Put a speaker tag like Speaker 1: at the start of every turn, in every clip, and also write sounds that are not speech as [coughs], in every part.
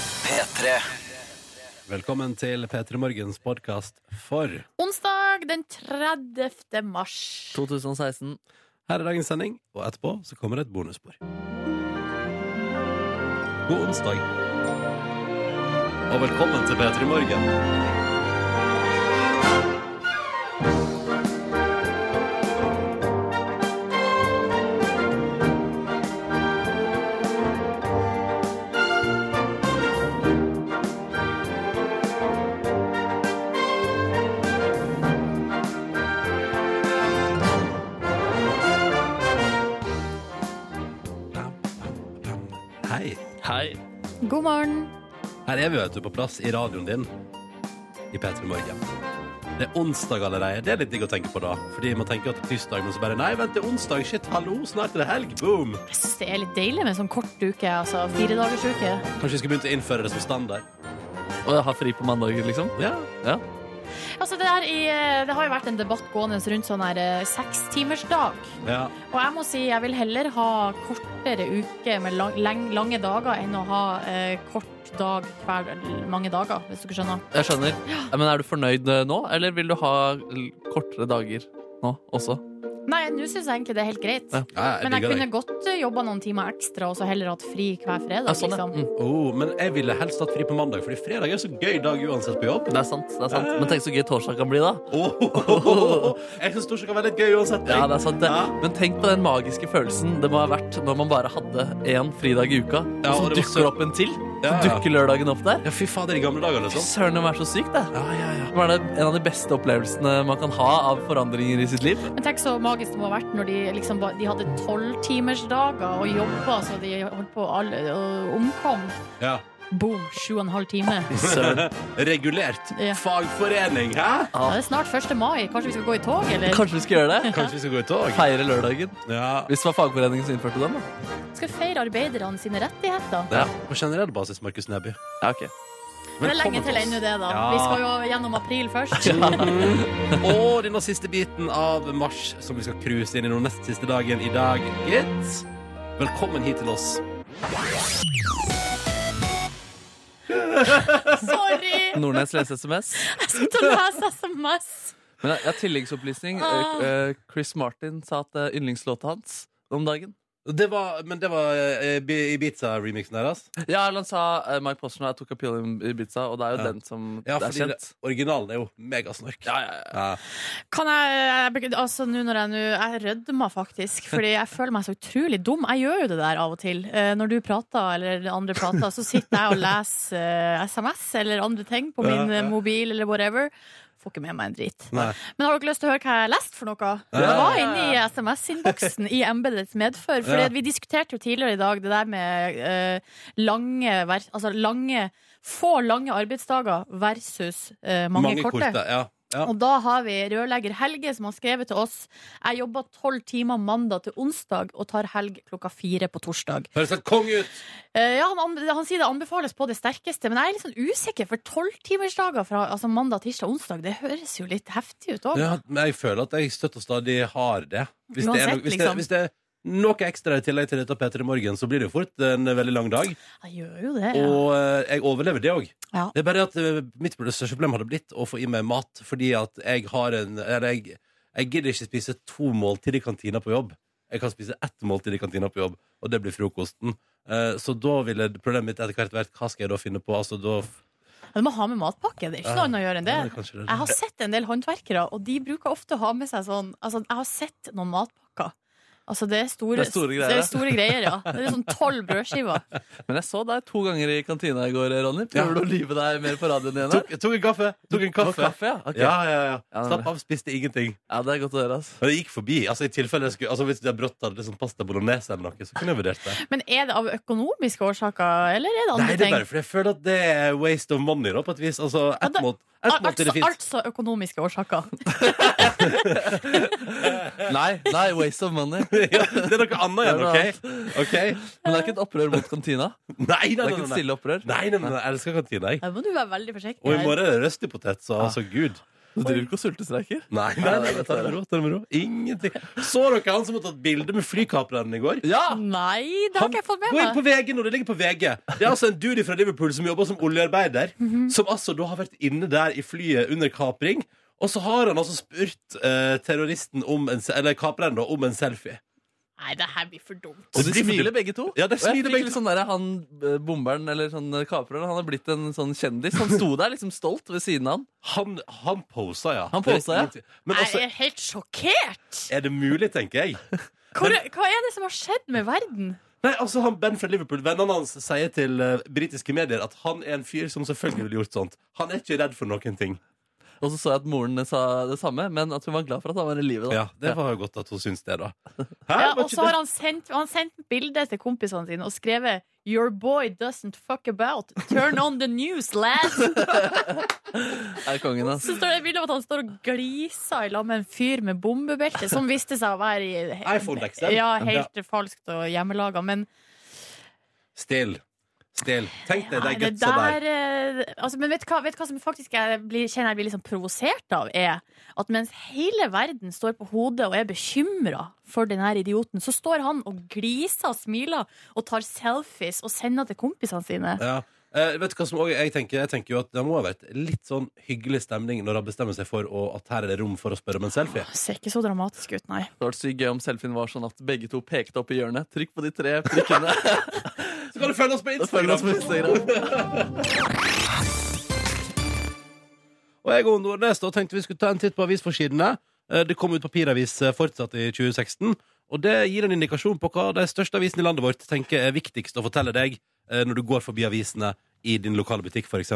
Speaker 1: P3.
Speaker 2: Velkommen til P3 Morgens podkast for
Speaker 3: Onsdag den 30. mars.
Speaker 4: 2016.
Speaker 2: Her er dagens sending, og etterpå så kommer det et bonusspor. God onsdag. Og velkommen til P3 Morgen. Hei.
Speaker 4: Hei.
Speaker 3: God morgen.
Speaker 2: Her er vi, vet du, på plass i radioen din i P3 Morgen. Det er onsdag allerede. Det er litt digg å tenke på da. Fordi man tenker jo at det er tirsdag, men så bare Nei, vent, det er onsdag. Shit, hallo, snart er det helg. Boom.
Speaker 3: Jeg syns det er litt deilig med en sånn kort uke, altså firedagersuke.
Speaker 2: Kanskje vi skal begynne å innføre det som standard.
Speaker 4: Og jeg har fri på mandager, liksom?
Speaker 2: Ja.
Speaker 4: Ja.
Speaker 3: Altså, det, her i, det har jo vært en debatt gående rundt sånn her eh, sekstimersdag.
Speaker 2: ja.
Speaker 3: Og jeg må si jeg vil heller ha kortere uke med lang, leng, lange dager enn å ha eh, kort dag hver mange dager, hvis dere skjønner.
Speaker 4: Jeg skjønner. Ja, Men er du fornøyd eh, nå, eller vil du ha l- kortere dager nå også?
Speaker 3: Nei, nå syns jeg egentlig det er helt greit.
Speaker 4: Ja.
Speaker 2: ja jeg
Speaker 3: Men jeg
Speaker 2: digger
Speaker 3: kunne
Speaker 2: deg.
Speaker 3: godt eh, jobba noen timer ekstra og så heller hatt fri hver fredag.
Speaker 4: Ja, sånn, ja.
Speaker 3: liksom.
Speaker 4: Mm.
Speaker 2: Oh, men jeg ville helst hatt fri på mandag, fordi fredag er så gøy dag uansett på jobb.
Speaker 4: Det er sant. det er sant Men tenk så gøy torsdag kan bli, da.
Speaker 2: Oh, [laughs] Jeg syns torsdag kan være litt gøy uansett.
Speaker 4: Ja, det er sant det.
Speaker 2: Ja.
Speaker 4: Men tenk på den magiske følelsen det må ha vært når man bare hadde én fridag i uka,
Speaker 2: Ja,
Speaker 4: og
Speaker 2: og
Speaker 4: så
Speaker 2: det var
Speaker 4: dukker
Speaker 2: så-
Speaker 4: opp en til. Så
Speaker 2: Ja, ja.
Speaker 4: dukker lørdagen opp der.
Speaker 2: Ja, fy fader, i gamle dager,
Speaker 4: Fy
Speaker 2: liksom.
Speaker 4: søren, det må være så sykt, det.
Speaker 2: Ja, ja, ja.
Speaker 4: Det var det en av de beste opplevelsene man kan ha av forandringer i sitt liv.
Speaker 3: Men tenk så magisk det må ha vært når de, liksom, ba- de hadde tolvtimersdager og jobba så de holdt på å alle, og omkom.
Speaker 2: ja. [laughs]
Speaker 3: Boom, sju og en halv time.
Speaker 4: Søren.
Speaker 2: Regulert.
Speaker 3: Ja.
Speaker 2: Fagforening, hæ?
Speaker 3: Ja, det er snart 1. mai. Kanskje vi skal gå i tog, eller?
Speaker 4: Kanskje vi skal gjøre det?
Speaker 2: Kanskje vi skal gå i tog?
Speaker 4: Feire lørdagen.
Speaker 2: Ja.
Speaker 4: Hvis det var fagforeningen som innførte den, da.
Speaker 3: Skal feire arbeiderne sine rettigheter.
Speaker 2: ja. På generell basis, Markus Neby.
Speaker 4: Ja, ok.
Speaker 3: Men det er lenge
Speaker 2: Velkommen
Speaker 3: til
Speaker 2: oss.
Speaker 3: ennå, det, da.
Speaker 2: Ja.
Speaker 3: Vi skal jo gjennom april først.
Speaker 2: [laughs] Og denne siste biten av mars som vi skal cruise inn i den nest siste dagen i dag, gitt. Velkommen hit til oss.
Speaker 3: Sorry!
Speaker 2: [laughs]
Speaker 4: Nordnes leser SMS.
Speaker 3: Jeg sitter og leser SMS.
Speaker 4: Men jeg jeg har tilleggsopplysning.
Speaker 3: Ah.
Speaker 4: Eh, eh, Chris Martin sa at eh, yndlingslåta hans om dagen
Speaker 2: Det var, men det var eh, Bi- Ibiza-remixen deres?
Speaker 4: Ja, eller han sa eh, Mike Posner og I Took a Pill in Ibiza, og det er jo
Speaker 2: Ja.
Speaker 4: den som
Speaker 2: Ja,
Speaker 4: er
Speaker 2: fordi
Speaker 4: kjent.
Speaker 2: det, originalen er jo megasnork.
Speaker 4: Ja, ja, ja.
Speaker 2: Ja.
Speaker 3: Kan jeg, jeg beg- Altså nå når jeg nå Jeg rødmer faktisk, fordi
Speaker 2: [laughs]
Speaker 3: jeg føler meg så utrolig dum. Jeg gjør jo det der av og til. Eh, Når du prater, eller andre prater, så sitter jeg og leser eh, SMS eller andre ting på min
Speaker 2: Ja, ja.
Speaker 3: eh, mobil eller whatever. Får ikke med meg en drit.
Speaker 2: Nei.
Speaker 3: Men har dere lyst til å høre hva jeg leste for noe?
Speaker 2: Ja.
Speaker 3: Jeg var inne i SMS-innboksen i embetets medfør. For
Speaker 2: Ja.
Speaker 3: vi diskuterte jo tidligere i dag det der med eh, lange, ver altså lange Få lange arbeidsdager versus eh, mange, korte.
Speaker 2: Ja. Ja.
Speaker 3: Og da har vi rørlegger Helge som har skrevet til oss Jeg jobber tolv timer mandag til onsdag og tar helg klokka fire på torsdag.
Speaker 2: Høres helt konge ut!
Speaker 3: Eh, ja, han, anbe- han sier det anbefales på det sterkeste, men jeg er litt sånn usikker, for tolvtimersdager fra altså mandag, tirsdag, onsdag, det høres jo litt heftig ut òg.
Speaker 2: Ja, men jeg føler at jeg støtt og stadig har det. Hvis, det, er
Speaker 3: Uansett,
Speaker 2: noe, hvis,
Speaker 3: liksom.
Speaker 2: det, hvis det er noe ekstra i tillegg til dette Peter i morgen, så blir det jo fort en veldig lang dag.
Speaker 3: Jeg gjør jo det.
Speaker 2: Og eh, jeg overlever det òg.
Speaker 3: Ja.
Speaker 2: Det er bare at eh, mitt problem- største problem hadde blitt å få i meg mat, fordi at jeg har en Eller jeg, jeg gidder ikke spise to måltid i kantina på jobb. Jeg kan spise ett måltid i kantina på jobb, og det blir frokosten. Eh, Så da ville problemet mitt etter hvert vært hva skal jeg da finne på? Altså, da
Speaker 3: Ja, Du må ha med matpakke. Det er
Speaker 2: Ja.
Speaker 3: ikke noe annet å gjøre enn det.
Speaker 2: Ja, det er kanskje det.
Speaker 3: Jeg har sett en del håndverkere, og de bruker ofte å ha med seg sånn Altså, jeg har sett noen matpakker. Altså, det er store,
Speaker 4: Det er store greier,
Speaker 3: Det er store greier ja. Det er sånn tolv brødskiver.
Speaker 4: Men jeg så deg to ganger i kantina i går, Ronny.
Speaker 2: Ja.
Speaker 4: Prøver du å lyve deg mer på radioen igjen? her?
Speaker 2: tok, tok en kaffe! Tok en
Speaker 4: Og
Speaker 2: kaffe.
Speaker 4: kaffe ja. Ok.
Speaker 2: Ja, ja, ja.
Speaker 4: Ja, det er
Speaker 2: Slapp av, spiste ingenting.
Speaker 4: ja, det er godt å høre. ass.
Speaker 2: Men det gikk forbi. Altså, i tilfelle jeg skulle, altså, hvis jeg brått hadde liksom pasta bolognese eller noe, så kunne jeg vurdert det.
Speaker 3: Men er det av økonomiske årsaker, eller er det andre
Speaker 2: Nei, det er
Speaker 3: ting?
Speaker 2: bare fordi jeg føler at det er waste of money, da, på et vis. Altså,
Speaker 3: Ja,
Speaker 2: ett
Speaker 3: det-
Speaker 2: måte et måte
Speaker 3: altså,
Speaker 2: det fins.
Speaker 3: altså økonomiske årsaker.
Speaker 4: Nei, nei, waste of money.
Speaker 2: [laughs] ja, det er noe annet igjen,
Speaker 4: Det er
Speaker 2: OK? Ok?
Speaker 4: Men det er ikke et opprør mot kantina.
Speaker 2: Nei, nei,
Speaker 4: Det
Speaker 2: nei.
Speaker 4: er ikke et
Speaker 2: nei, nei.
Speaker 4: stille opprør.
Speaker 2: Nei, nei, nei, nei, jeg elsker kantina, jeg.
Speaker 3: Da må du være veldig forsiktig.
Speaker 2: Og i
Speaker 3: her.
Speaker 2: morgen er det røstig potet, så altså, gud.
Speaker 4: Du driver ikke og sultestreiker?
Speaker 2: Nei, nei, nei, ta det med ro. ta det med ro Ingenting. Så dere han som har tatt bilde med flykapreren i går?
Speaker 4: Ja!
Speaker 3: Nei, det har
Speaker 2: Han-
Speaker 3: ikke jeg fått
Speaker 2: Gå inn
Speaker 3: med
Speaker 2: på
Speaker 3: meg.
Speaker 2: VG nå, det ligger på VG. Det er altså en dude fra Liverpool som jobber som oljearbeider,
Speaker 3: Mhm.
Speaker 2: som altså da har vært inne der i flyet under kapring, og så har han altså spurt eh, terroristen om en, se- eller kapreren da, om en selfie.
Speaker 3: Nei, det her blir for dumt.
Speaker 4: Og
Speaker 2: Så
Speaker 4: de
Speaker 2: de
Speaker 4: smiler begge to.
Speaker 2: Ja, de
Speaker 4: og jeg
Speaker 2: smiler
Speaker 4: fikk
Speaker 2: begge
Speaker 4: litt sånn der, han eh, bomberen eller sånn eh, kapreren, han har blitt en sånn kjendis. Han sto der liksom stolt ved siden av han.
Speaker 2: Han, han posa, ja.
Speaker 4: Han posa, ja.
Speaker 2: Men
Speaker 3: jeg
Speaker 2: altså,
Speaker 3: er helt sjokkert!
Speaker 2: er det mulig, tenker jeg?
Speaker 3: Hvor, hva er det som har skjedd med verden?
Speaker 2: Nei, altså han Ben fra Liverpool, Vennene hans sier til eh, britiske medier at han er en fyr som selvfølgelig ville gjort sånt. Han er ikke redd for noen ting.
Speaker 4: Og så så jeg at moren sa det samme, men at hun var glad for at han var i live. da.
Speaker 2: Ja, Det var jo godt at hun syns det, da. Hæ?
Speaker 3: Ja,
Speaker 2: Var
Speaker 3: og
Speaker 2: ikke
Speaker 3: så har
Speaker 2: det-
Speaker 3: han sendt, han sendt bilde til kompisene sine og skrevet Your boy doesn't fuck about. Turn on the news,
Speaker 2: [laughs]
Speaker 3: lad!
Speaker 4: Er kongen, ass.
Speaker 3: Så står det et bilde av at han står og gliser i lag med en fyr med bombebelte, som viste seg å være i
Speaker 2: iPhone-deksel.
Speaker 3: Ja, helt falskt og hjemmelaga, men
Speaker 2: Still. Still. Tenk deg de
Speaker 3: Nei, det
Speaker 2: gutsa der.
Speaker 3: der, eh, altså, men vet du hva, vet du hva som faktisk jeg blir, kjenner jeg blir liksom provosert av, er at mens hele verden står på hodet og er bekymra for den her idioten, så står han og gliser og smiler og tar selfies og sender til kompisene sine.
Speaker 2: Ja. Eh, vet du hva som også, jeg tenker? Jeg tenker jo at Det må ha vært litt sånn hyggelig stemning når han bestemmer seg for å, at her er det rom for å spørre om en selfie.
Speaker 3: Det ser ikke så dramatisk ut, nei.
Speaker 4: Det var sykt gøy om selfien var sånn at begge to pekte opp i hjørnet. Trykk på de tre
Speaker 2: [laughs]
Speaker 4: prikkene.
Speaker 2: Så kan du følge oss på
Speaker 4: Følg
Speaker 2: Instagram!
Speaker 4: oss på Instagram.
Speaker 2: Og jeg og Nordnes da tenkte vi skulle ta en titt på avisforsidene. Eh, Det kom ut papiravis eh, fortsatt i 2016. Og det gir en indikasjon på hva de største avisene i landet vårt tenker er viktigst å fortelle deg eh, når du går forbi avisene i din lokale butikk, f.eks.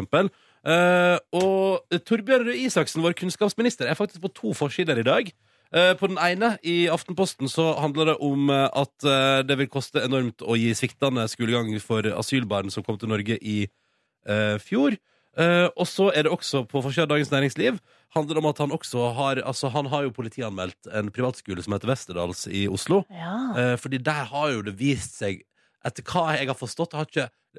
Speaker 2: Og Torbjørn Røe Isaksen, vår kunnskapsminister, er faktisk på to forsider i dag. Eh, På den ene, i Aftenposten, så handler det om eh, at eh, det vil koste enormt å gi sviktende skolegang for asylbarn som kom til Norge i eh, fjor. Eh, og så er det også på forsida av Dagens Næringsliv handler det om at han også har Altså han har jo politianmeldt en privatskole som heter Westerdals i Oslo.
Speaker 3: Ja.
Speaker 2: Eh, fordi der har jo det vist seg Etter hva jeg har forstått, jeg har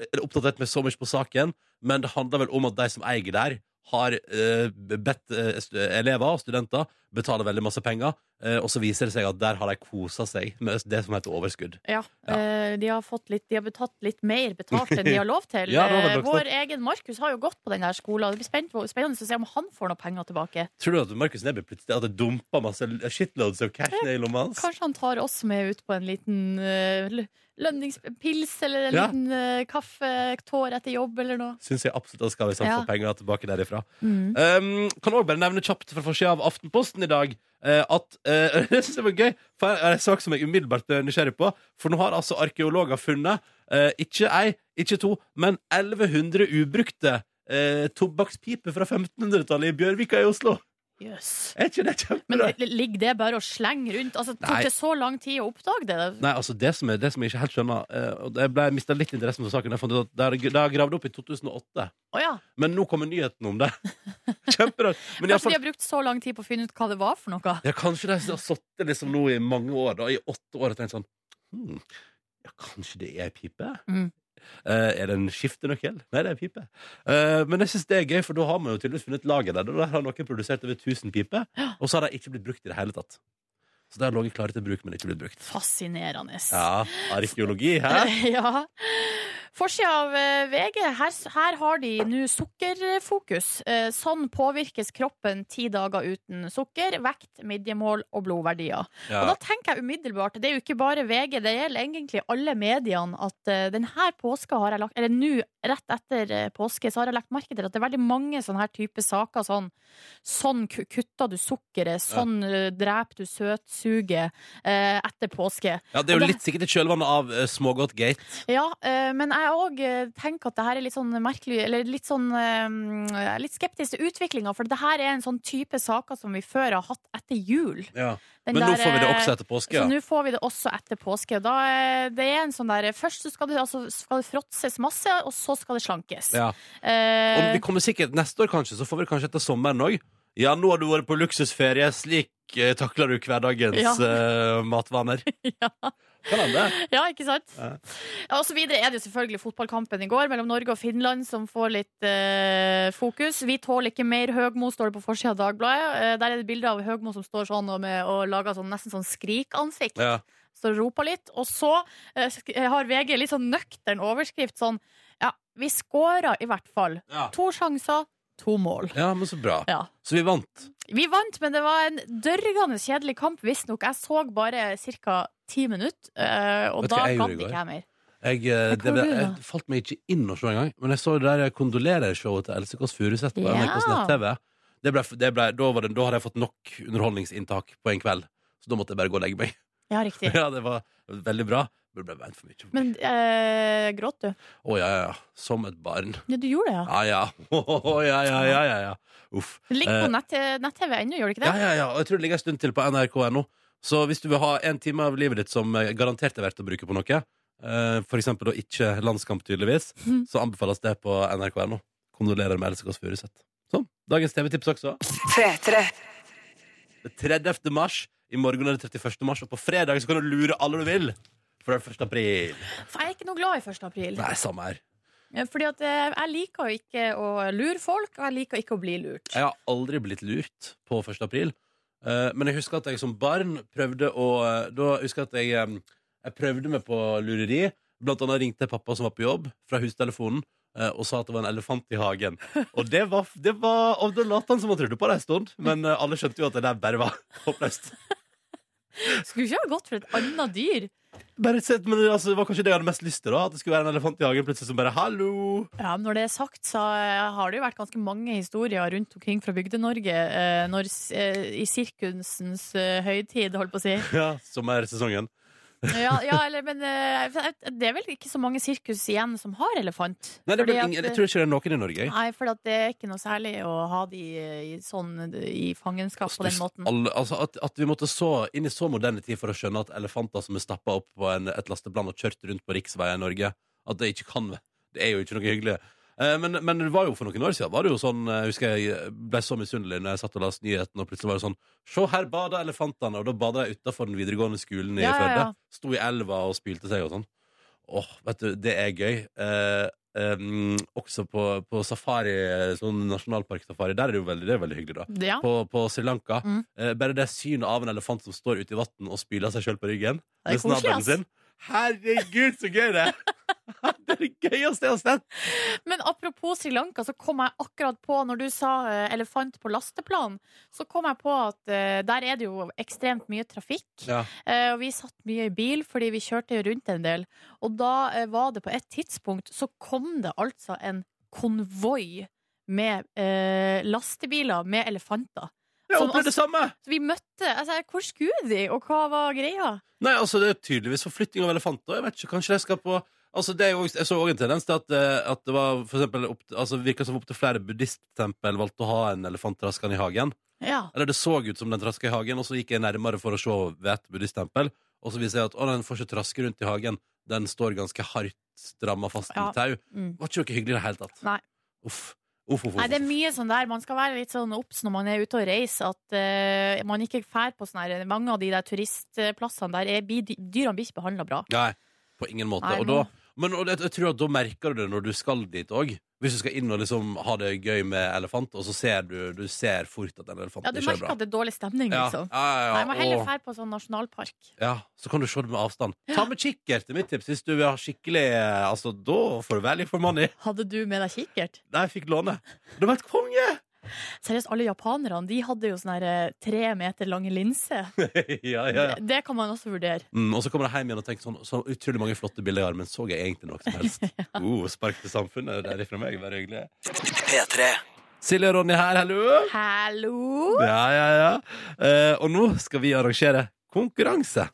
Speaker 2: ikke oppdatert meg så mye på saken, men det handler vel om at de som eier der, har eh, bedt eh, stu- elever og studenter betale veldig masse penger, eh, og så viser det seg at der har de kosa seg med det som heter overskudd.
Speaker 3: Ja, eh, De har fått litt De har betatt litt mer betalt enn de har lov til.
Speaker 2: [laughs] Ja, det var vel
Speaker 3: Eh,
Speaker 2: nok
Speaker 3: Vår egen Markus har jo gått på den her skolen. Det blir spennende, spennende å se om han får noe penger tilbake.
Speaker 2: Tror du at Markus Neby plutselig hadde dumpa masse shitloads of cash ned i lomma hans?
Speaker 3: Kanskje han tar oss med ut på en liten eh, lø- lønningspils eller en
Speaker 2: Ja.
Speaker 3: liten eh, kaffetår etter jobb eller noe.
Speaker 2: syns jeg absolutt at skal vi
Speaker 3: Ja. Mm.
Speaker 2: få penger tilbake derifra. Um, kan òg bare nevne kjapt fra forsida av Aftenposten i dag eh, at eh, [laughs] Det syns jeg var gøy, for det er en sak som jeg umiddelbart ble nysgjerrig på. For nå har altså arkeologer funnet eh, ikke ei, ikke to, men 1100 ubrukte eh, tobakkspiper fra 1500-tallet i Bjørvika i Oslo.
Speaker 3: Jøss.
Speaker 2: Er ikke det
Speaker 3: Men
Speaker 2: kjempebra?
Speaker 3: li- ligger det bare og slenger rundt? Altså,
Speaker 2: Nei.
Speaker 3: Tok det så lang tid å oppdage det?
Speaker 2: Nei, altså det som, er, det som jeg ikke helt skjønner eh, og Jeg ble- mistet litt interessen for saken. Jeg fant ut at det er- det er gravd opp i 2008.
Speaker 3: Å ja.
Speaker 2: Men nå kommer nyheten
Speaker 3: [laughs]
Speaker 2: om det. Kjemperart. Men i alle fall-
Speaker 3: Kanskje de har brukt så lang tid på å finne ut hva det var for noe?
Speaker 2: Ja, kanskje de har sittet liksom nå i mange år, da, i åtte år, og tenkt sånn hmm, Ja, kanskje det er ei pipe?
Speaker 3: Mm.
Speaker 2: Eh, er det en skiftenøkkel? Nei, det er ei pipe. Eh, men jeg syns det er gøy, for da har man jo tydeligvis funnet laget der. og Der har noen produsert over 1000 piper, og så har de ikke blitt brukt i det hele tatt. Så de har ligget klare til bruk, men ikke blitt brukt.
Speaker 3: Fascinerende.
Speaker 2: Ja, arkeologi, [laughs] hæ?
Speaker 3: [laughs] ja. Forsida av eh, VG. Her, her har de nå sukkerfokus. Eh, Sånn påvirkes kroppen ti dager uten sukker, vekt, midjemål og blodverdier. Og da
Speaker 2: Ja.
Speaker 3: tenker jeg umiddelbart, det er jo ikke bare VG, det gjelder egentlig alle mediene, at eh, denne påska har jeg lagt, eller nå, rett etter eh, påske, så har jeg lagt merke til at det er veldig mange sånne her type saker, sånn, sånn ku- kutter du sukkeret, sånn eh, dreper du søtsuget eh, etter påske.
Speaker 2: ja, det er
Speaker 3: og
Speaker 2: jo
Speaker 3: det-
Speaker 2: litt sikkert i kjølvannet av uh, Smågodt Gate.
Speaker 3: Ja, eh, men jeg òg tenker at det her er litt sånn merkelig, eller litt sånn eh, Jeg er litt skeptisk til utviklinga, for det her er en sånn type saker som vi før har hatt etter jul. Den
Speaker 2: Men nå
Speaker 3: der,
Speaker 2: får vi det
Speaker 3: eh,
Speaker 2: også etter påske. Ja.
Speaker 3: Så nå får vi det også etter påske. og Da, eh, det er en sånn der, først så skal det, altså, skal det fråtses masse, og så skal det slankes.
Speaker 2: Ja.
Speaker 3: Eh,
Speaker 2: Og vi kommer sikkert neste år, kanskje, så får vi det kanskje etter sommeren òg. Ja, nå har du vært på luksusferie. Slik eh, takler du hverdagens
Speaker 3: Ja.
Speaker 2: eh, matvaner.
Speaker 3: [laughs] Ja.
Speaker 2: Kan hende.
Speaker 3: Ja, ikke sant?
Speaker 2: Ja.
Speaker 3: Og så videre er det jo selvfølgelig fotballkampen i går mellom Norge og Finland som får litt eh, fokus. Vi tåler ikke mer Høgmo, står det på forsida av Dagbladet. Eh, der er det bilde av Høgmo som står sånn og, med, og lager sånn, nesten sånn skrikansikt.
Speaker 2: Ja.
Speaker 3: Står og roper litt. Og så eh, sk- har VG litt sånn nøktern overskrift sånn Ja, vi scora i hvert fall.
Speaker 2: Ja.
Speaker 3: To sjanser, to mål.
Speaker 2: ja, men så bra.
Speaker 3: Ja.
Speaker 2: Så vi vant.
Speaker 3: Vi vant, men det var en dørgende kjedelig kamp, visstnok. Jeg så bare ca. ti minutter, eh, og
Speaker 2: Vet du
Speaker 3: da
Speaker 2: hva jeg gjorde
Speaker 3: gadd
Speaker 2: i går?
Speaker 3: ikke jeg mer.
Speaker 2: Jeg, eh,
Speaker 3: Hva
Speaker 2: det,
Speaker 3: gjorde du
Speaker 2: jeg
Speaker 3: da?
Speaker 2: falt meg ikke inn og så engang, men jeg så det der kondolerer-showet til Else Kåss Furuseth på
Speaker 3: Ja.
Speaker 2: NRKs nett-TV. Det ble, det ble, da, var det, da hadde jeg fått nok underholdningsinntak på en kveld, så da måtte jeg bare gå og legge meg.
Speaker 3: Ja, riktig.
Speaker 2: [laughs] Ja, det var veldig bra. Men det ble vent for mye. Å,
Speaker 3: Men eh, gråt du?
Speaker 2: ja, ja, ja. Som et barn.
Speaker 3: Ja, du gjorde det, ja.
Speaker 2: Ja, ja. [laughs] Å, ja, ja, ja, ja, ja. Uff.
Speaker 3: Det ligger på
Speaker 2: Eh.
Speaker 3: nett- nett-TV ennå, gjør det ikke
Speaker 2: Ja,
Speaker 3: det?
Speaker 2: ja, ja. Og jeg tror det ligger en stund til på nrk.no. Så hvis du vil ha en time av livet ditt som eh, garantert er verdt å bruke på noe, eh, for eksempel da ikke landskamp, tydeligvis,
Speaker 3: Mhm.
Speaker 2: så anbefales det på nrk.no. Kondolerer med Else Kåss Furuseth. Sånn. Dagens TV-tips også. Det er 30. mars. I morgen er det 31. mars, og på fredag så kan du lure alle du vil. For det er 1. april.
Speaker 3: For jeg er ikke noe glad i 1. april.
Speaker 2: Nei, samme her.
Speaker 3: Fordi at eh, jeg liker jo ikke å lure folk, og jeg liker ikke å bli lurt.
Speaker 2: Jeg har aldri blitt lurt på 1. april. Eh, men jeg husker at jeg som barn prøvde å eh, Da husker jeg at jeg, em, jeg prøvde meg på lureri. Blant annet ringte jeg pappa som var på jobb, fra hustelefonen. eh, Og sa at det var en elefant i hagen. Og det var, det var Og da lot han som han trodde på det en stund, men eh, alle skjønte jo at det der bare var [laughs] håpløst.
Speaker 3: Skulle ikke ha gått for et annet dyr.
Speaker 2: Bare sett, men altså, Det var kanskje det jeg hadde mest lyst til, da at det skulle være en elefant i hagen plutselig som bare 'hallo'.
Speaker 3: Ja, men Når det er sagt, så eh, har det jo vært ganske mange historier rundt omkring fra Bygde-Norge eh, når s- eh, i sirkusens eh, høytid, holdt på å si.
Speaker 2: Ja, Sommersesongen.
Speaker 3: Ja, ja eller, men eh, jeg- det er vel ikke så mange sirkus igjen som har elefant.
Speaker 2: Nei, det
Speaker 3: Fordi
Speaker 2: ble
Speaker 3: at- eh,
Speaker 2: ingen, jeg tror ikke det er noen i Norge. jeg.
Speaker 3: Nei, for at det er ikke noe særlig å ha de i, sånn, i fangenskap på den
Speaker 2: Stuss-
Speaker 3: måten.
Speaker 2: alle- altså at, at vi måtte så inn i så moderne tid for å skjønne at elefanter som er stappa opp på en, et lasteplan og kjørt rundt på riksveier i Norge, at det ikke kan Det er jo ikke noe hyggelig. Eh, men, men det var jo for noen år siden var det jo sånn Jeg husker jeg ble så misunnelig når jeg satt og leste nyheten, og plutselig var det sånn Se, her bader elefantene! Og da bada de utafor den videregående skolen i
Speaker 3: Ja, ja,
Speaker 2: Førde.
Speaker 3: ja.
Speaker 2: Sto i elva og spylte seg og sånn. Åh, vet du, det er gøy. Eh, em, også på, på safari, sånn nasjonalparksafari. Der er det jo veldig, det er veldig hyggelig, da
Speaker 3: Ja.
Speaker 2: på, på Sri Lanka.
Speaker 3: Mm.
Speaker 2: Eh, bare det synet av en elefant som står ute i vann og spyler seg sjøl på ryggen.
Speaker 3: Det
Speaker 2: med
Speaker 3: er koselig,
Speaker 2: snabelen
Speaker 3: ass.
Speaker 2: sin. Herregud, så gøy det er! [laughs] Det er det gøyeste jeg har sett!
Speaker 3: Men apropos Sri Lanka, så kom jeg akkurat på, når du sa eh, elefant på lasteplan, så kom jeg på at eh, der er det jo ekstremt mye trafikk.
Speaker 2: Ja.
Speaker 3: Eh, og vi satt mye i bil fordi vi kjørte jo rundt en del. Og da eh, var det på et tidspunkt så kom det altså en konvoi med eh, lastebiler med elefanter.
Speaker 2: Jeg
Speaker 3: Som altså-
Speaker 2: opplevde det samme!
Speaker 3: Så vi møtte altså, Hvor skulle de, og hva var greia?
Speaker 2: Nei, altså, det er tydeligvis forflytting av elefanter. Jeg vet ikke, kanskje jeg skal på Altså, det er jo, jeg så òg en tendens til at, eh, at det var for eksempel opp, altså, virka som opptil flere buddhisttempel valgte å ha en elefant traskende i hagen.
Speaker 3: Ja.
Speaker 2: Eller det så ut som den traska i hagen, og så gikk jeg nærmere for å se ved et buddhisttempel. Og så viser jeg at å, den får ikke traske rundt i hagen. Den står ganske hardt stramma fast
Speaker 3: Ja.
Speaker 2: med tau.
Speaker 3: Mm.
Speaker 2: Var ikke noe hyggelig i det hele tatt.
Speaker 3: Nei.
Speaker 2: Uff. Uff, uff, uff.
Speaker 3: Nei, det er mye sånn der. Man skal være litt sånn obs når man er ute og reiser, at eh, man ikke fær på sånne her Mange av de der turistplassene der er, blir- dyrene blir ikke behandla bra.
Speaker 2: Nei, på ingen måte.
Speaker 3: Nei,
Speaker 2: og da,
Speaker 3: nå-
Speaker 2: men og, jeg, jeg tror at da merker du det når du skal dit òg. Hvis du skal inn og liksom ha det gøy med elefant, og så ser du, du ser fort at den elefanten
Speaker 3: Ja, du
Speaker 2: ikke er
Speaker 3: merker
Speaker 2: bra.
Speaker 3: at det er dårlig stemning,
Speaker 2: ja,
Speaker 3: liksom.
Speaker 2: ja, ja, ja.
Speaker 3: Nei, man heller
Speaker 2: og-
Speaker 3: fær på sånn nasjonalpark.
Speaker 2: Ja, så kan du se det med avstand. Ta med kikkert, er mitt tips. Hvis du vil ha skikkelig eh, Altså, da får du value for money.
Speaker 3: Hadde du med deg kikkert?
Speaker 2: Nei, jeg fikk låne. Det var et konge!
Speaker 3: Seriøst, alle japanerne de hadde jo sånn her eh, tre meter lange linser.
Speaker 2: [laughs] ja, [laughs] ja, ja.
Speaker 3: Det, det kan man også vurdere.
Speaker 2: Mm, og så kommer jeg hjem igjen og tenker sånn Så utrolig mange flotte bilder jeg har, men så jeg egentlig noe [laughs] som helst? oh, spark til samfunnet, det er ifra meg, vær hyggelig. Silje og Ronny her, hallo!
Speaker 3: [laughs] Hallo!
Speaker 2: Ja, ja, ja. Eh, og nå skal vi arrangere konkurranse.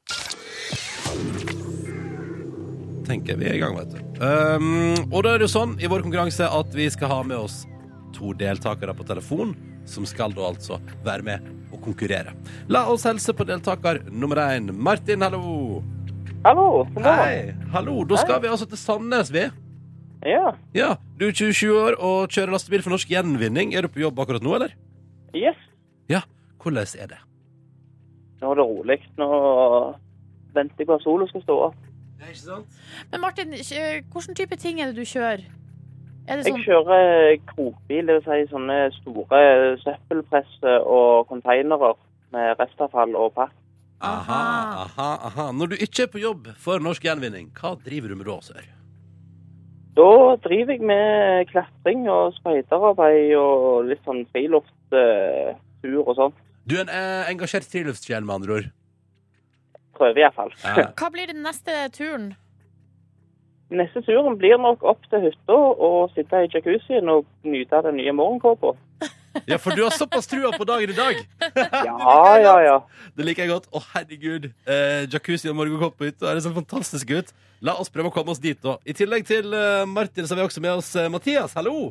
Speaker 2: Tenker vi er i gang, vet du. Um, og da er det jo sånn i vår konkurranse at vi skal ha med oss to deltakere på telefon, som skal da altså være med og konkurrere. La oss helse på deltaker nummer én. Martin, hallo.
Speaker 1: Hallo. god morgen.
Speaker 2: Hei. Hallo. Da skal vi altså til Sandnes, vi.
Speaker 1: Ja.
Speaker 2: Ja, du er 27 år og kjører lastebil for Norsk Gjenvinning. Er du på jobb akkurat nå, eller?
Speaker 1: Yes,
Speaker 2: Hvordan er det?
Speaker 1: Nå er det rolig. Nå venter jeg på at sola skal stå opp.
Speaker 2: Det er ikke sant?
Speaker 3: Men Martin, kj- hvilken type ting er det du kjører? Er det
Speaker 1: Jeg
Speaker 3: sånn
Speaker 1: kjører krokbil, dvs. Si sånne store søppelpresser og konteinere med restavfall og pakk.
Speaker 2: Aha, aha, aha. Når du ikke er på jobb for norsk gjenvinning, hva driver du med da, sør?
Speaker 1: Da driver jeg med klatring og speiderarbeid og litt sånn friluftstur og sånn.
Speaker 2: Du er en eh, engasjert friluftssjel, med [laughs] andre ord. Eh,
Speaker 1: Prøver iallfall. fall.
Speaker 2: Ja.
Speaker 3: Hva blir den neste turen?
Speaker 1: Neste turen blir nok opp til hytta og sitte i jacuzzien og nyte den nye
Speaker 3: [laughs]
Speaker 1: morgenkåpa.
Speaker 2: ja, for du har såpass trua på dagen i dag!
Speaker 1: Ja, ja, ja.
Speaker 2: Det liker jeg godt. Å, herregud. Eh, jacuzzi og morgenkopp på hytta. Det ser fantastisk ut. La oss prøve å komme oss dit, da. I tillegg til eh, Martin så har vi også med oss eh, Mathias. Hallo!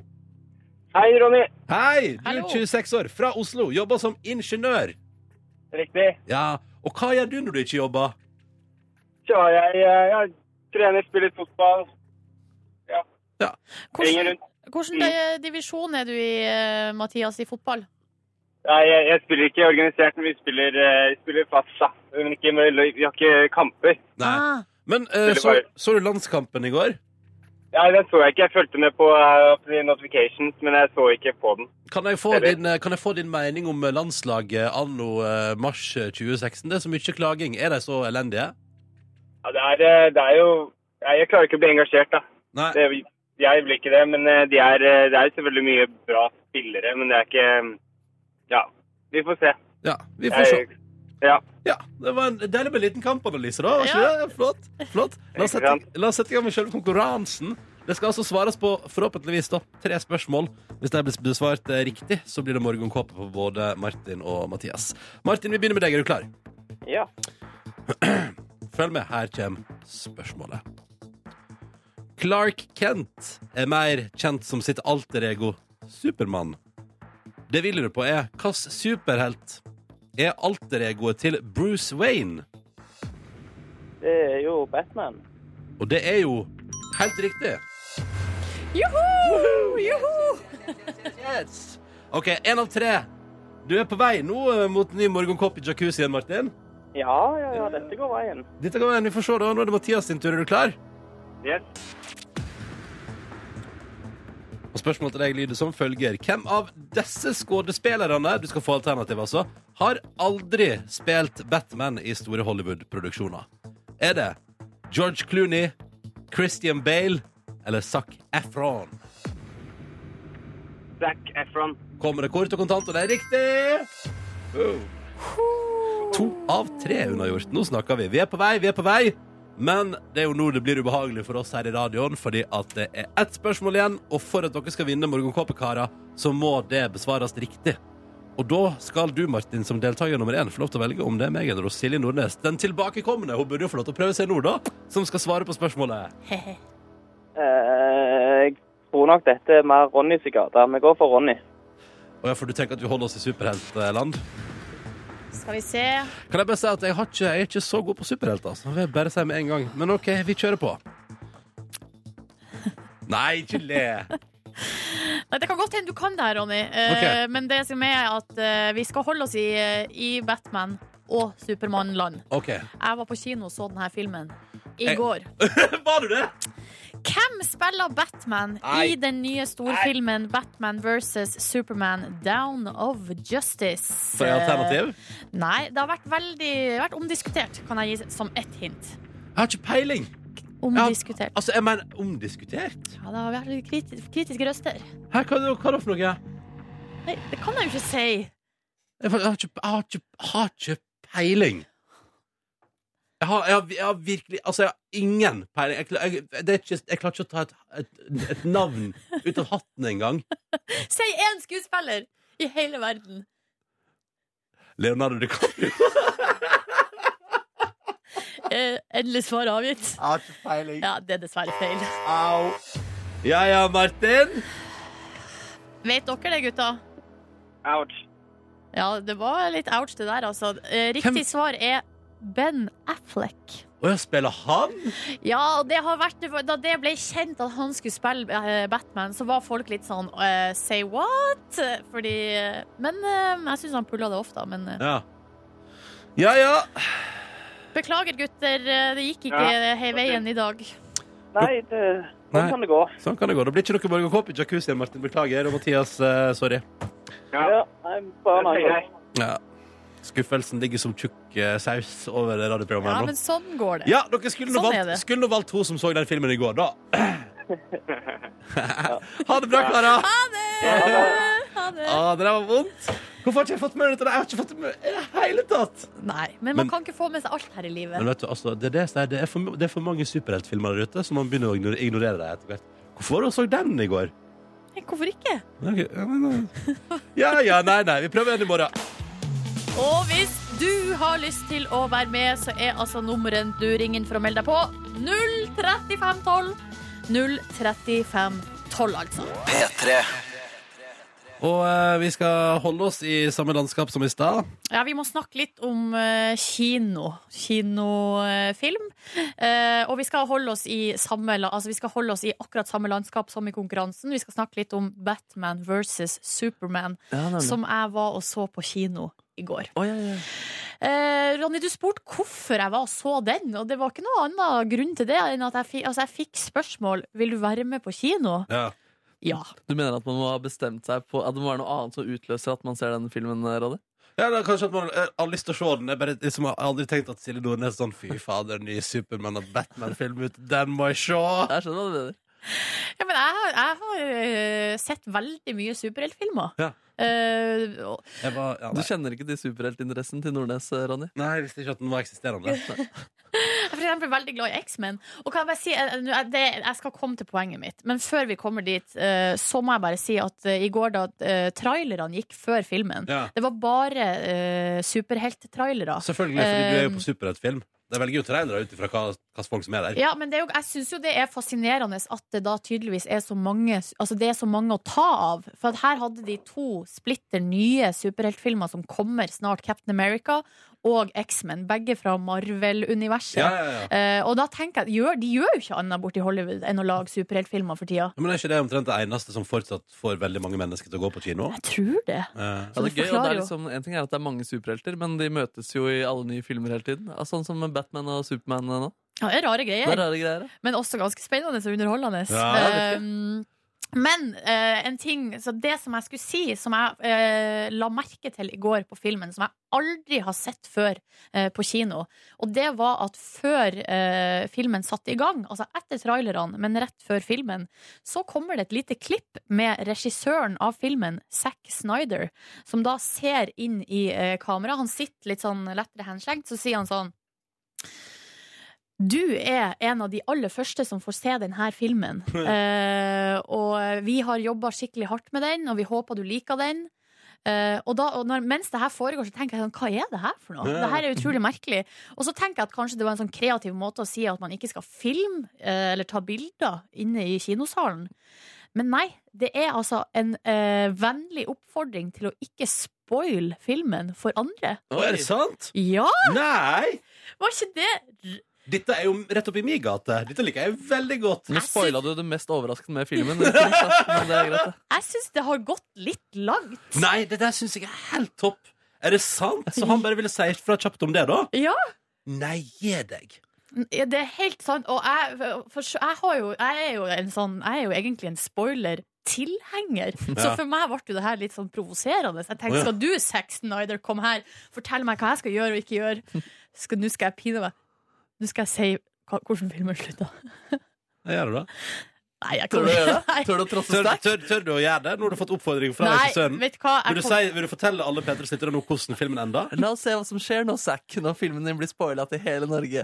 Speaker 1: Hei, Ronny.
Speaker 2: Hei! Du er
Speaker 3: Hallo.
Speaker 2: 26 år, fra Oslo, jobber som ingeniør.
Speaker 1: Riktig.
Speaker 2: Ja, Og hva gjør du når du ikke jobber?
Speaker 1: Ja, jeg,
Speaker 5: eh,
Speaker 1: jeg trener, spiller fotball,
Speaker 3: Hvordan,
Speaker 1: rundt. Mm.
Speaker 3: hvordan eh, divisjon er du i, eh, Mathias, i fotball?
Speaker 5: Nei, jeg, jeg spiller ikke organisert, men vi spiller, eh, vi spiller fast, da. Men ikke, med løy- vi har ikke kamper.
Speaker 2: Nei.
Speaker 3: Ah,
Speaker 2: Men eh, så, så du landskampen i går?
Speaker 5: Nei, den så jeg ikke. Jeg fulgte med på eh, på de notifications, men jeg så ikke på den.
Speaker 2: Kan jeg, få
Speaker 5: Jeg vet.
Speaker 2: din, eh, kan jeg få din mening om eh, landslaget anno eh, mars 2016? Det er så mye klaging. Er de så elendige?
Speaker 5: Ja, det, er, eh, det er jo Nei, Jeg klarer ikke å bli engasjert, da.
Speaker 2: Nei.
Speaker 5: Det, jeg blir ikke det. Men eh, de er, eh, det er selvfølgelig mye bra spillere, men det er ikke Ja. Vi får se.
Speaker 2: Ja, vi får se.
Speaker 5: Jeg, ja.
Speaker 2: Ja, Det var en deilig med liten kampanalyse, da. Var ikke
Speaker 3: Ja.
Speaker 2: det? Flott. flott. La oss sette, la oss sette i gang med selve konkurransen. Det skal altså svares på forhåpentligvis da, tre spørsmål. Hvis det blir besvart eh, riktig, så blir det morgenkåpe på både Martin og Mathias. Martin, vi begynner med deg. Er du klar?
Speaker 1: Ja.
Speaker 2: Følg med. Her kommer spørsmålet. Clark Kent er mer kjent som sitt alter ego Supermann. Det vi lurer på, er hvilken superhelt er alter egoet til Bruce Wayne?
Speaker 1: Det er jo Batman.
Speaker 2: Og det er jo helt riktig.
Speaker 3: Joho! Joho!
Speaker 2: Yes. OK, én av tre. Du er på vei nå eh, mot ny morgenkopp i jacuzzien, Martin.
Speaker 1: Ja, ja, ja, dette går veien.
Speaker 2: Dette går veien. Vi får se, da. Nå er det Mathias sin tur. Er du klar?
Speaker 5: Yes.
Speaker 2: Og spørsmålet til deg lyder som følger. Hvem av disse skuespillerne du skal få alternativ, altså, har aldri spilt Batman i store Hollywood-produksjoner? Er det George Clooney, Christian Bale eller Zac Efron?
Speaker 5: Zac Efron.
Speaker 2: Kommer det kort og kontant, og det er riktig! Boom. To av tre unnagjort. Nå snakker vi. Vi er på vei, vi er på vei. Men det er jo nå det blir ubehagelig for oss her i radioen, fordi at det er ett spørsmål igjen, og for at dere skal vinne Morgenkåpekarer, så må det besvares riktig. Og da skal du, Martin, som deltaker nummer én, få lov til å velge om det er meg eller hos Silje Nordnes. Den tilbakekomne, hun burde jo få lov til å prøve seg nå, da, som skal svare på spørsmålet.
Speaker 1: Eh, jeg tror nok dette er mer Ronnys gate. Vi går for Ronny.
Speaker 2: Og ja, for du tenker at vi holder oss i superheltland?
Speaker 3: Skal vi se.
Speaker 2: Kan jeg bare si at jeg, har ikke, jeg er ikke så god på superhelter. Altså. Det vil jeg bare si med en gang. Men OK, vi kjører [laughs] på. Nei, ikke le!
Speaker 3: Nei, det kan godt hende du kan det her, Ronny. Eh,
Speaker 2: Ok.
Speaker 3: Men det som er at eh, vi skal holde oss i, eh, i Batman og Supermann-land.
Speaker 2: OK.
Speaker 3: Jeg var på kino og så denne filmen i
Speaker 2: Jeg-
Speaker 3: går.
Speaker 2: [laughs] Var du det?
Speaker 3: Hvem spiller Batman i den nye storfilmen Batman versus Superman Down of Justice?
Speaker 2: For et alternativ?
Speaker 3: Eh, Nei, det har vært veldig vært omdiskutert, kan jeg gi som ett hint.
Speaker 2: Jeg har ikke peiling. Jeg har,
Speaker 3: Omdiskutert.
Speaker 2: altså, jeg mener omdiskutert?
Speaker 3: Ja, det har vært kriti- kritiske røster.
Speaker 2: Hæ, hva, er det- hva er det for noe? Jeg,
Speaker 3: Nei, det kan jeg jo ikke si.
Speaker 2: fa- jeg, har, ikke, jeg har, ikke, jeg har ikke peiling. Jeg har, jeg, har, jeg har virkelig Altså, jeg har ingen peiling. Jeg, kla- jeg, det er ikke, jeg klarer ikke å ta et, et, et navn ut av hatten engang.
Speaker 3: Si én skuespiller i hele verden.
Speaker 2: Leonardo DiCaprio.
Speaker 3: Eh, endelig svar avgitt.
Speaker 2: Jeg har ikke peiling.
Speaker 3: Ja, det er dessverre feil.
Speaker 2: Au. Ja ja, Martin.
Speaker 3: Vet dere det, gutta?
Speaker 5: Ouch.
Speaker 3: Ja, det var litt ouch, det der, altså. Eh, Riktig
Speaker 2: Hvem-
Speaker 3: svar er Ben Affleck.
Speaker 2: Å ja, spiller han?
Speaker 3: Ja, og det har vært Da det ble kjent at han skulle spille eh, Batman, så var folk litt sånn eh, Say what? Fordi Men eh, jeg syns han pulla det ofte, da. Men eh,
Speaker 2: Ja. Ja ja.
Speaker 3: beklager, gutter. eh, Det gikk ikke
Speaker 5: Ja.
Speaker 3: hei veien i dag.
Speaker 1: Nei, det, sånn
Speaker 2: Nei.
Speaker 1: kan det gå.
Speaker 2: Sånn kan det gå. Det blir ikke noe morgenkåp i jacuzzien, Martin. Beklager. Og Mathias, eh, sorry.
Speaker 5: Ja.
Speaker 1: Ja, nei,
Speaker 2: Sånn
Speaker 1: bare en
Speaker 5: Det sier
Speaker 1: annen
Speaker 5: jeg.
Speaker 1: gang.
Speaker 2: Ja. Skuffelsen ligger som tjukk eh, saus over det radioprogrammet.
Speaker 3: Ja,
Speaker 2: her nå.
Speaker 3: men sånn går det.
Speaker 2: Ja, dere skulle nå
Speaker 3: Sånn er
Speaker 2: valgt,
Speaker 3: det.
Speaker 2: skulle nå valgt hun som så den filmen i går, da. ha det bra, Klara.
Speaker 3: Ha det.
Speaker 2: Ah, det der var vondt. Hvorfor har ikke jeg fått med meg dette? Jeg har ikke fått det med i det hele tatt.
Speaker 3: Nei,
Speaker 2: Men-
Speaker 3: men man kan ikke få med seg alt her i livet.
Speaker 2: Men vet du, altså, det, er det, som er- det, er for, det er for mange superheltfilmer der ute, så man begynner å igno- ignorere dem etter hvert. Hvorfor var det hun så den i går?
Speaker 3: Nei, Hvorfor ikke?
Speaker 2: Ok, ja, men, eh, Ja, ja, nei, nei. Vi prøver igjen i morgen.
Speaker 3: Og hvis du har lyst til å være med, så er altså nummeret du ringer inn for å melde deg på 03512. 03512, altså.
Speaker 2: Og eh, vi skal holde oss i samme landskap som i stad.
Speaker 3: Ja, Vi må snakke litt om eh, kino. Kinofilm. Eh, og vi skal, holde oss i samme, la- altså, vi skal holde oss i akkurat samme landskap som i konkurransen. Vi skal snakke litt om Batman versus Superman,
Speaker 4: Ja, nemlig.
Speaker 3: som jeg var og så på kino i går.
Speaker 4: Å, ja, ja.
Speaker 3: Eh, Ronny, du spurte hvorfor jeg var og så den, og det var ikke noen annen grunn til det enn at jeg fikk, altså jeg fikk spørsmål Vil du være med på kino.
Speaker 2: Ja.
Speaker 3: Ja.
Speaker 4: Du mener at man må ha bestemt seg på at det må være noe annet som utløser at man ser den filmen? eh, Råde?
Speaker 2: Ja, da, kanskje at man eh, har lyst til å se den. Jeg bare, liksom, har aldri tenkt at Silje Nordnes sånn Fy fader, ny Supermann og Batman-film ut. Den må jeg se!
Speaker 4: Jeg skjønner hva du mener.
Speaker 3: ja men jeg, har- jeg har eh, sett veldig mye superheltfilmer.
Speaker 2: Ja.
Speaker 3: Eh, og-
Speaker 2: Jeg var, ja,
Speaker 4: Du
Speaker 2: nei.
Speaker 4: kjenner ikke til superheltinteressen til Nordnes, eh, Ronny?
Speaker 2: nei, jeg visste ikke at den var eksisterende.
Speaker 3: jeg er for eksempel veldig glad i X-Men. Og kan jeg bare si eh, nå er det, Jeg skal komme til poenget mitt, men før vi kommer dit, eh, så må jeg bare si at eh, i går, da eh, trailerne gikk før filmen,
Speaker 2: Ja.
Speaker 3: det var bare eh, superhelttrailere.
Speaker 2: Selvfølgelig, fordi du er jo på superheltfilm. De velger jo trailere ut ifra hva hva slags folk som er der.
Speaker 3: Ja, men det er jo, jeg syns jo det er fascinerende at det da tydeligvis er så mange Altså det er så mange å ta av. For at her hadde de to splitter nye superheltfilmer som kommer snart. Captain America og X-Men. Begge fra Marvel-universet.
Speaker 2: Ja, ja, ja.
Speaker 3: Eh, og da tenker jeg at gjør, de gjør jo ikke annet borti Hollywood enn å lage superheltfilmer for tida.
Speaker 2: Men er ikke det omtrent det eneste som fortsatt får veldig mange mennesker til å gå på kino?
Speaker 3: Jeg tror det.
Speaker 2: Eh,
Speaker 4: Ja, det
Speaker 3: det
Speaker 4: er gøy, og det
Speaker 3: forklarer
Speaker 4: er
Speaker 3: jo.
Speaker 4: liksom, en ting er at det er mange superhelter, men de møtes jo i alle nye filmer hele tiden. Ja, Sånn som Batman og Superman eh, nå.
Speaker 3: Ja, det er rare
Speaker 4: Det
Speaker 3: greier.
Speaker 4: er rare greier. ja.
Speaker 3: Men også ganske spennende og underholdende.
Speaker 2: Ja, det
Speaker 4: er
Speaker 3: Um, men eh, en ting, så det som jeg skulle si, som jeg eh, la merke til i går på filmen, som jeg aldri har sett før eh, på kino, og det var at før eh, filmen satte i gang, altså etter trailerne, men rett før filmen, så kommer det et lite klipp med regissøren av filmen, Zack Snyder, som da ser inn i eh, kamera. Han sitter litt sånn lettere henslengt, så sier han sånn du er en av de aller første som får se denne filmen. Eh, og vi har jobba skikkelig hardt med den, og vi håper du liker den. Eh, og da, og når, mens det her foregår, så tenker jeg sånn, hva er det her for noe?
Speaker 2: Ja.
Speaker 3: Det her er utrolig merkelig. Og så tenker jeg at kanskje det var en sånn kreativ måte å si at man ikke skal filme eh, eller ta bilder inne i kinosalen. Men nei, det er altså en eh, vennlig oppfordring til å ikke spoil filmen for andre.
Speaker 2: Å, er det sant?
Speaker 3: Ja,
Speaker 2: Nei!
Speaker 3: var ikke det
Speaker 2: Dette er jo rett oppi min gate. Dette liker jeg veldig godt.
Speaker 4: Nå
Speaker 3: Jeg
Speaker 4: spoila du det mest overraskende med filmen. ikke sant? Men det er greit, det.
Speaker 3: Jeg syns det har gått litt langt.
Speaker 2: Nei, det der syns jeg er helt topp. Er det sant? Så han bare ville si fra kjapt om det, da?
Speaker 3: Ja.
Speaker 2: Nei, gi deg.
Speaker 3: Ja, Det er helt sant. Og jeg, for, jeg, har jo, jeg, er jo en sånn, jeg er jo egentlig en spoiler-tilhenger. Så
Speaker 2: [laughs] Ja.
Speaker 3: for meg ble jo det her litt sånn provoserende.
Speaker 2: Å,
Speaker 3: Jeg
Speaker 2: ja.
Speaker 3: tenkte skal du, Zack Snyder, komme her, fortelle meg hva jeg skal gjøre og ikke
Speaker 2: [laughs]
Speaker 3: gjøre? Skal, nå skal jeg pine meg. Nå skal jeg si hva- hvordan filmen slutter.
Speaker 2: Jeg gjør det, da.
Speaker 3: Nei, jeg
Speaker 4: Tør
Speaker 3: kan
Speaker 4: du å gjøre det?
Speaker 3: [laughs] Nei.
Speaker 4: Tør du å trosse
Speaker 2: Tør,
Speaker 4: sterkt?
Speaker 2: tør, tør du å gjøre det? Nå har du fått oppfordring fra
Speaker 3: Nei,
Speaker 2: regissøren.
Speaker 3: vet du hva?
Speaker 2: Vil
Speaker 3: Jeg
Speaker 2: du,
Speaker 3: kom,
Speaker 2: si, vil du fortelle alle Petres lyttere nå hvordan filmen enda?
Speaker 4: La oss se hva som skjer nå, Zack, når filmen din blir spoila til hele Norge.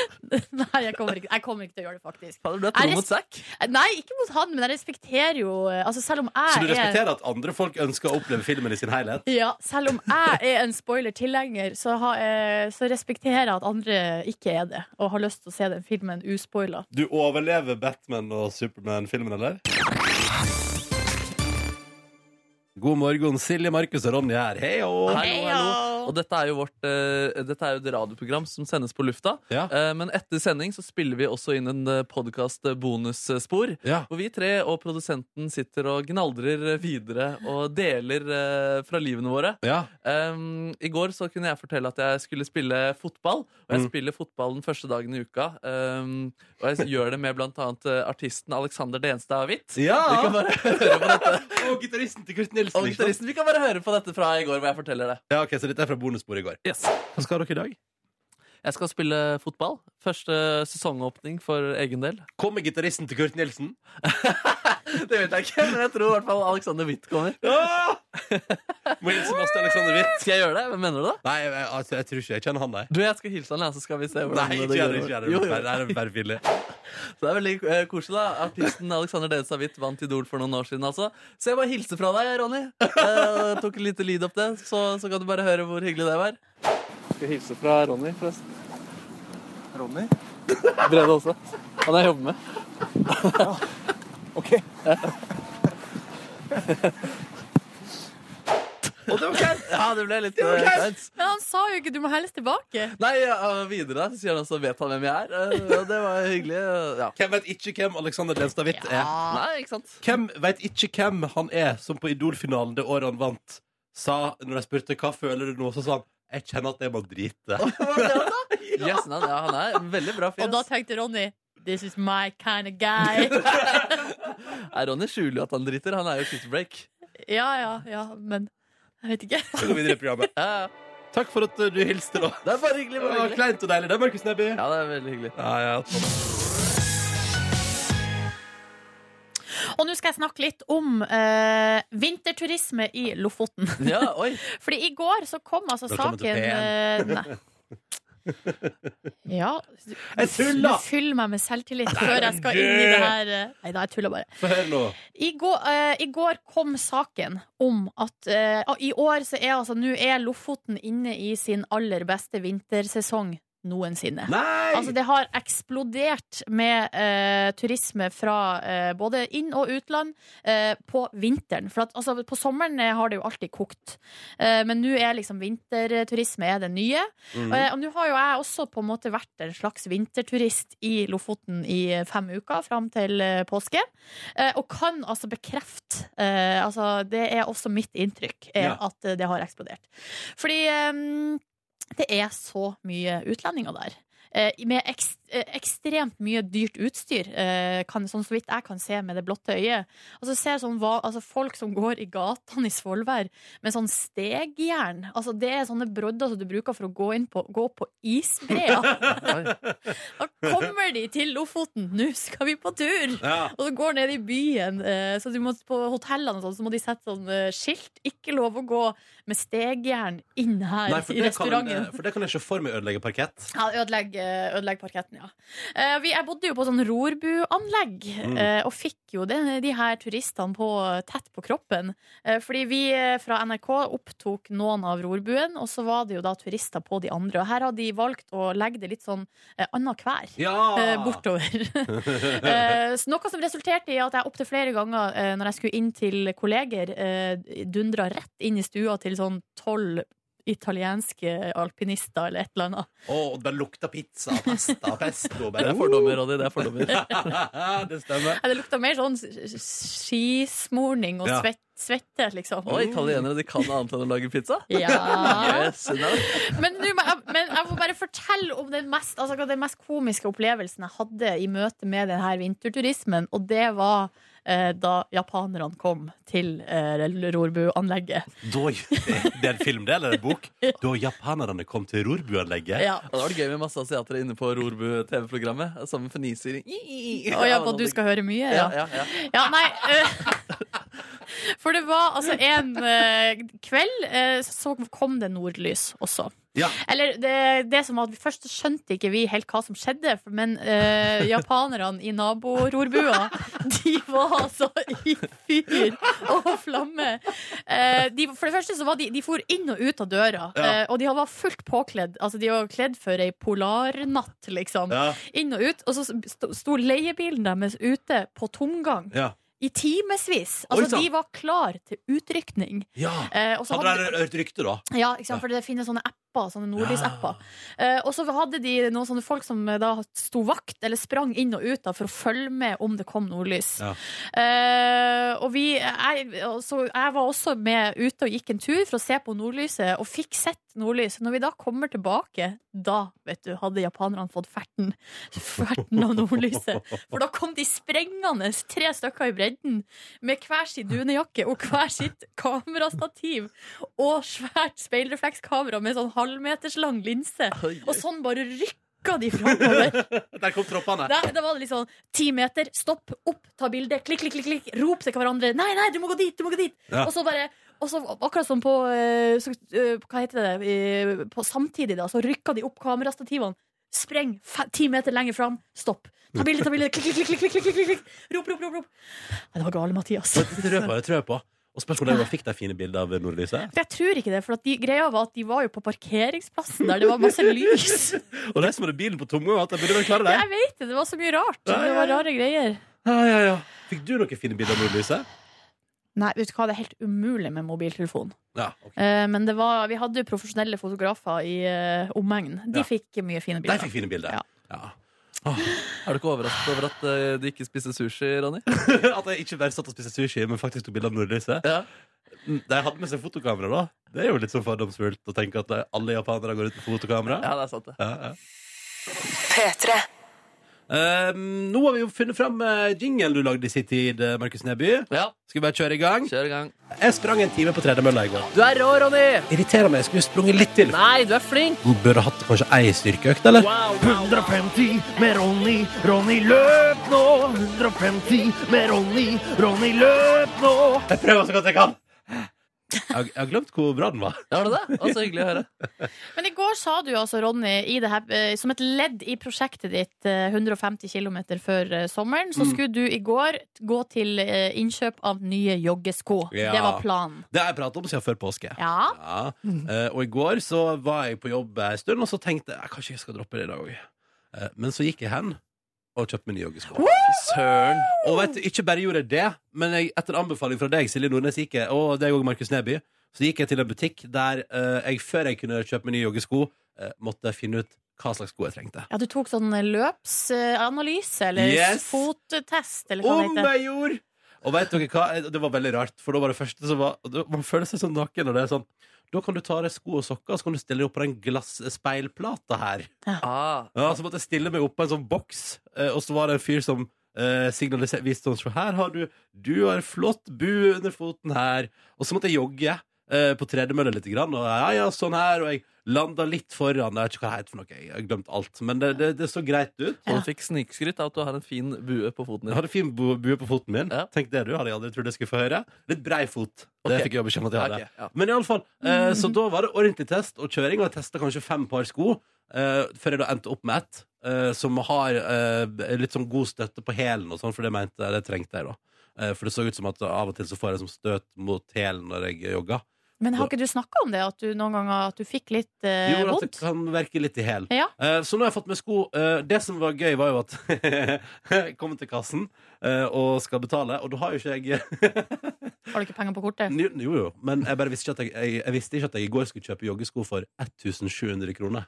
Speaker 3: [laughs] nei jeg, kommer ikke, jeg kommer ikke til å gjøre det, faktisk.
Speaker 4: Fader, du er
Speaker 3: Er det-
Speaker 4: tro mot Zack.
Speaker 3: Nei, ikke mot han, men jeg respekterer jo altså Selv om jeg
Speaker 2: Så du
Speaker 3: er
Speaker 2: respekterer at andre folk ønsker å oppleve filmen i sin helhet?
Speaker 3: Ja, selv om jeg er en spoiler-tilhenger, så, har jeg- så respekterer jeg at andre ikke er det, og har lyst til å se den filmen uspoila.
Speaker 2: Du overlever Batman og Superman-filmen, eller? God morgen, Silje, Markus og Ronny her. Hei og
Speaker 4: Hallo, hallo. Og dette er jo vårt eh, Dette er jo et radioprogram som sendes på lufta.
Speaker 2: Ja.
Speaker 4: Eh, men etter sending så spiller vi også inn en podkast-bonusspor.
Speaker 2: Ja.
Speaker 4: Hvor vi tre og produsenten sitter og gnaldrer videre og deler eh, fra livene våre.
Speaker 2: Ja.
Speaker 4: Um, I går så kunne jeg fortelle at jeg skulle spille fotball. Og jeg
Speaker 2: Mm.
Speaker 4: spiller fotball den første dagen i uka. Um, og jeg gjør det med blant annet eh, artisten Alexander Denstad Hvitt.
Speaker 2: ja.
Speaker 4: Vi
Speaker 2: [laughs]
Speaker 4: kan bare høre på dette.
Speaker 2: Og gitaristen til Kurt Nilsen.
Speaker 4: Og
Speaker 2: ikke sant?
Speaker 4: gitaristen, vi kan bare høre på dette fra i går hvor jeg forteller det.
Speaker 2: Ja, ok, Så dette er fra bonusbordet i går. Hva skal dere i dag?
Speaker 4: Jeg skal spille fotball. Første sesongåpning for egen del.
Speaker 2: Kommer gitaristen til Kurt Nilsen?
Speaker 4: Det vet jeg ikke, men jeg tror i hvert fall Alexander Hvitt kommer.
Speaker 2: Ah! Må hilse Master Alexander Hvitt.
Speaker 4: Skal jeg gjøre det? Hvem mener du det?
Speaker 2: Nei, jeg, altså, jeg tror ikke jeg kjenner han, nei.
Speaker 4: Du, jeg skal hilse han, ja, så skal vi se hvordan
Speaker 2: Nei,
Speaker 4: det
Speaker 2: ikke
Speaker 4: går.
Speaker 2: gjør det. ikke gjør det.
Speaker 4: Jo, jo.
Speaker 2: Nei, det er bare billig.
Speaker 4: Så det er veldig eh, koselig, da. Artisten Alexander Denstad Hvitt vant Idol for noen år siden, altså. Så jeg bare hilser fra deg, Ronny. Eh, tok en liten lyd opp det, så, så kan du bare høre hvor hyggelig det var. Skal hilse fra Ronny, forresten.
Speaker 6: Ronny?
Speaker 4: Brede også. Han jeg jobber med. [laughs]
Speaker 6: Ok.
Speaker 4: Ja, det ble litt eh, kleint.
Speaker 3: Men han sa jo ikke 'du må helst tilbake'.
Speaker 4: Nei, ja, videre da, så sier han også 'vet han hvem jeg er'. Eh, og det var hyggelig. eh, Ja.
Speaker 2: Hvem vet ikke hvem Alexander Denstad Hvitt er?
Speaker 4: Nei, ikke sant?
Speaker 2: Hvem vet ikke hvem han er som på Idol-finalen det året han vant, sa når jeg spurte hva føler du nå, så sa han jeg kjenner at jeg må drite. [laughs]
Speaker 4: Yes, nei, ja, han er en veldig bra fyr.
Speaker 3: Og da
Speaker 4: ass.
Speaker 3: tenkte Ronny 'this is my kind of
Speaker 2: [laughs]
Speaker 3: guy'.
Speaker 4: Nei, Ronny skjuler jo at han driter. Han er jo shitbreak.
Speaker 3: Ja, ja, ja, men jeg vet ikke.
Speaker 2: Så går vi videre i programmet.
Speaker 4: Ja, ja.
Speaker 2: Takk for at uh, du hilste, da.
Speaker 4: det er bare hyggelig.
Speaker 2: Det
Speaker 4: Bare
Speaker 2: var
Speaker 4: hyggelig.
Speaker 2: kleint og deilig. Det er Markus Neby.
Speaker 4: Ja, det er veldig hyggelig.
Speaker 2: Ja, ja, topp.
Speaker 3: Og nå skal jeg snakke litt om eh, vinterturisme i Lofoten.
Speaker 4: Ja, [laughs] oi.
Speaker 3: Fordi i går så kom altså
Speaker 2: Velkommen til
Speaker 3: saken eh, Nei. Ja.
Speaker 2: Jeg
Speaker 3: Du
Speaker 2: tuller!
Speaker 3: fyller meg med selvtillit før jeg skal inn i det her eh, Nei da, jeg tuller bare.
Speaker 2: Få høre nå.
Speaker 3: I går, eh, I går kom saken om at eh, ah, i år så er altså Nå er Lofoten inne i sin aller beste vintersesong noensinne.
Speaker 2: Nei!
Speaker 3: Altså Det har eksplodert med eh, turisme fra eh, både inn- og utland eh, på vinteren. For at, altså, på sommeren eh, har det jo alltid kokt, Eh, men nå er liksom vinterturisme er det nye.
Speaker 2: Mhm.
Speaker 3: Eh, og nå har jo jeg også på en måte vært en slags vinterturist i Lofoten i eh, fem uker fram til eh, påske. Eh, og kan altså bekrefte eh, altså, Det er også mitt inntrykk er
Speaker 2: Ja.
Speaker 3: at eh, det har eksplodert. Fordi eh, det er så mye utlendinger der. Eh, med ekst, eh, ekstremt mye dyrt utstyr, eh, kan, sånn så vidt jeg kan se med det blotte øyet. Altså, ser sånn, hva, altså, folk som går i gatene i Svolvær med sånn stegjern. Altså, det er sånne brodder som du bruker for å gå, inn på, gå på isbreer.
Speaker 2: [laughs]
Speaker 4: oi.
Speaker 3: Da kommer de til Lofoten! Nå skal vi på tur!
Speaker 2: Ja.
Speaker 3: Og så går ned i byen, eh, så du må, på hotellene og sånn, så må de sette sånn eh, skilt. Ikke lov å gå med stegjern inn her
Speaker 2: Nei, for
Speaker 3: i
Speaker 2: det, kan, eh,
Speaker 3: restauranten.
Speaker 2: for det kan jeg ikke for meg ødelegge parkett.
Speaker 3: Ja, ødelegg, eh, ødelegg parketten, ja. Eh, vi, jeg bodde jo på sånn rorbuanlegg, eh, og fikk jo de, de her turistene på, tett på kroppen. Eh, fordi vi eh, fra NRK opptok noen av rorbuen, og så var det jo da turister på de andre. Og her har de valgt å legge det litt sånn eh, annenhver.
Speaker 2: Ja!
Speaker 3: eh, bortover. Eh, så noe som resulterte i at jeg opptil flere ganger eh, når jeg skulle inn til kolleger, eh, dundra rett inn i stua til sånn tolv italienske alpinister eller et eller annet.
Speaker 2: Å, det lukter pizza, pasta,
Speaker 3: [laughs]
Speaker 2: pesto.
Speaker 4: Det
Speaker 2: Bare.
Speaker 4: er fordommer, Ronny. Det er fordommer.
Speaker 2: [laughs] det stemmer.
Speaker 3: Nei, Det lukta mer sånn s- s- skismorning og
Speaker 2: Ja.
Speaker 3: svett, svette, liksom.
Speaker 4: Og italienere de kan annet enn å lage pizza.
Speaker 3: Ja.
Speaker 4: Yes, no.
Speaker 3: Men, nå må jeg- men jeg må bare fortelle om den mest, altså, den mest komiske opplevelsen jeg hadde i møte med denne vinterturismen, og det var eh, da japanerne kom til eh, Rorbu-anlegget.
Speaker 2: Da, det er en film, det, eller en
Speaker 3: [laughs]
Speaker 2: bok? Da japanerne kom til Rorbuanlegget.
Speaker 3: Ja.
Speaker 4: Og det var det gøy med masse asiater inne på Rorbu-TV-programmet. Sammen med fniser.
Speaker 3: Å ja, på at du skal høre mye?
Speaker 4: ja,
Speaker 3: Ja.
Speaker 4: ja, ja.
Speaker 3: Ja, nei eh, [laughs] For det var altså en eh, kveld, eh, så kom det nordlys også.
Speaker 2: Ja.
Speaker 3: Eller det, det som var at Først så skjønte ikke vi helt hva som skjedde, for- men eh, japanerne i nabororbua De var altså i fyr og flamme. Eh, de, for det første så var de De for inn og ut av døra,
Speaker 2: Ja.
Speaker 3: eh, og de var fullt påkledd. Altså De var kledd for ei polarnatt, liksom.
Speaker 2: Ja.
Speaker 3: Inn og ut. Og så sto- sto leiebilen deres ute på tomgang
Speaker 2: Ja.
Speaker 3: i i timevis.
Speaker 2: Oi,
Speaker 3: Altså,
Speaker 2: sant.
Speaker 3: de var klar til utrykning.
Speaker 2: Ja.
Speaker 3: Eh, og så
Speaker 2: Hadde dere hørt rykte, da?
Speaker 3: ja, ikke sant? for det finnes sånne apper, sånne nordlysapper. Eh, og så hadde de noen sånne folk som eh, da sto vakt, eller sprang inn og ut da, for å følge med om det kom nordlys.
Speaker 2: Ja.
Speaker 3: Eh, og vi, jeg, og så jeg var også med ute og gikk en tur for å se på nordlyset, og fikk sett nordlys. Når vi da kommer tilbake, da vet du, hadde japanerne fått ferten, ferten av nordlyset. For da kom de sprengende, tre stykker i bredden, med hver sin dunejakke og hver sitt kamerastativ og svært speilreflekskamera med sånn halvmeters lang linse. Og sånn bare rykka de framover.
Speaker 2: Der kom troppene.
Speaker 3: Der, da var det litt sånn ti meter, stopp, opp, ta bilde, klikk, klikk, klikk, klikk, rop til hverandre. Nei, nei, du må gå dit, du må gå dit.
Speaker 2: Ja.
Speaker 3: Og så bare og så akkurat som på eh, så, eh, Hva heter det? eh, På samtidig, da, så rykka de opp kamerastativene. Spreng fe- ti meter lenger fram. Stopp. Ta bilde, ta bilde. Klikk, klikk, klikk, klikk, klikk, klikk, klikk. Rop, rop, rop. rop. Nei, det var gale, Mathias.
Speaker 2: Det tror jeg på. det tror jeg på Og spørsmålet er om dere fikk de fine bildene av nordlyset.
Speaker 3: For jeg tror ikke det, for at de, greia var at de var jo på parkeringsplassen der det var masse
Speaker 2: [laughs]
Speaker 3: lys.
Speaker 2: Og de som hadde bilen på tomgang, at de burde vel klare det.
Speaker 3: Jeg vet det, det var så mye rart.
Speaker 2: Ja, ja,
Speaker 3: Det var rare greier.
Speaker 2: Ja, ja, ja. Fikk du noen fine bilder av nordlyset?
Speaker 3: Nei, vet du hva, det er helt umulig med mobiltelefon.
Speaker 2: Ja, ok.
Speaker 3: Eh, men det var, vi hadde jo profesjonelle fotografer i eh, omegn. De
Speaker 2: Ja.
Speaker 3: fikk mye fine
Speaker 2: De
Speaker 3: bilder.
Speaker 2: fikk fine bilder.
Speaker 3: Ja.
Speaker 2: Ja.
Speaker 4: Er du ikke overrasket over at eh, de ikke spiser sushi, Ronny?
Speaker 2: [laughs] At jeg ikke bare satt og spiste sushi, men faktisk tok bilde av nordlyset.
Speaker 4: Ja.
Speaker 2: Mm, De hadde med seg fotokamera, da. Det er jo litt sånn fordomsfullt å tenke at alle japanere går ut med fotokamera.
Speaker 4: ja, det er sant, det.
Speaker 2: Ja, ja. Um, nå har vi jo funnet fram eh, jinglen du lagde i sin tid, eh, Markus Neby.
Speaker 4: Ja,
Speaker 2: Skal vi bare kjøre i gang?
Speaker 4: kjør i gang.
Speaker 2: Jeg sprang en time på tredemølla i går.
Speaker 4: Du er rå, Ronny!
Speaker 2: Irriterer meg. Jeg skulle sprunget litt til.
Speaker 4: Nei, du er flink!
Speaker 2: Burde hatt kanskje ei styrkeøkt, eller?
Speaker 7: 150 med Ronny, Ronny løp nå! 150 med Ronny, Ronny løp nå!
Speaker 2: Jeg prøver så godt jeg kan. Jeg har- jeg har glemt hvor bra den var.
Speaker 4: Har du det? Å, så hyggelig å høre.
Speaker 3: Men i går sa du altså, Ronny, i det her, eh, som et ledd i prosjektet ditt, eh, 150 km før eh, sommeren,
Speaker 2: Mm.
Speaker 3: så skulle du i går gå til eh, innkjøp av nye joggesko.
Speaker 2: Ja.
Speaker 3: Det var planen.
Speaker 2: Det har jeg pratet om siden før påske.
Speaker 3: Ja.
Speaker 2: Ja. Eh, og i går så var jeg på jobb en stund, og så tenkte jeg kanskje jeg skal droppe det i dag òg. Eh, men så gikk jeg hen og kjøpte meg nye joggesko.
Speaker 4: Søren.
Speaker 2: Og vet du, ikke bare gjorde jeg det, men jeg, etter anbefaling fra deg, Silje Nordnes, gikk jeg, og deg òg, Markus Neby, så gikk jeg til en butikk der eh, jeg, før jeg kunne kjøpe meg nye joggesko, eh, måtte finne ut hva slags sko jeg trengte.
Speaker 3: Ja, du tok sånn løpsanalyse, eller
Speaker 2: Yes.
Speaker 3: fottest, eller hva det
Speaker 2: Om
Speaker 3: heter.
Speaker 2: jeg gjorde! Og vet dere hva? Det var veldig rart, for da var det første som var og da- Man føler seg så naken når det er sånn Da kan du ta av deg sko og sokker, og så kan du stille deg opp på den glasspeilplata her.
Speaker 4: Ah,
Speaker 2: Ja, så måtte jeg stille meg opp på en sånn boks, eh, og så var det en fyr som eh, signaliserte viste sånn, «Se her har du Du har en flott bu under foten her. Og så måtte jeg jogge eh, på tredemølla litt, grann, og ja, ja, sånn her, og jeg landa litt foran. Jeg vet ikke hva det heter for noe, jeg har glemt alt, men det, det, det så greit ut.
Speaker 4: og du fikk snikskryt av at du har en fin bue på foten
Speaker 2: Jeg
Speaker 4: din.
Speaker 2: hadde fin bu- bue på foten min.
Speaker 4: Ja.
Speaker 2: Tenk det du, hadde jeg aldri trodd jeg skulle få høre. Litt brei fot. Det
Speaker 4: Ok.
Speaker 2: fikk jeg beskjed om at jeg hadde.
Speaker 4: Ok, ja.
Speaker 2: Men i alle fall, eh, Så da var det ordentlig test og kjøring, og jeg testa kanskje fem par sko. Eh, før jeg da endte opp med ett eh, som har eh, litt sånn god støtte på hælen og sånn, for det mente jeg, det trengte jeg da. Eh, for det så ut som at av og til så får jeg som støt mot hælen når jeg jogger.
Speaker 3: Men har ikke du snakka om det, at du noen ganger at du fikk litt eh,
Speaker 2: Jo, at det
Speaker 3: vondt?
Speaker 2: kan verke litt i hælen.
Speaker 3: Ja.
Speaker 2: Eh, Så nå har jeg fått med sko. Eh, Det som var gøy, var jo at [laughs] jeg kom til kassen eh, og skal betale, og da har jo ikke jeg
Speaker 3: Har du ikke penger på kortet?
Speaker 2: Jo, jo, jo, men jeg bare visste ikke at jeg, jeg, jeg visste ikke at jeg i går skulle kjøpe joggesko for 1700 kroner.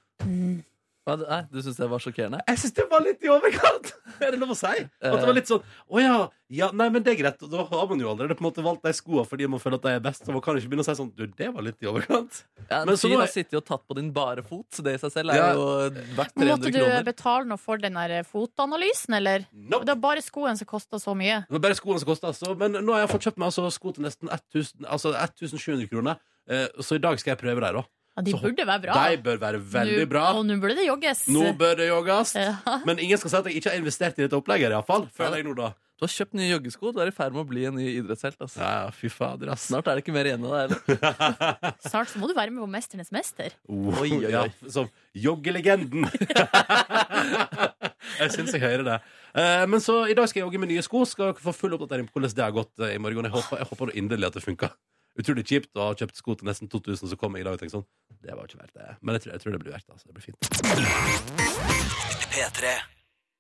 Speaker 4: Hva, nei, du syns det var sjokkerende?
Speaker 2: Jeg syns det var litt i overkant! [laughs] Er det lov å si? At det var litt sånn Å ja, ja, nei, men det er greit. Og da har man jo allerede på en måte valgt de skoa fordi man føler at de er best, så man kan ikke begynne å si sånn Du, det var litt i overkant.
Speaker 4: Ja, en
Speaker 2: Men så nå
Speaker 4: fyr
Speaker 2: er-
Speaker 4: har sittet og tatt på din bare fot, så det i seg selv er
Speaker 2: Ja.
Speaker 4: jo verdt
Speaker 3: Måtte
Speaker 4: 300
Speaker 3: du eh,
Speaker 4: kroner.
Speaker 3: betale noe for den der eh, fotanalysen, eller?
Speaker 2: Nope.
Speaker 3: Det var bare skoen som kosta så mye.
Speaker 2: Det var bare skoene som kosta. Altså. Men nå har jeg fått kjøpt meg altså, sko til nesten 1000, altså 1700 kroner. Eh, Så i dag skal jeg prøve dem, da.
Speaker 3: Ja, de
Speaker 2: Så-
Speaker 3: burde være bra.
Speaker 2: De bør være veldig
Speaker 3: Nå-
Speaker 2: bra.
Speaker 3: Og nå burde det jogges.
Speaker 2: Nå bør det jogges.
Speaker 3: Ja.
Speaker 2: Men ingen skal si at jeg ikke har investert i dette opplegget, iallfall. Føler jeg nå, da.
Speaker 4: Du har kjøpt nye joggesko. Du er i ferd med å bli en ny idrettshelt. Altså.
Speaker 2: Ja, ja, fy fader, ass.
Speaker 4: Snart er det ikke mer igjen av
Speaker 2: [laughs]
Speaker 4: deg heller.
Speaker 3: [laughs] Snart så må du være med på Mesternes mester.
Speaker 2: Oh,
Speaker 4: Oi, oi, oi.
Speaker 2: ja, som joggelegenden. [laughs] jeg syns jeg hører det. Eh, men så i dag skal jeg jogge med nye sko. Skal dere få full oppdatering på hvordan det har gått eh, i morgen. Jeg håper, jeg håper inderlig at det funka. Utrolig kjipt å ha kjøpt sko til nesten 2000, så kom jeg i dag og tenkte sånn Det var ikke verdt det. Men jeg tror, jeg tror det blir verdt det. Altså. Det blir fint.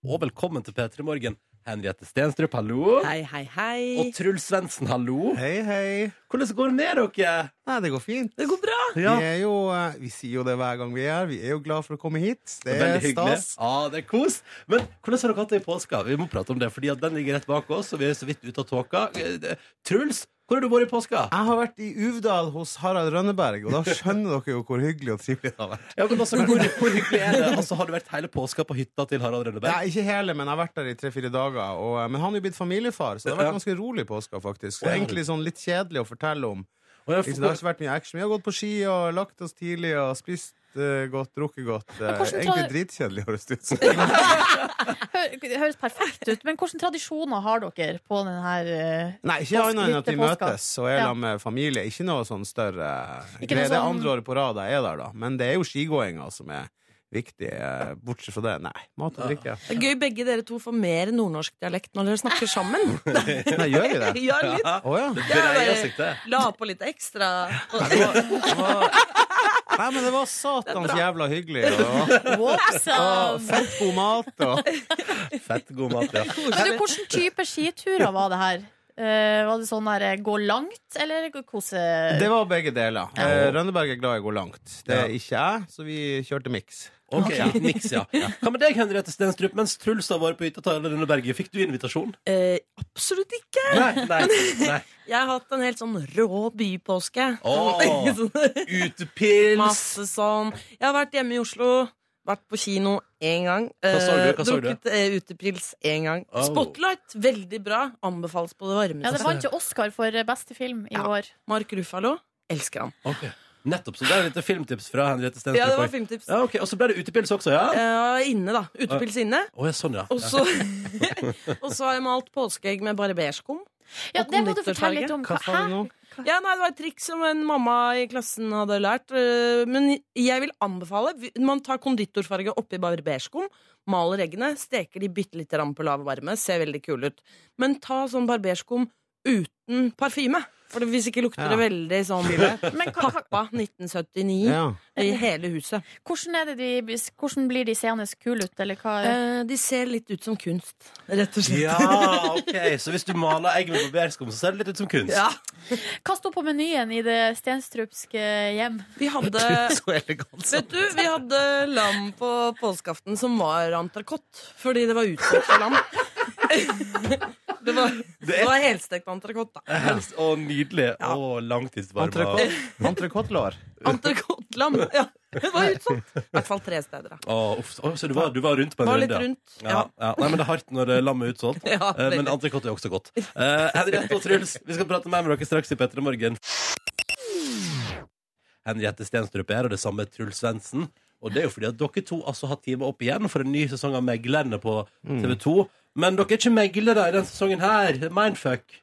Speaker 2: Og velkommen til P3 Morgen. Henriette Stenstrup, hallo.
Speaker 8: Hei, hei, hei.
Speaker 2: Og Truls Svendsen, hallo.
Speaker 9: Hei, hei.
Speaker 2: Hvordan går det med dere?
Speaker 9: Nei, det går fint.
Speaker 8: Det går bra.
Speaker 9: Vi, er jo, eh, vi sier jo det hver gang vi er her. Vi er jo glad for å komme hit. Det er
Speaker 2: Veldig hyggelig.
Speaker 9: stas.
Speaker 2: Ja, det er kos. Men hvordan har dere hatt det i påska? Vi må prate om det, fordi at den ligger rett bak oss, og vi er så vidt ute av tåka. Eh, det- Truls, hvor har du vært i påska?
Speaker 9: Jeg har vært i Uvdal hos Harald Rønneberg, og da skjønner dere jo hvor hyggelig og trivelig det har vært.
Speaker 2: Ja, men altså, hvor, hvor hyggelig er det? Altså, Har du vært hele påska på hytta til Harald Rønneberg?
Speaker 9: Nei, ikke hele, men jeg har vært der i tre-fire dager. Og, eh, men han er jo blitt familiefar, så det har vært ganske rolig påske, faktisk. Så egentlig sånn litt kjedelig å fortelle om.
Speaker 2: Og jeg
Speaker 9: Ikke sant, Det har ikke vært mye action. Vi har gått på ski og lagt oss tidlig og spist eh, godt, drukket godt. Eh,
Speaker 3: hvordan tror
Speaker 9: egentlig dritkjedelig, høres det ut som.
Speaker 3: Hø- Det høres perfekt ut, men hvilke tradisjoner har dere på
Speaker 2: [laughs]
Speaker 3: eh, denne
Speaker 9: Nei, ikke
Speaker 3: Påske-
Speaker 9: annet enn at vi
Speaker 3: lite påske.
Speaker 9: møtes og er
Speaker 3: Ja.
Speaker 9: sammen med familie. Ikke noe sånn større
Speaker 3: Ikke
Speaker 9: greie.
Speaker 3: noe
Speaker 9: Det er
Speaker 3: sånn-
Speaker 9: andre året på rad jeg er der, da. Men det er jo skigåinga som er viktig. eh, Bortsett fra det, nei. Mat og drikke.
Speaker 8: Det er gøy begge dere to får mer nornorsk dialekt når dere snakker sammen.
Speaker 9: Nei, gjør vi det?
Speaker 8: [laughs] Ja, litt.
Speaker 9: Å ja.
Speaker 8: Jeg
Speaker 2: Breier
Speaker 8: bare
Speaker 2: seg til.
Speaker 8: la på litt ekstra. [laughs]
Speaker 9: Nei, men det var satans jævla hyggelig.
Speaker 2: [laughs]
Speaker 9: Og, og
Speaker 3: Whoopsa!
Speaker 9: fett god mat og
Speaker 2: Fett god mat, ja.
Speaker 3: Men du, hvilken type skiturer var det her? Eh, var det sånn der eh, gå langt, eller gå- kose
Speaker 9: Det var begge deler. Eh, Rønneberg er glad i å gå langt. Det er ikke jeg, så vi kjørte miks.
Speaker 2: Ok, ja. Mix, ja. Hva med deg, Henriette Stenstrup? Mens Truls har vært på hytta til Harald Rønneberg, fikk du invitasjon?
Speaker 8: Eh, absolutt ikke.
Speaker 2: Nei, nei, nei.
Speaker 8: Jeg har hatt en helt sånn rå bypåske.
Speaker 2: Åh.
Speaker 8: [laughs] Sånn,
Speaker 2: Utepils!
Speaker 8: Masse sånn. Jeg har vært hjemme i Oslo, vært på kino én gang.
Speaker 2: Hva så du?
Speaker 8: eh,
Speaker 2: Hva så du?
Speaker 8: Drukket eh, utepils én gang.
Speaker 2: Oh.
Speaker 8: Spotlight, veldig bra. Anbefales på det varmeste.
Speaker 3: Ja, det vant jo Oscar for eh, beste film i
Speaker 8: Ja.
Speaker 3: år.
Speaker 8: Mark Ruffalo. Elsker han.
Speaker 2: Ok. Nettopp, så det er et lite filmtips fra Henriette Stenstrup.
Speaker 8: Ja, det var
Speaker 2: også.
Speaker 8: filmtips.
Speaker 2: Ja, ok, Og så ble det utepils også, ja?
Speaker 8: Eh, inne, da. Utepils inne.
Speaker 2: Å, ja, sånn, ja.
Speaker 8: Og så og så [laughs] har jeg malt påskeegg med barberskum.
Speaker 3: Ja,
Speaker 8: Og
Speaker 3: det må du
Speaker 8: konditorfarge.
Speaker 3: fortelle litt om.
Speaker 9: Hva sa du nå?
Speaker 8: Ja, nei, Det var et triks som en mamma i klassen hadde lært. øh, Men jeg vil anbefale Man tar konditorfarge oppi barberskum, maler eggene, steker de bitte lite grann på lav varme. Ser veldig kule ut. Men ta sånn barberskum uten parfyme. For hvis ikke lukter det
Speaker 9: Ja.
Speaker 8: veldig
Speaker 9: [laughs]
Speaker 8: sånn
Speaker 3: Men hva- hva-
Speaker 8: Pappa 1979
Speaker 9: Ja.
Speaker 8: i hele huset.
Speaker 3: hvordan, er det de, hvordan blir de seende kule ut, eller hva?
Speaker 8: Eh, de ser litt ut som kunst, rett og slett.
Speaker 2: Ja, ok Så hvis du maler egg med barberskum, så ser det litt ut som kunst.
Speaker 8: Ja.
Speaker 3: Hva sto på menyen i det stenstrupske hjem?
Speaker 2: [laughs]
Speaker 8: Vi hadde
Speaker 2: Så elegant.
Speaker 8: Vet du, vi hadde lam på påskeaften som var entrecôte, fordi det var utstekt av lam. [laughs] det var, det var helstekt entrecôte, da.
Speaker 2: Helst, å, nydelig. Å, langtidsvarma.
Speaker 9: Entrecôte- Entrecôte-lår.
Speaker 8: Entrecôte-lam. Ja, det var utsolgt. I hvert fall tre steder. da.
Speaker 2: Å, uff. Å, så du var, du var rundt på en
Speaker 8: Var
Speaker 2: runde?
Speaker 8: litt
Speaker 2: ja.
Speaker 8: rundt.
Speaker 2: Ja.
Speaker 8: Ja.
Speaker 2: ja. Nei, men det er hardt når eh, lammet er utsolgt.
Speaker 8: Ja,
Speaker 2: Eh, men
Speaker 8: veldig.
Speaker 2: entrecôte er også godt. Eh, Henriette og Truls, vi skal prate mer med dere straks i P3 Morgen. Henriette Stenstrup er her, og det samme er Truls Svendsen. Og det er jo fordi at dere to altså har teamet opp igjen for en ny sesong av Meglerne på TV 2. Men dere er ikke meglere i denne sesongen her. Mindfuck.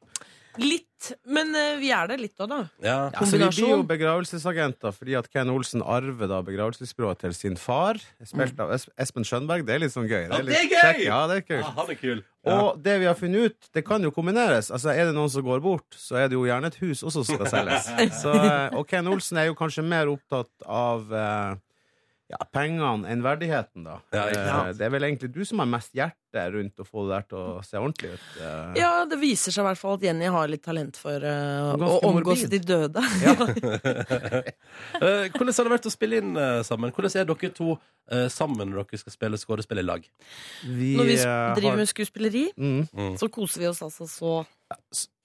Speaker 8: Litt. Men eh, vi er det litt òg, da.
Speaker 2: Ja.
Speaker 9: Ja, så vi blir jo
Speaker 8: Kombinasjon.
Speaker 9: begravelsesagenter fordi at Ken Olsen arver da begravelsesbyrået til sin far, spilt av Es- Espen Skjønberg. Det er litt sånn gøy.
Speaker 2: Ja, det er
Speaker 9: litt
Speaker 2: gøy!
Speaker 9: kjekt. Ja, det er
Speaker 2: Ah,
Speaker 9: kult.
Speaker 2: han er kul.
Speaker 9: Og det vi har funnet ut, det kan jo kombineres. Altså, Er det noen som går bort, så er det jo gjerne et hus også som skal
Speaker 2: [laughs]
Speaker 9: selges. Så, eh, og Ken Olsen er jo kanskje mer opptatt av eh, ja, pengene enn verdigheten, da.
Speaker 2: Ja, ikke sant.
Speaker 9: Eh, det er vel egentlig du som har mest hjerte rundt å få det der til å se ordentlig ut. eh.
Speaker 8: Ja, det viser seg i hvert fall at Jenny har litt talent for eh, å
Speaker 9: Ganske
Speaker 8: omgås
Speaker 9: morbid.
Speaker 8: de døde. [laughs]
Speaker 2: Eh, hvordan har det vært å spille inn eh, sammen? Hvordan er dere to eh, sammen når dere skal spille skuespill i lag?
Speaker 9: Vi,
Speaker 8: Når vi
Speaker 9: eh,
Speaker 8: sk-
Speaker 9: har-
Speaker 8: driver med skuespilleri,
Speaker 9: mm.
Speaker 8: så koser vi oss altså så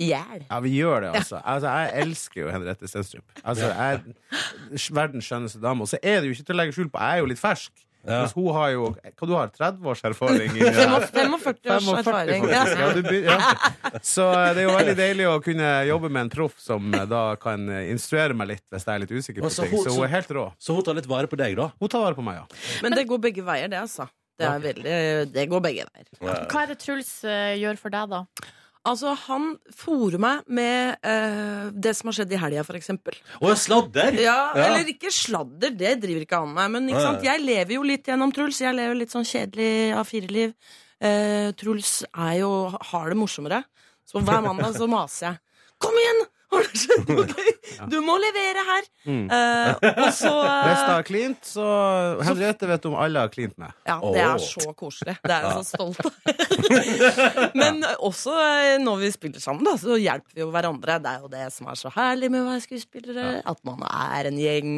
Speaker 8: i hjel.
Speaker 9: Ja, vi gjør det, altså. altså jeg elsker jo Henriette Stenstrup. Altså, jeg, er verdens skjønneste dame. Og så er det jo ikke til å legge skjul på, jeg er jo litt fersk.
Speaker 2: Ja.
Speaker 9: Mens hun har jo Hva du har 30 års erfaring?
Speaker 8: [laughs]
Speaker 9: I, det her?
Speaker 8: 45 års
Speaker 9: 45
Speaker 8: erfaring.
Speaker 9: faktisk.
Speaker 8: Ja.
Speaker 9: Ja, du begyn-
Speaker 8: [laughs]
Speaker 9: ja. Så eh, det er jo veldig deilig å kunne jobbe med en proff som eh, da kan eh, instruere meg litt hvis jeg er litt usikker på
Speaker 2: Altså,
Speaker 9: ting.
Speaker 2: hun-
Speaker 9: Så hun er helt rå.
Speaker 2: Så hun tar litt vare på deg, da?
Speaker 9: Hun tar vare på meg, ja.
Speaker 8: Men det går begge veier, det, altså. Det, er veldig, det går begge veier.
Speaker 3: Hva er det Truls eh, gjør for deg, da?
Speaker 8: Altså, han fôrer meg med eh, det som har skjedd i helga, for eksempel.
Speaker 2: Å, sladder!
Speaker 8: Ja,
Speaker 2: Ja.
Speaker 8: Eller ikke sladder, det driver ikke han med. Men ikke
Speaker 2: Nei.
Speaker 8: sant? jeg lever jo litt gjennom Truls. Jeg lever litt sånn kjedelig A4-liv. Eh, Truls er jo, har det morsommere. Så hver mandag så maser jeg. Kom igjen! Har det skjedd noe gøy? Du må levere her!
Speaker 9: Mm.
Speaker 8: Eh, og så
Speaker 9: Hvis det
Speaker 8: eh,
Speaker 9: har klint, så Henriette vet om alle har klint med.
Speaker 8: Ja, det
Speaker 2: Åh.
Speaker 8: er så koselig. Det er jeg så stolt av. [laughs] Men også eh, når vi spiller sammen, da, så hjelper vi jo hverandre. Det er jo det som er så herlig med å være skuespillere. At man er en gjeng.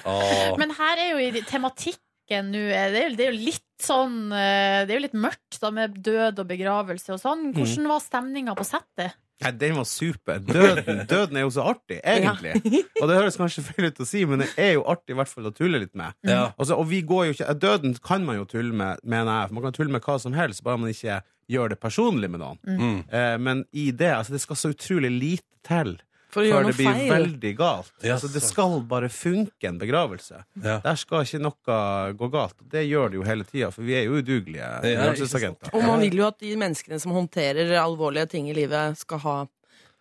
Speaker 2: Åh.
Speaker 3: Men her er jo i tematikken nå eh, det, er jo- det er jo litt sånn eh, Det er jo litt mørkt, da, med død og begravelse og
Speaker 9: Mm.
Speaker 3: sånn. Hvordan var stemninga på settet?
Speaker 9: Nei, den var super. Døden, døden er jo så artig, egentlig. Og det høres kanskje feil ut å si, men det er jo artig i hvert fall å tulle litt med.
Speaker 2: Ja.
Speaker 9: Altså, og vi går jo ikke Døden kan man jo tulle med, mener jeg. Man kan tulle med hva som helst, bare man ikke gjør det personlig med noen.
Speaker 2: Mm.
Speaker 9: Eh, men i det altså, Det skal så utrolig lite til før
Speaker 8: For å gjøre
Speaker 9: det
Speaker 8: noe
Speaker 9: blir
Speaker 8: feil.
Speaker 9: veldig galt.
Speaker 2: Ja,
Speaker 9: altså, det
Speaker 2: sant.
Speaker 9: skal bare funke en begravelse.
Speaker 2: Ja.
Speaker 9: Der skal ikke noe gå galt. Det gjør det jo hele tida, for vi er jo udugelige
Speaker 2: ikke
Speaker 9: begravelsesagenter.
Speaker 8: Og man vil jo at de menneskene som håndterer alvorlige ting i livet, skal ha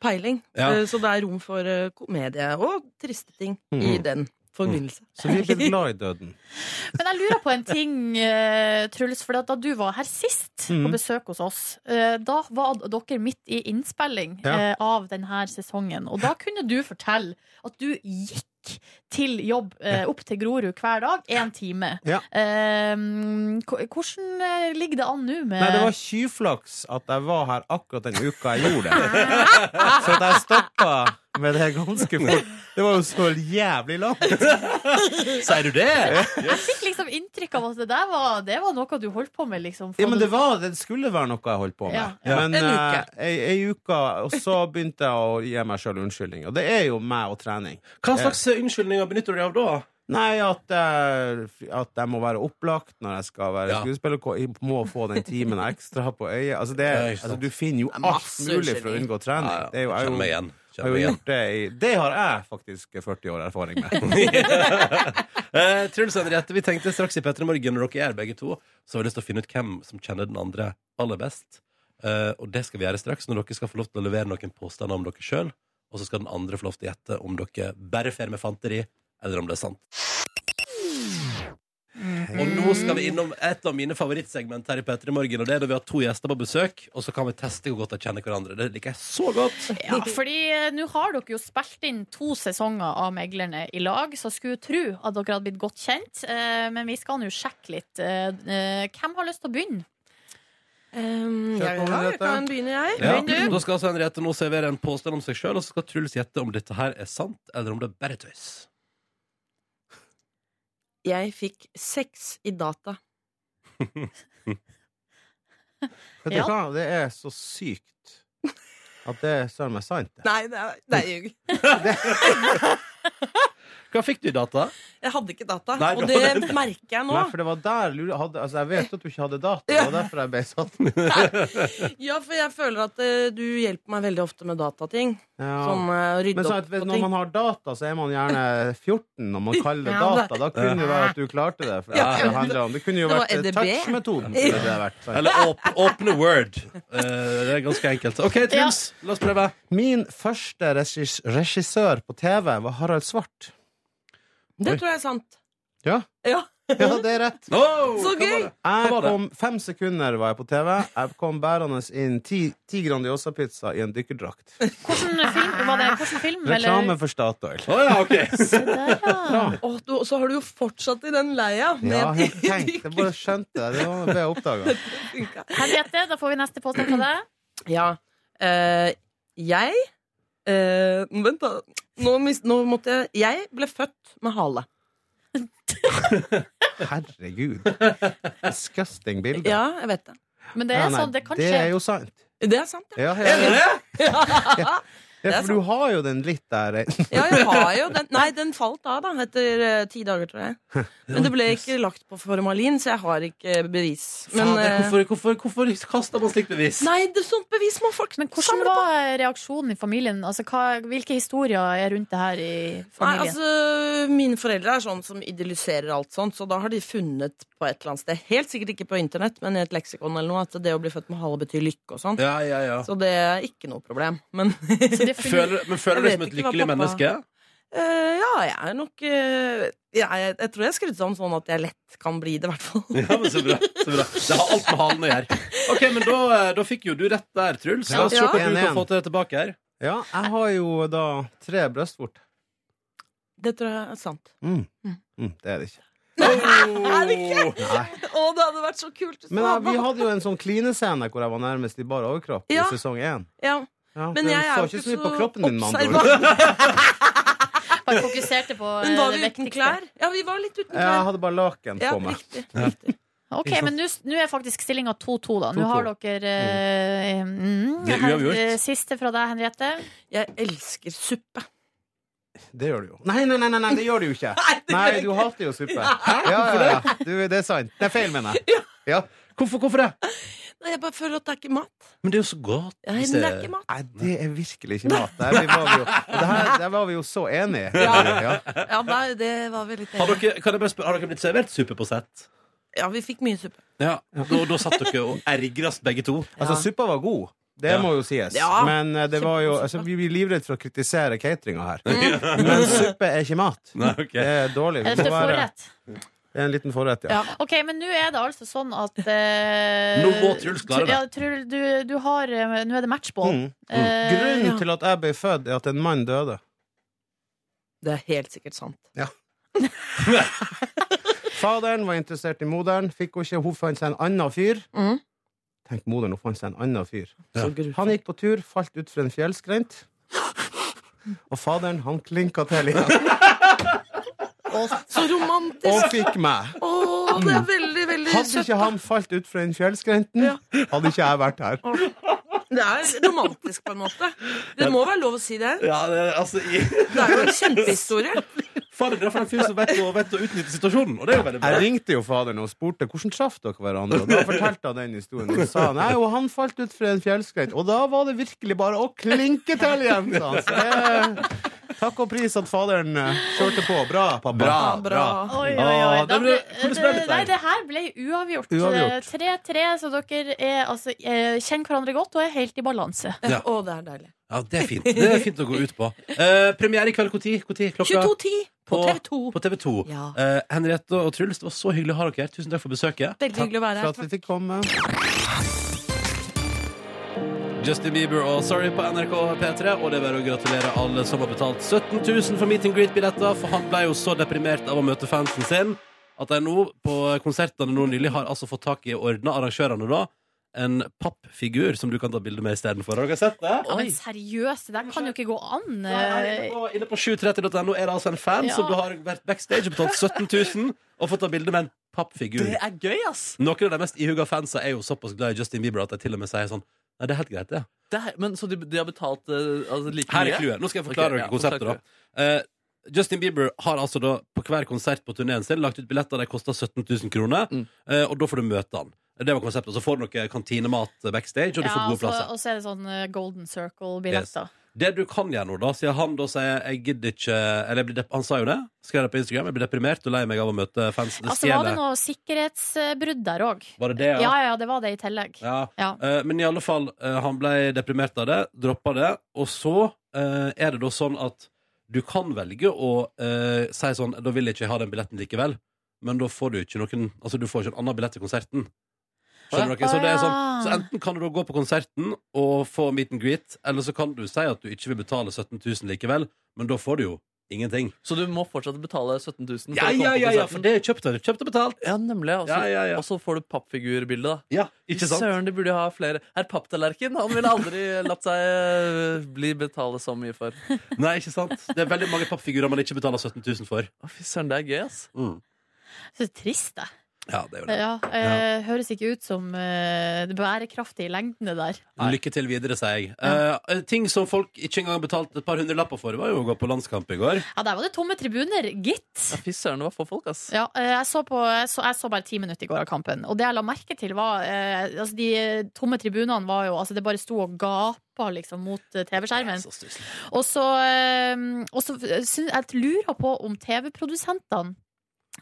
Speaker 8: peiling.
Speaker 2: Ja.
Speaker 8: Eh, Så det er rom for eh, komedie og triste ting i den forbindelse.
Speaker 9: Så vi er
Speaker 8: [laughs]
Speaker 9: litt glad i døden.
Speaker 3: Men jeg lurer på en ting, eh, Truls. For da du var her sist på
Speaker 9: Mhm.
Speaker 3: besøk hos oss, eh, da var dere midt i innspilling
Speaker 9: Ja.
Speaker 3: eh, av denne sesongen. Og da kunne du fortelle at du gikk til jobb eh, opp til Grorud hver dag, én time.
Speaker 9: Ja.
Speaker 3: Eh, ko- hvordan eh, ligger det an nå med
Speaker 9: Nei, det var tjuvflaks at jeg var her akkurat den uka jeg
Speaker 8: [laughs]
Speaker 9: gjorde det. Så at jeg stoppa med det ganske fort. Det var jo så jævlig langt.
Speaker 4: Sier du det?
Speaker 3: Jeg fikk liksom inntrykk av at det der var, det var noe du holdt på med, liksom.
Speaker 9: Ja, men det, var, det skulle være noe jeg holdt på med.
Speaker 3: Ja.
Speaker 9: Men
Speaker 8: En uke.
Speaker 9: eh, ei, ei uke, og så begynte jeg å gi meg sjøl unnskyldning. Og det er jo meg og trening.
Speaker 2: Hva slags eh, unnskyldninger benytter du deg av da?
Speaker 9: Nei, at jeg, at jeg må være opplagt når jeg skal være
Speaker 2: Ja.
Speaker 9: skuespiller. og Jeg må få den timen ekstra på øyet. Altså, det,
Speaker 2: Ja, ikke sant.
Speaker 9: altså du finner jo
Speaker 8: er
Speaker 9: alt
Speaker 8: masse
Speaker 9: mulig for å
Speaker 8: unnskyldninger.
Speaker 9: unngå trening.
Speaker 2: Ja, ja.
Speaker 9: Det er jo, jeg er
Speaker 2: Kjenn
Speaker 9: jo
Speaker 2: meg igjen.
Speaker 9: har
Speaker 2: Kjenn
Speaker 9: jo
Speaker 2: meg igjen.
Speaker 9: gjort det i Det har jeg faktisk 40 år erfaring
Speaker 8: [laughs]
Speaker 9: med.
Speaker 2: [laughs] Eh, Truls og Henriette, vi tenkte straks i Petter i morgen når dere er begge to, så har vi lyst til å finne ut hvem som kjenner den andre aller best. Eh, og det skal vi gjøre straks når dere skal få lov til å levere noen påstander om dere sjøl. Og så skal den andre få lov til å gjette om dere bare fer med fanteri, eller om det er sant. Og nå skal vi innom et av mine favorittsegment her i Petter i morgen. Og det er når vi har to gjester på besøk, og så kan vi teste hvor godt de kjenner hverandre. Det liker jeg så godt.
Speaker 3: Ja, fordi eh, nå har dere jo spilt inn to sesonger av Meglerne i lag, så skulle tro at dere hadde blitt godt kjent. eh, Men vi skal nå sjekke litt. Eh, eh, Hvem har lyst til å begynne?
Speaker 8: Um,
Speaker 9: Kjør
Speaker 8: jeg,
Speaker 9: på, Henriette.
Speaker 8: kan begynne, jeg.
Speaker 2: Ja.
Speaker 3: Begynn du.
Speaker 2: Da skal altså Henriette nå servere en påstand om seg sjøl, og så skal Truls gjette om dette her er sant, eller om det er bare tøys.
Speaker 8: Jeg fikk sex i data.
Speaker 9: Vet du
Speaker 3: Ja.
Speaker 9: hva, det er så sykt at det er søren meg sant. det.
Speaker 8: Nei, det er, det er ljug.
Speaker 2: Hva fikk du i data?
Speaker 8: Jeg hadde ikke data,
Speaker 2: Nei,
Speaker 8: og
Speaker 2: du
Speaker 8: det
Speaker 2: hadde-
Speaker 8: merker jeg nå.
Speaker 9: Nei, for det var der lure- hadde, altså, Jeg vet jo at du ikke hadde data, det var derfor jeg ble satt.
Speaker 8: Ja, for jeg føler at eh, du hjelper meg veldig ofte med datating.
Speaker 9: Ja.
Speaker 8: [laughs] Sånn eh, rydde
Speaker 9: Men sånn
Speaker 8: opp
Speaker 9: at,
Speaker 8: på
Speaker 9: hvis- når
Speaker 8: ting.
Speaker 9: man har data, så er man
Speaker 8: [laughs]
Speaker 9: gjerne 14 når man kaller det
Speaker 8: Ja, men-
Speaker 9: data. Da kunne det være at du klarte det. For det,
Speaker 8: Ja.
Speaker 9: det, handler om. det kunne jo
Speaker 8: Det var
Speaker 9: vært eh,
Speaker 8: EDB.
Speaker 9: touch-metoden. kunne det vært, sant?
Speaker 2: Eller åp åpne Word. Eh, det er ganske enkelt. OK, Truls, la oss prøve.
Speaker 9: Min første regis regissør på TV var Harald Svart.
Speaker 8: Det
Speaker 2: Oi.
Speaker 8: tror jeg er sant.
Speaker 9: Ja,
Speaker 8: Ja. [laughs]
Speaker 9: ja det er rett.
Speaker 2: Oh,
Speaker 8: Så gøy!
Speaker 9: Jeg
Speaker 2: var det?
Speaker 9: kom fem sekunder var jeg på TV. Jeg kom bærende inn ti, ti Grandiosa-pizza i en
Speaker 8: [laughs]
Speaker 9: dykkerdrakt.
Speaker 3: Hvordan film, var det? Hvordan film
Speaker 9: Reklame
Speaker 3: eller?
Speaker 9: for Statoil.
Speaker 2: Å ja, OK.
Speaker 3: Se der, ja.
Speaker 8: Å, du, og så har du jo fortsatt i den leia.
Speaker 9: Ja,
Speaker 8: Med [laughs]
Speaker 9: helt tenkt. Jeg bare skjønte det. Det var det jeg oppdaga.
Speaker 3: Henriette, da får vi neste påstand fra deg.
Speaker 8: ja. Eh, jeg eh, Vent, da. Nå, mis, nå måtte jeg Jeg ble født med hale.
Speaker 9: Herregud. Disgusting bilde.
Speaker 8: Ja, jeg vet det.
Speaker 3: Men det
Speaker 9: Ja,
Speaker 3: er
Speaker 9: nei,
Speaker 3: sånn, det kan
Speaker 9: det er
Speaker 3: skje.
Speaker 9: jo sant.
Speaker 8: Det er sant, ja.
Speaker 9: Ja, helt enig.
Speaker 8: Ja,
Speaker 9: Ja,
Speaker 8: det er
Speaker 9: for du har jo den litt der. eh.
Speaker 8: ja jeg har jo
Speaker 3: [laughs]
Speaker 8: den. Nei, den falt av, da, etter eh, ti dager, tror jeg. Men det ble ikke lagt på formalin, så jeg har ikke bevis.
Speaker 2: [laughs]
Speaker 8: Men
Speaker 2: Fader,
Speaker 8: eh,
Speaker 2: hvorfor, hvorfor, hvorfor kaster man slikt bevis?
Speaker 8: Nei, det, sånt bevis må folk
Speaker 3: Men hvordan
Speaker 8: samle på.
Speaker 3: var eh, reaksjonen i familien? Altså, hva, hvilke historier er rundt det her i
Speaker 8: Nei,
Speaker 3: familien?
Speaker 8: altså, Mine foreldre er sånn som idylliserer alt sånt, så da har de funnet på et eller annet sted, helt sikkert ikke på internett, men i et leksikon eller noe, at det å bli født med hale betyr lykke og sånn.
Speaker 2: Ja, ja, ja.
Speaker 8: Så det er ikke noe problem. Men [laughs]
Speaker 3: Så det er fordi-
Speaker 2: Føler, men føler du deg
Speaker 8: Jeg
Speaker 2: som et
Speaker 8: vet ikke hva
Speaker 2: lykkelig
Speaker 8: pappa-
Speaker 2: menneske?
Speaker 8: eh, ja, jeg er nok eh, jeg, jeg tror jeg er skrudd sammen sånn at jeg lett kan bli det, i hvert fall. [laughs]
Speaker 2: Ja, men så bra, så bra. Det har alt med halen å gjøre. OK, men da, eh, da fikk jo du rett der, Truls. La oss se
Speaker 8: Ja.
Speaker 2: hva du kan
Speaker 9: 1-1.
Speaker 2: få til tilbake her.
Speaker 9: Ja, jeg har jo da tre brystvorter.
Speaker 8: Det tror jeg er sant.
Speaker 9: Mm. Mm, det er det ikke.
Speaker 8: [laughs] Er det
Speaker 2: Oh!
Speaker 8: ikke?
Speaker 9: Nei.
Speaker 8: [laughs] Å, det hadde vært så kult! hvis
Speaker 9: Men
Speaker 8: det
Speaker 9: eh,
Speaker 8: hadde
Speaker 9: vi
Speaker 8: vært-
Speaker 9: hadde jo en sånn klinescene hvor jeg var nærmest i bar overkropp
Speaker 8: Ja.
Speaker 9: i sesong én.
Speaker 8: ja.
Speaker 9: Ja,
Speaker 8: Men
Speaker 9: du
Speaker 8: jeg er
Speaker 9: så
Speaker 8: jo
Speaker 9: ikke
Speaker 8: ikke
Speaker 9: så mye på
Speaker 8: så
Speaker 9: kroppen din, med andre ord.
Speaker 8: observant.
Speaker 3: Bare fokuserte på eh,
Speaker 8: [laughs] Men var
Speaker 3: det
Speaker 8: vi uten
Speaker 3: viktigste.
Speaker 8: klær? Ja, vi var litt uten
Speaker 9: Jeg
Speaker 8: klær.
Speaker 9: hadde bare laken
Speaker 8: Ja,
Speaker 9: på meg.
Speaker 8: riktig. riktig.
Speaker 3: Ok, men nå s- nå er faktisk stillinga 2-2, da. Nå
Speaker 9: 2-2.
Speaker 3: har dere eh, mm,
Speaker 2: Det er
Speaker 3: her-
Speaker 2: uavgjort.
Speaker 3: eh, Siste fra deg, Henriette.
Speaker 8: Jeg elsker suppe.
Speaker 9: Det gjør du jo. Nei, nei, nei, nei, nei det gjør du jo ikke.
Speaker 8: det
Speaker 9: Nei,
Speaker 8: gjør jeg
Speaker 9: du
Speaker 8: ikke.
Speaker 9: hater jo suppe. Ja, ja, ja, ja. Du, det er sant. Det er feil, mener jeg. Ja.
Speaker 2: Hvorfor, hvorfor det?
Speaker 8: Nei, Jeg bare føler at det er ikke mat.
Speaker 2: Men det er jo så godt.
Speaker 8: Nei,
Speaker 2: hvis
Speaker 8: det er ikke mat.
Speaker 9: Nei, det er virkelig ikke mat. Der vi var vi jo, det her, der var vi jo så enige. Ja.
Speaker 8: Ja, nei, det var vi litt
Speaker 2: Har
Speaker 8: enige.
Speaker 2: dere, kan jeg bare spørre, har dere blitt servert suppe på sett?
Speaker 8: Ja, vi fikk mye suppe.
Speaker 2: Ja. Da, da satt dere og ergrast begge
Speaker 8: [laughs]
Speaker 2: to.
Speaker 8: Mm.
Speaker 9: Altså, suppa var god. Det
Speaker 2: Ja.
Speaker 9: må jo sies.
Speaker 8: Ja.
Speaker 9: Men eh, det var jo, altså, vi blir livredde for å kritisere cateringa her. Men suppe er ikke mat.
Speaker 2: Nei, ok.
Speaker 9: Det er dårlig. Vi
Speaker 3: Er det
Speaker 9: må være-
Speaker 3: forrett?
Speaker 9: Det er en liten forrett, ja.
Speaker 8: Ja.
Speaker 3: Ok, men nå er det altså sånn at eh,
Speaker 2: Nå må Truls klare det.
Speaker 3: Ja, Truls, du, du har eh, Nå er det matchball.
Speaker 9: Mm.
Speaker 3: Eh,
Speaker 9: Grunnen
Speaker 3: ja.
Speaker 9: til at jeg ble født, er at en mann døde.
Speaker 8: Det er helt sikkert sant.
Speaker 9: Faderen var interessert i moderen, fikk hun ikke, hun fant seg en annen fyr.
Speaker 3: Mm.
Speaker 8: Mhm.
Speaker 9: Tenk, moderen, hun fant seg en annen fyr.
Speaker 8: Så grusomt.
Speaker 9: Han gikk på tur, falt ut fra en fjellskrent. Og faderen, han klinka til igjen.
Speaker 8: Så romantisk!
Speaker 9: Og fikk meg.
Speaker 8: Å, det er veldig, veldig
Speaker 9: Hadde
Speaker 8: søtt.
Speaker 9: ikke mm. han falt ut fra den fjellskrenten, hadde ikke jeg vært her.
Speaker 8: Det er romantisk på en måte. Det må være lov å si det.
Speaker 2: Ja, det, er- altså i,
Speaker 8: Det er jo en kjempehistorie.
Speaker 2: Faen, det er for en fyr som vet å, vet å utnytte situasjonen. Og det er jo veldig bra.
Speaker 9: Jeg ringte jo faderen og spurte hvordan traff dere hverandre. Og da fortalte han den historien. Og så sa han nei, og han falt ut fra en fjellskrent. Og da var det virkelig bare å klinke til igjen! sa han. Så det, takk og pris at faderen eh, kjørte på. Bra, pappa.
Speaker 8: Ja, bra.
Speaker 3: Oi, oi, oi.
Speaker 2: Ah,
Speaker 3: Da
Speaker 2: det
Speaker 3: ble,
Speaker 2: ble- hvordan ble
Speaker 3: det,
Speaker 2: dette her?
Speaker 3: nei, det her ble uavgjort.
Speaker 9: Uavgjort.
Speaker 3: 3-3, så dere er, altså, eh, kjenner hverandre godt og er helt i balanse.
Speaker 2: Ja.
Speaker 8: Å, det er deilig.
Speaker 2: Ja, det er fint. Det er fint å gå ut på. Eh, premiere i kveld når? Klokka
Speaker 8: 22.10 på TV 2.
Speaker 2: På TV 2.
Speaker 8: Ja.
Speaker 2: Eh, Henriette og Truls, det var så hyggelig å ha dere her. Tusen takk for besøket.
Speaker 8: Veldig hyggelig å være
Speaker 9: For
Speaker 8: her.
Speaker 9: at vi fikk komme.
Speaker 2: Justin Bieber og Sorry på NRK P3. Og det er bare å gratulere alle som har betalt 17 000 for meet and greet-billetter, for han ble jo så deprimert av å møte fansen sin at de nå, på konsertene nå nylig, har altså fått tak i og ordna arrangørene da en pappfigur som du kan ta bilde med istedenfor. Har dere sett det?
Speaker 3: Ja, men seriøst, det der kan jo ikke gå an.
Speaker 2: Nei, Inne på, inne på 730.no er det altså en fan
Speaker 3: Ja.
Speaker 2: som har vært backstage og betalt 17 000 og fått ta bilde med en pappfigur.
Speaker 4: Det er gøy, ass!
Speaker 2: Noen av de mest ihuga fansa er jo såpass glad i Justin Bieber at de til og med sier sånn Nei, det er helt greit, det.
Speaker 4: Det er, men, så de, de har betalt eh, altså, like
Speaker 2: Her er
Speaker 4: mye?
Speaker 2: clouet. Nå skal jeg forklare
Speaker 4: Ok, ja,
Speaker 2: dere konseptet,
Speaker 4: forklar
Speaker 2: da. Eh, Justin Bieber har altså da på hver konsert på turneen sin lagt ut billetter. De koster 17 000 kroner,
Speaker 4: Mm.
Speaker 2: eh, og da får du møte han. Det var konseptet. Og så får du noe kantinemat backstage, og du
Speaker 3: eh, Ja,
Speaker 2: får gode
Speaker 3: og så
Speaker 2: plasser.
Speaker 3: og så er det sånn eh, Golden Circle-billetter.
Speaker 2: Det du kan gjøre nå, da, siden han da sier jeg gidder ikke Eller jeg blir dep han sa jo det. Skrev det på Instagram. Jeg blir deprimert og lei meg av å møte fans. Det
Speaker 3: Altså, var det
Speaker 2: stjeler.
Speaker 3: noe sikkerhetsbrudd der òg?
Speaker 2: Var det det,
Speaker 3: Ja, ja, det var det i tillegg.
Speaker 2: ja.
Speaker 3: Ja.
Speaker 2: Eh, Men i alle fall, eh, han ble deprimert av det, droppa det, og så eh, er det da sånn at du kan velge å eh, si sånn Da vil jeg ikke ha den billetten likevel, men da får du ikke noen Altså, du får ikke en annen billett til konserten. Skjønner dere? Så, det er sånn, så enten kan du da gå på konserten og få meet and greet, eller så kan du si at du ikke vil betale 17 000 likevel, men da får du jo ingenting.
Speaker 4: Så du må fortsatt betale 17 000 for
Speaker 2: Ja,
Speaker 4: å komme
Speaker 2: ja, ja,
Speaker 4: på
Speaker 2: ja,
Speaker 4: konserten?
Speaker 2: for det er kjøpt og kjøpt og betalt.
Speaker 4: Ja, nemlig. Og så
Speaker 2: Ja, ja, ja.
Speaker 4: og så får du pappfigurbilde, da.
Speaker 2: Ja, ikke sant?
Speaker 4: Søren, de burde jo ha flere. Herr Papptallerken, han ville aldri [laughs] latt seg eh, bli betale så mye for. Å,
Speaker 2: Nei, ikke sant? Det er veldig mange pappfigurer man ikke betaler 17 000 for.
Speaker 4: Fy søren, det er gøy, ass.
Speaker 3: Så trist, det.
Speaker 2: Ja, det er jo det.
Speaker 3: Ja, eh, Høres ikke ut som eh, det bærekraftige lengdene der.
Speaker 2: Lykke til videre, sier jeg. Eh, ting som folk ikke engang betalte et par hundrelapper for, var jo å gå på landskamp i går.
Speaker 3: Ja, der var det tomme tribuner, gitt.
Speaker 4: Ja, Fy søren, det var få folk, ass.
Speaker 3: Ja, eh, jeg så, på, jeg, så, jeg så bare ti minutter i går av kampen. Og det jeg la merke til, var eh, altså De eh, tomme tribunene var jo Altså, det bare sto og gapa liksom, mot eh, TV-skjermen.
Speaker 2: Så stusslig.
Speaker 3: Og så, eh, og så syn- jeg lurer på om TV-produsentene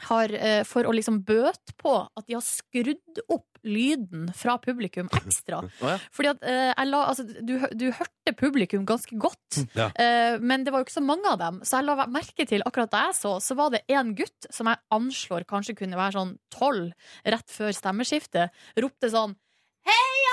Speaker 3: har, eh, for å liksom bøte på at de har skrudd opp lyden fra publikum ekstra.
Speaker 4: ja.
Speaker 3: Fordi at eh, jeg la, altså, du, hø- du hørte publikum ganske godt,
Speaker 2: Ja.
Speaker 3: eh, men det var jo ikke så mange av dem. Så jeg la merke til akkurat da jeg så, så var det en gutt som jeg anslår kanskje kunne være sånn tolv rett før stemmeskiftet, ropte sånn Heia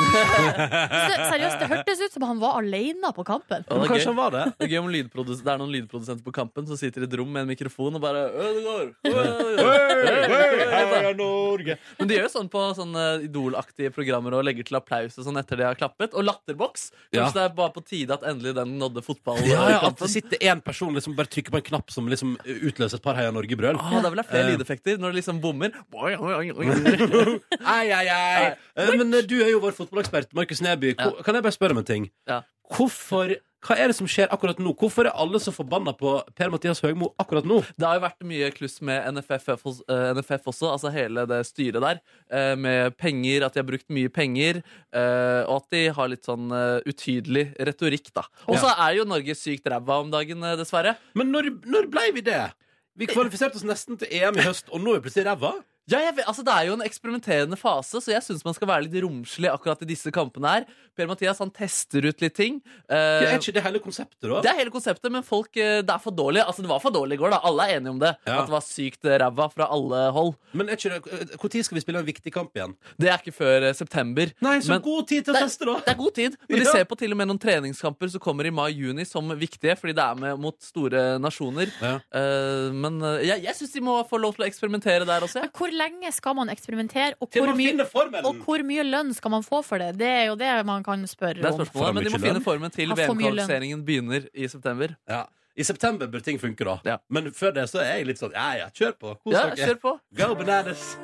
Speaker 3: Så Seriøst, det hørtes ut som han var alene på kampen.
Speaker 4: Ja, det er
Speaker 2: Kanskje
Speaker 4: gøy.
Speaker 2: han
Speaker 4: [laughs]
Speaker 2: var det?
Speaker 4: Det er gøy om lydprodus- det er noen lydprodusenter på kampen som sitter i et rom med en mikrofon og bare «Ø, det går! Ø, ø, ø, ø». Men de gjør jo sånn på sånne idolaktige programmer og legger til applaus og sånn etter de har klappet. Og latterboks! Kanskje
Speaker 2: Ja.
Speaker 4: det er bare på tide at endelig den nådde fotballen.
Speaker 2: Ja, ja,
Speaker 4: i
Speaker 2: at det
Speaker 4: kampen.
Speaker 2: sitter én person liksom bare trykker på en knapp som liksom utløser et par Heia Norge-brøl.
Speaker 4: Ah, da vil jeg flere
Speaker 2: Eh.
Speaker 4: lydeffekter når det liksom bommer. Oi, oi, oi, oi.
Speaker 2: Ai, ai, ai. Eh, Men eh, du er jo vår fotballekspert, Markus Neby. Ko- Kan jeg bare spørre om en ting?
Speaker 4: Ja.
Speaker 2: Hvorfor, hva er det som skjer akkurat nå? Hvorfor er alle så forbanna på Per-Mathias Høgmo akkurat nå?
Speaker 4: Det har jo vært mye kluss med NFF, hos- eh, NFF også, altså hele det styret der. eh, Med penger, at de har brukt mye penger, eh, og at de har litt sånn eh, utydelig retorikk, da. Og så er jo Norge sykt ræva om dagen, eh, dessverre.
Speaker 2: Men når, når blei vi det? Vi kvalifiserte oss nesten til EM i høst, og nå er vi plutselig ræva?
Speaker 4: Ja, jeg vet, altså Det er jo en eksperimenterende fase, så jeg syns man skal være litt romslig akkurat i disse kampene her. Per-Mathias han tester ut litt ting. eh,
Speaker 2: Er ikke det hele konseptet, da?
Speaker 4: Det er hele konseptet, men folk, eh, det er for dårlig. Altså, det var for dårlig i går, da. Alle er enige om det.
Speaker 2: Ja.
Speaker 4: At det var sykt eh, ræva fra alle hold.
Speaker 2: Men er ikke det, eh, Når skal vi spille en viktig kamp igjen?
Speaker 4: Det er ikke før eh, september.
Speaker 2: Nei, så
Speaker 4: Men-
Speaker 2: god tid til å
Speaker 4: Det-
Speaker 2: teste,
Speaker 4: Det
Speaker 2: da!
Speaker 4: er god tid, men de
Speaker 2: Ja.
Speaker 4: ser på til og med noen treningskamper som kommer i mai-juni som viktige, fordi det er med mot store nasjoner.
Speaker 2: Ja.
Speaker 4: Eh, men eh, jeg, jeg syns de må få lov til å eksperimentere der også.
Speaker 3: Men hvor lenge skal man eksperimentere, og
Speaker 2: Til
Speaker 3: hvor,
Speaker 2: man
Speaker 3: mye,
Speaker 2: finner formelen!
Speaker 3: og hvor mye lønn skal man få for det? Det er jo det man kan
Speaker 4: Det
Speaker 3: spørre
Speaker 4: er
Speaker 3: om.
Speaker 2: For
Speaker 4: spørsmålet, men de
Speaker 2: mye
Speaker 4: må finne formen til
Speaker 3: Ha for mye lønn.
Speaker 4: VM-kvalifiseringen begynner i september.
Speaker 2: Ja. I september bør ting funke, da.
Speaker 4: Ja.
Speaker 2: Men før det så er jeg litt sånn ja ja, kjør på. Kos
Speaker 4: Ja,
Speaker 2: dere.
Speaker 4: kjør på.
Speaker 2: Go bananas!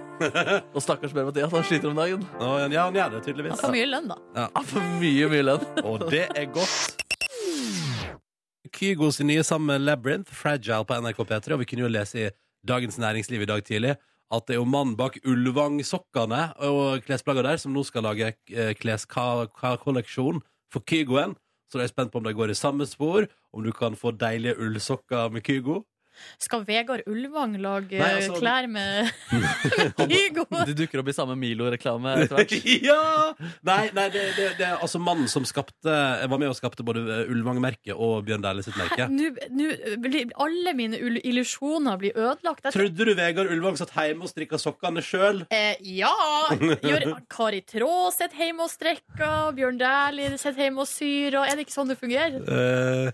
Speaker 4: Og stakkars Per-Mathias, han sliter om dagen.
Speaker 2: Å, ja, han gjør det tydeligvis.
Speaker 3: For mye lønn, da.
Speaker 4: Ja, for mye, mye lønn.
Speaker 2: Og det er godt. Kygo sin nye sammen med Labyrinth, Fragile på NRK P3, og vi kunne jo lese i Dagens Næringsliv i dag tidlig at det er jo mannen bak Ulvang-sokkene og klesplagga der som nå skal lage eh, kleska-kolleksjon for Kygoen. Så jeg er spent på om de går i samme spor, om du kan få deilige ullsokker med Kygo. [laughs]
Speaker 3: Skal Vegard Ulvang lage
Speaker 2: Nei, altså-
Speaker 3: klær
Speaker 2: [laughs]
Speaker 3: med, med Kygo?
Speaker 4: De dukker opp i samme Milo-reklame
Speaker 3: [laughs]
Speaker 4: etter hvert.
Speaker 2: ja! Nei, nei det, det, det er altså mannen som skapte var med og skapte både eh, Ulvang-merket og Bjørn Dæhlie sitt merke.
Speaker 3: Nå nå blir alle mine ull- illusjoner blir ødelagt. Jeg,
Speaker 2: Trodde du Vegard Ulvang satt hjemme og strikka sokkene sjøl?
Speaker 3: eh, ja! Gjør Kari Traa sitter hjemme og strekker, Bjørn Dæhlie sitter hjemme og syr, og er det ikke sånn det fungerer?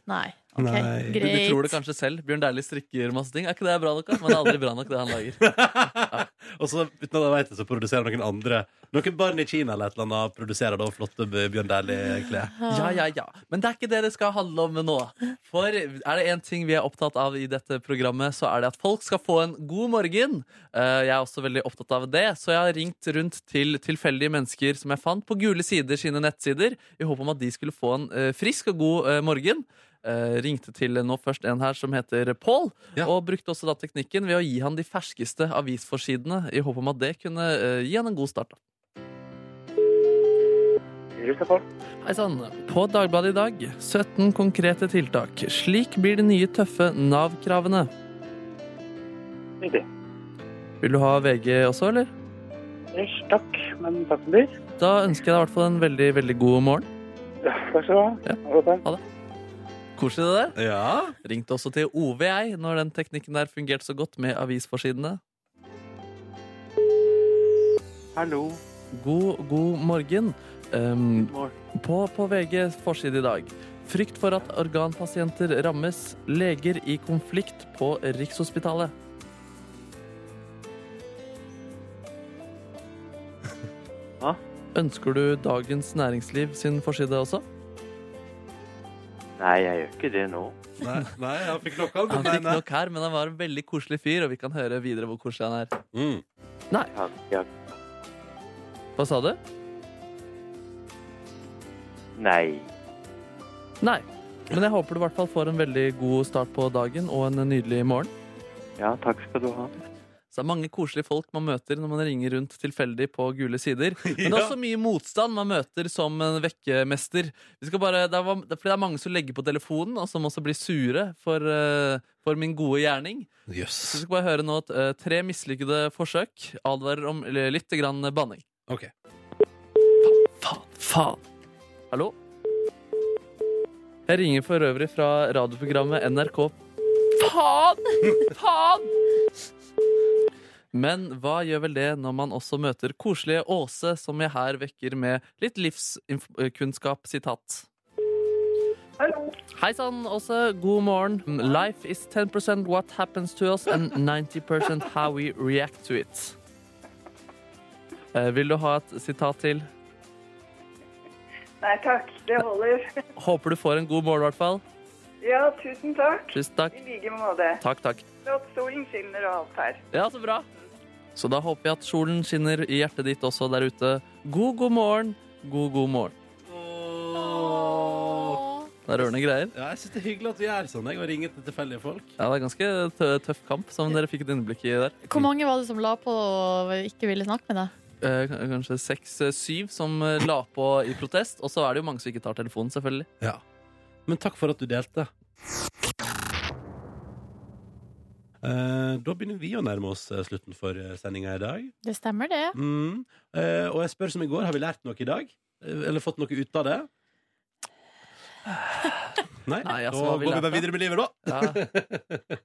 Speaker 3: Nei. ok,
Speaker 2: Eh, Nei.
Speaker 4: De, de tror det
Speaker 3: Greit.
Speaker 4: kanskje selv. Bjørn Dæhlie strikker masse ting. Er ikke det bra nok? da? Men det er aldri bra nok, det han lager.
Speaker 2: og så uten at jeg vet det, så produserer noen andre Noen barn i Kina eller et eller annet produserer da flotte B- Bjørn Dæhlie-klær.
Speaker 4: Ja, ja, ja. Men det er ikke det det skal handle om nå. For er det én ting vi er opptatt av i dette programmet, så er det at folk skal få en god morgen. Eh, Jeg er også veldig opptatt av det, så jeg har ringt rundt til tilfeldige mennesker som jeg fant på Gule Sider sine nettsider, i håp om at de skulle få en eh, frisk og god eh, morgen. Eh, ringte til nå først en her som heter Pål,
Speaker 2: Ja.
Speaker 4: og brukte også da teknikken ved å gi han de ferskeste avisforsidene, i håp om at det kunne eh, gi han en god start. da. Hei sann. På Dagbladet i dag 17 konkrete tiltak. Slik blir de nye tøffe Nav-kravene.
Speaker 1: Riktig.
Speaker 4: Vil du ha VG også, eller?
Speaker 1: Ish, Takk, men takk for det.
Speaker 4: Da ønsker jeg deg i hvert fall en veldig, veldig god morgen.
Speaker 1: Vær så god.
Speaker 4: Ja.
Speaker 1: Ha det bra.
Speaker 4: Koselig det der.
Speaker 2: Ja.
Speaker 4: Ringte også til OV, jeg, når den teknikken der fungerte så godt med avisforsidene.
Speaker 1: Hallo.
Speaker 4: God, god morgen. Ehm,
Speaker 1: morgen.
Speaker 4: på, på VG forside i dag. Frykt for at organpasienter rammes. Leger i konflikt på Rikshospitalet.
Speaker 1: Hva?
Speaker 4: Ønsker du Dagens Næringsliv sin forside også?
Speaker 1: Nei, jeg gjør ikke det nå.
Speaker 2: Nei, nei, han fikk nok av
Speaker 4: Han fikk nok her, men han var en veldig koselig fyr, og vi kan høre videre hvor koselig han er.
Speaker 2: Mm.
Speaker 1: Takk, ja.
Speaker 4: Hva sa du?
Speaker 1: Nei.
Speaker 4: Nei. Men jeg håper du i hvert fall får en veldig god start på dagen og en nydelig morgen.
Speaker 1: Ja, takk skal du ha.
Speaker 4: Så det er mange koselige folk man møter når man ringer rundt tilfeldig på gule sider. Men det er også mye motstand man møter som en vekkemester. Vi skal bare, det, er, fordi det er mange som legger på telefonen, og som også blir sure for, eh, for min gode gjerning.
Speaker 2: Jøss.
Speaker 4: Så vi skal bare høre nå at eh, tre mislykkede forsøk advarer om eller litt grann banning.
Speaker 2: Ok.
Speaker 4: Faen, faen. Hallo? Jeg ringer for øvrig fra radioprogrammet NRK. Faen! Faen! Men hva gjør vel det når man også møter koselige Åse, som jeg her vekker med litt livskunnskap, sitat. Hei sann, Åse. God morgen. Life is 10 what happens to us and 90 how we react to it. Eh, Vil du ha et sitat til?
Speaker 10: Nei takk, det holder.
Speaker 4: Håper du får en god morgen, i hvert fall.
Speaker 10: Ja, tusen takk.
Speaker 4: Tusen takk.
Speaker 10: I like måte.
Speaker 4: Takk, takk.
Speaker 10: Flott solen skinner og alt her.
Speaker 4: Ja, så bra. Så da håper jeg at solen skinner i hjertet ditt også der ute. God god morgen, god god morgen. Det er rørende greier.
Speaker 2: Ja, jeg syns det er hyggelig at du gjør sånn. Jeg har ringt til tilfeldige folk.
Speaker 4: Ja, det er ganske tø tøff kamp, som dere fikk et innblikk i der.
Speaker 3: Hvor mange var det som la på og ikke ville snakke med deg?
Speaker 4: Eh, k- kanskje seks-syv som eh, la på i protest. Og så er det jo mange som ikke tar telefonen, selvfølgelig.
Speaker 2: Men takk for at du delte. Eh, da begynner vi å nærme oss eh, slutten for sendinga i dag.
Speaker 3: Det stemmer, det.
Speaker 2: Mm. Eh, og jeg spør som i går, har vi lært noe i dag? Eh, Eller fått noe ut av det?
Speaker 4: [laughs]
Speaker 2: Nei,
Speaker 4: Nei,
Speaker 2: da
Speaker 4: altså, hva har vi
Speaker 2: går vi
Speaker 4: lært
Speaker 2: bare
Speaker 4: da?
Speaker 2: videre med livet, da.
Speaker 4: Ja.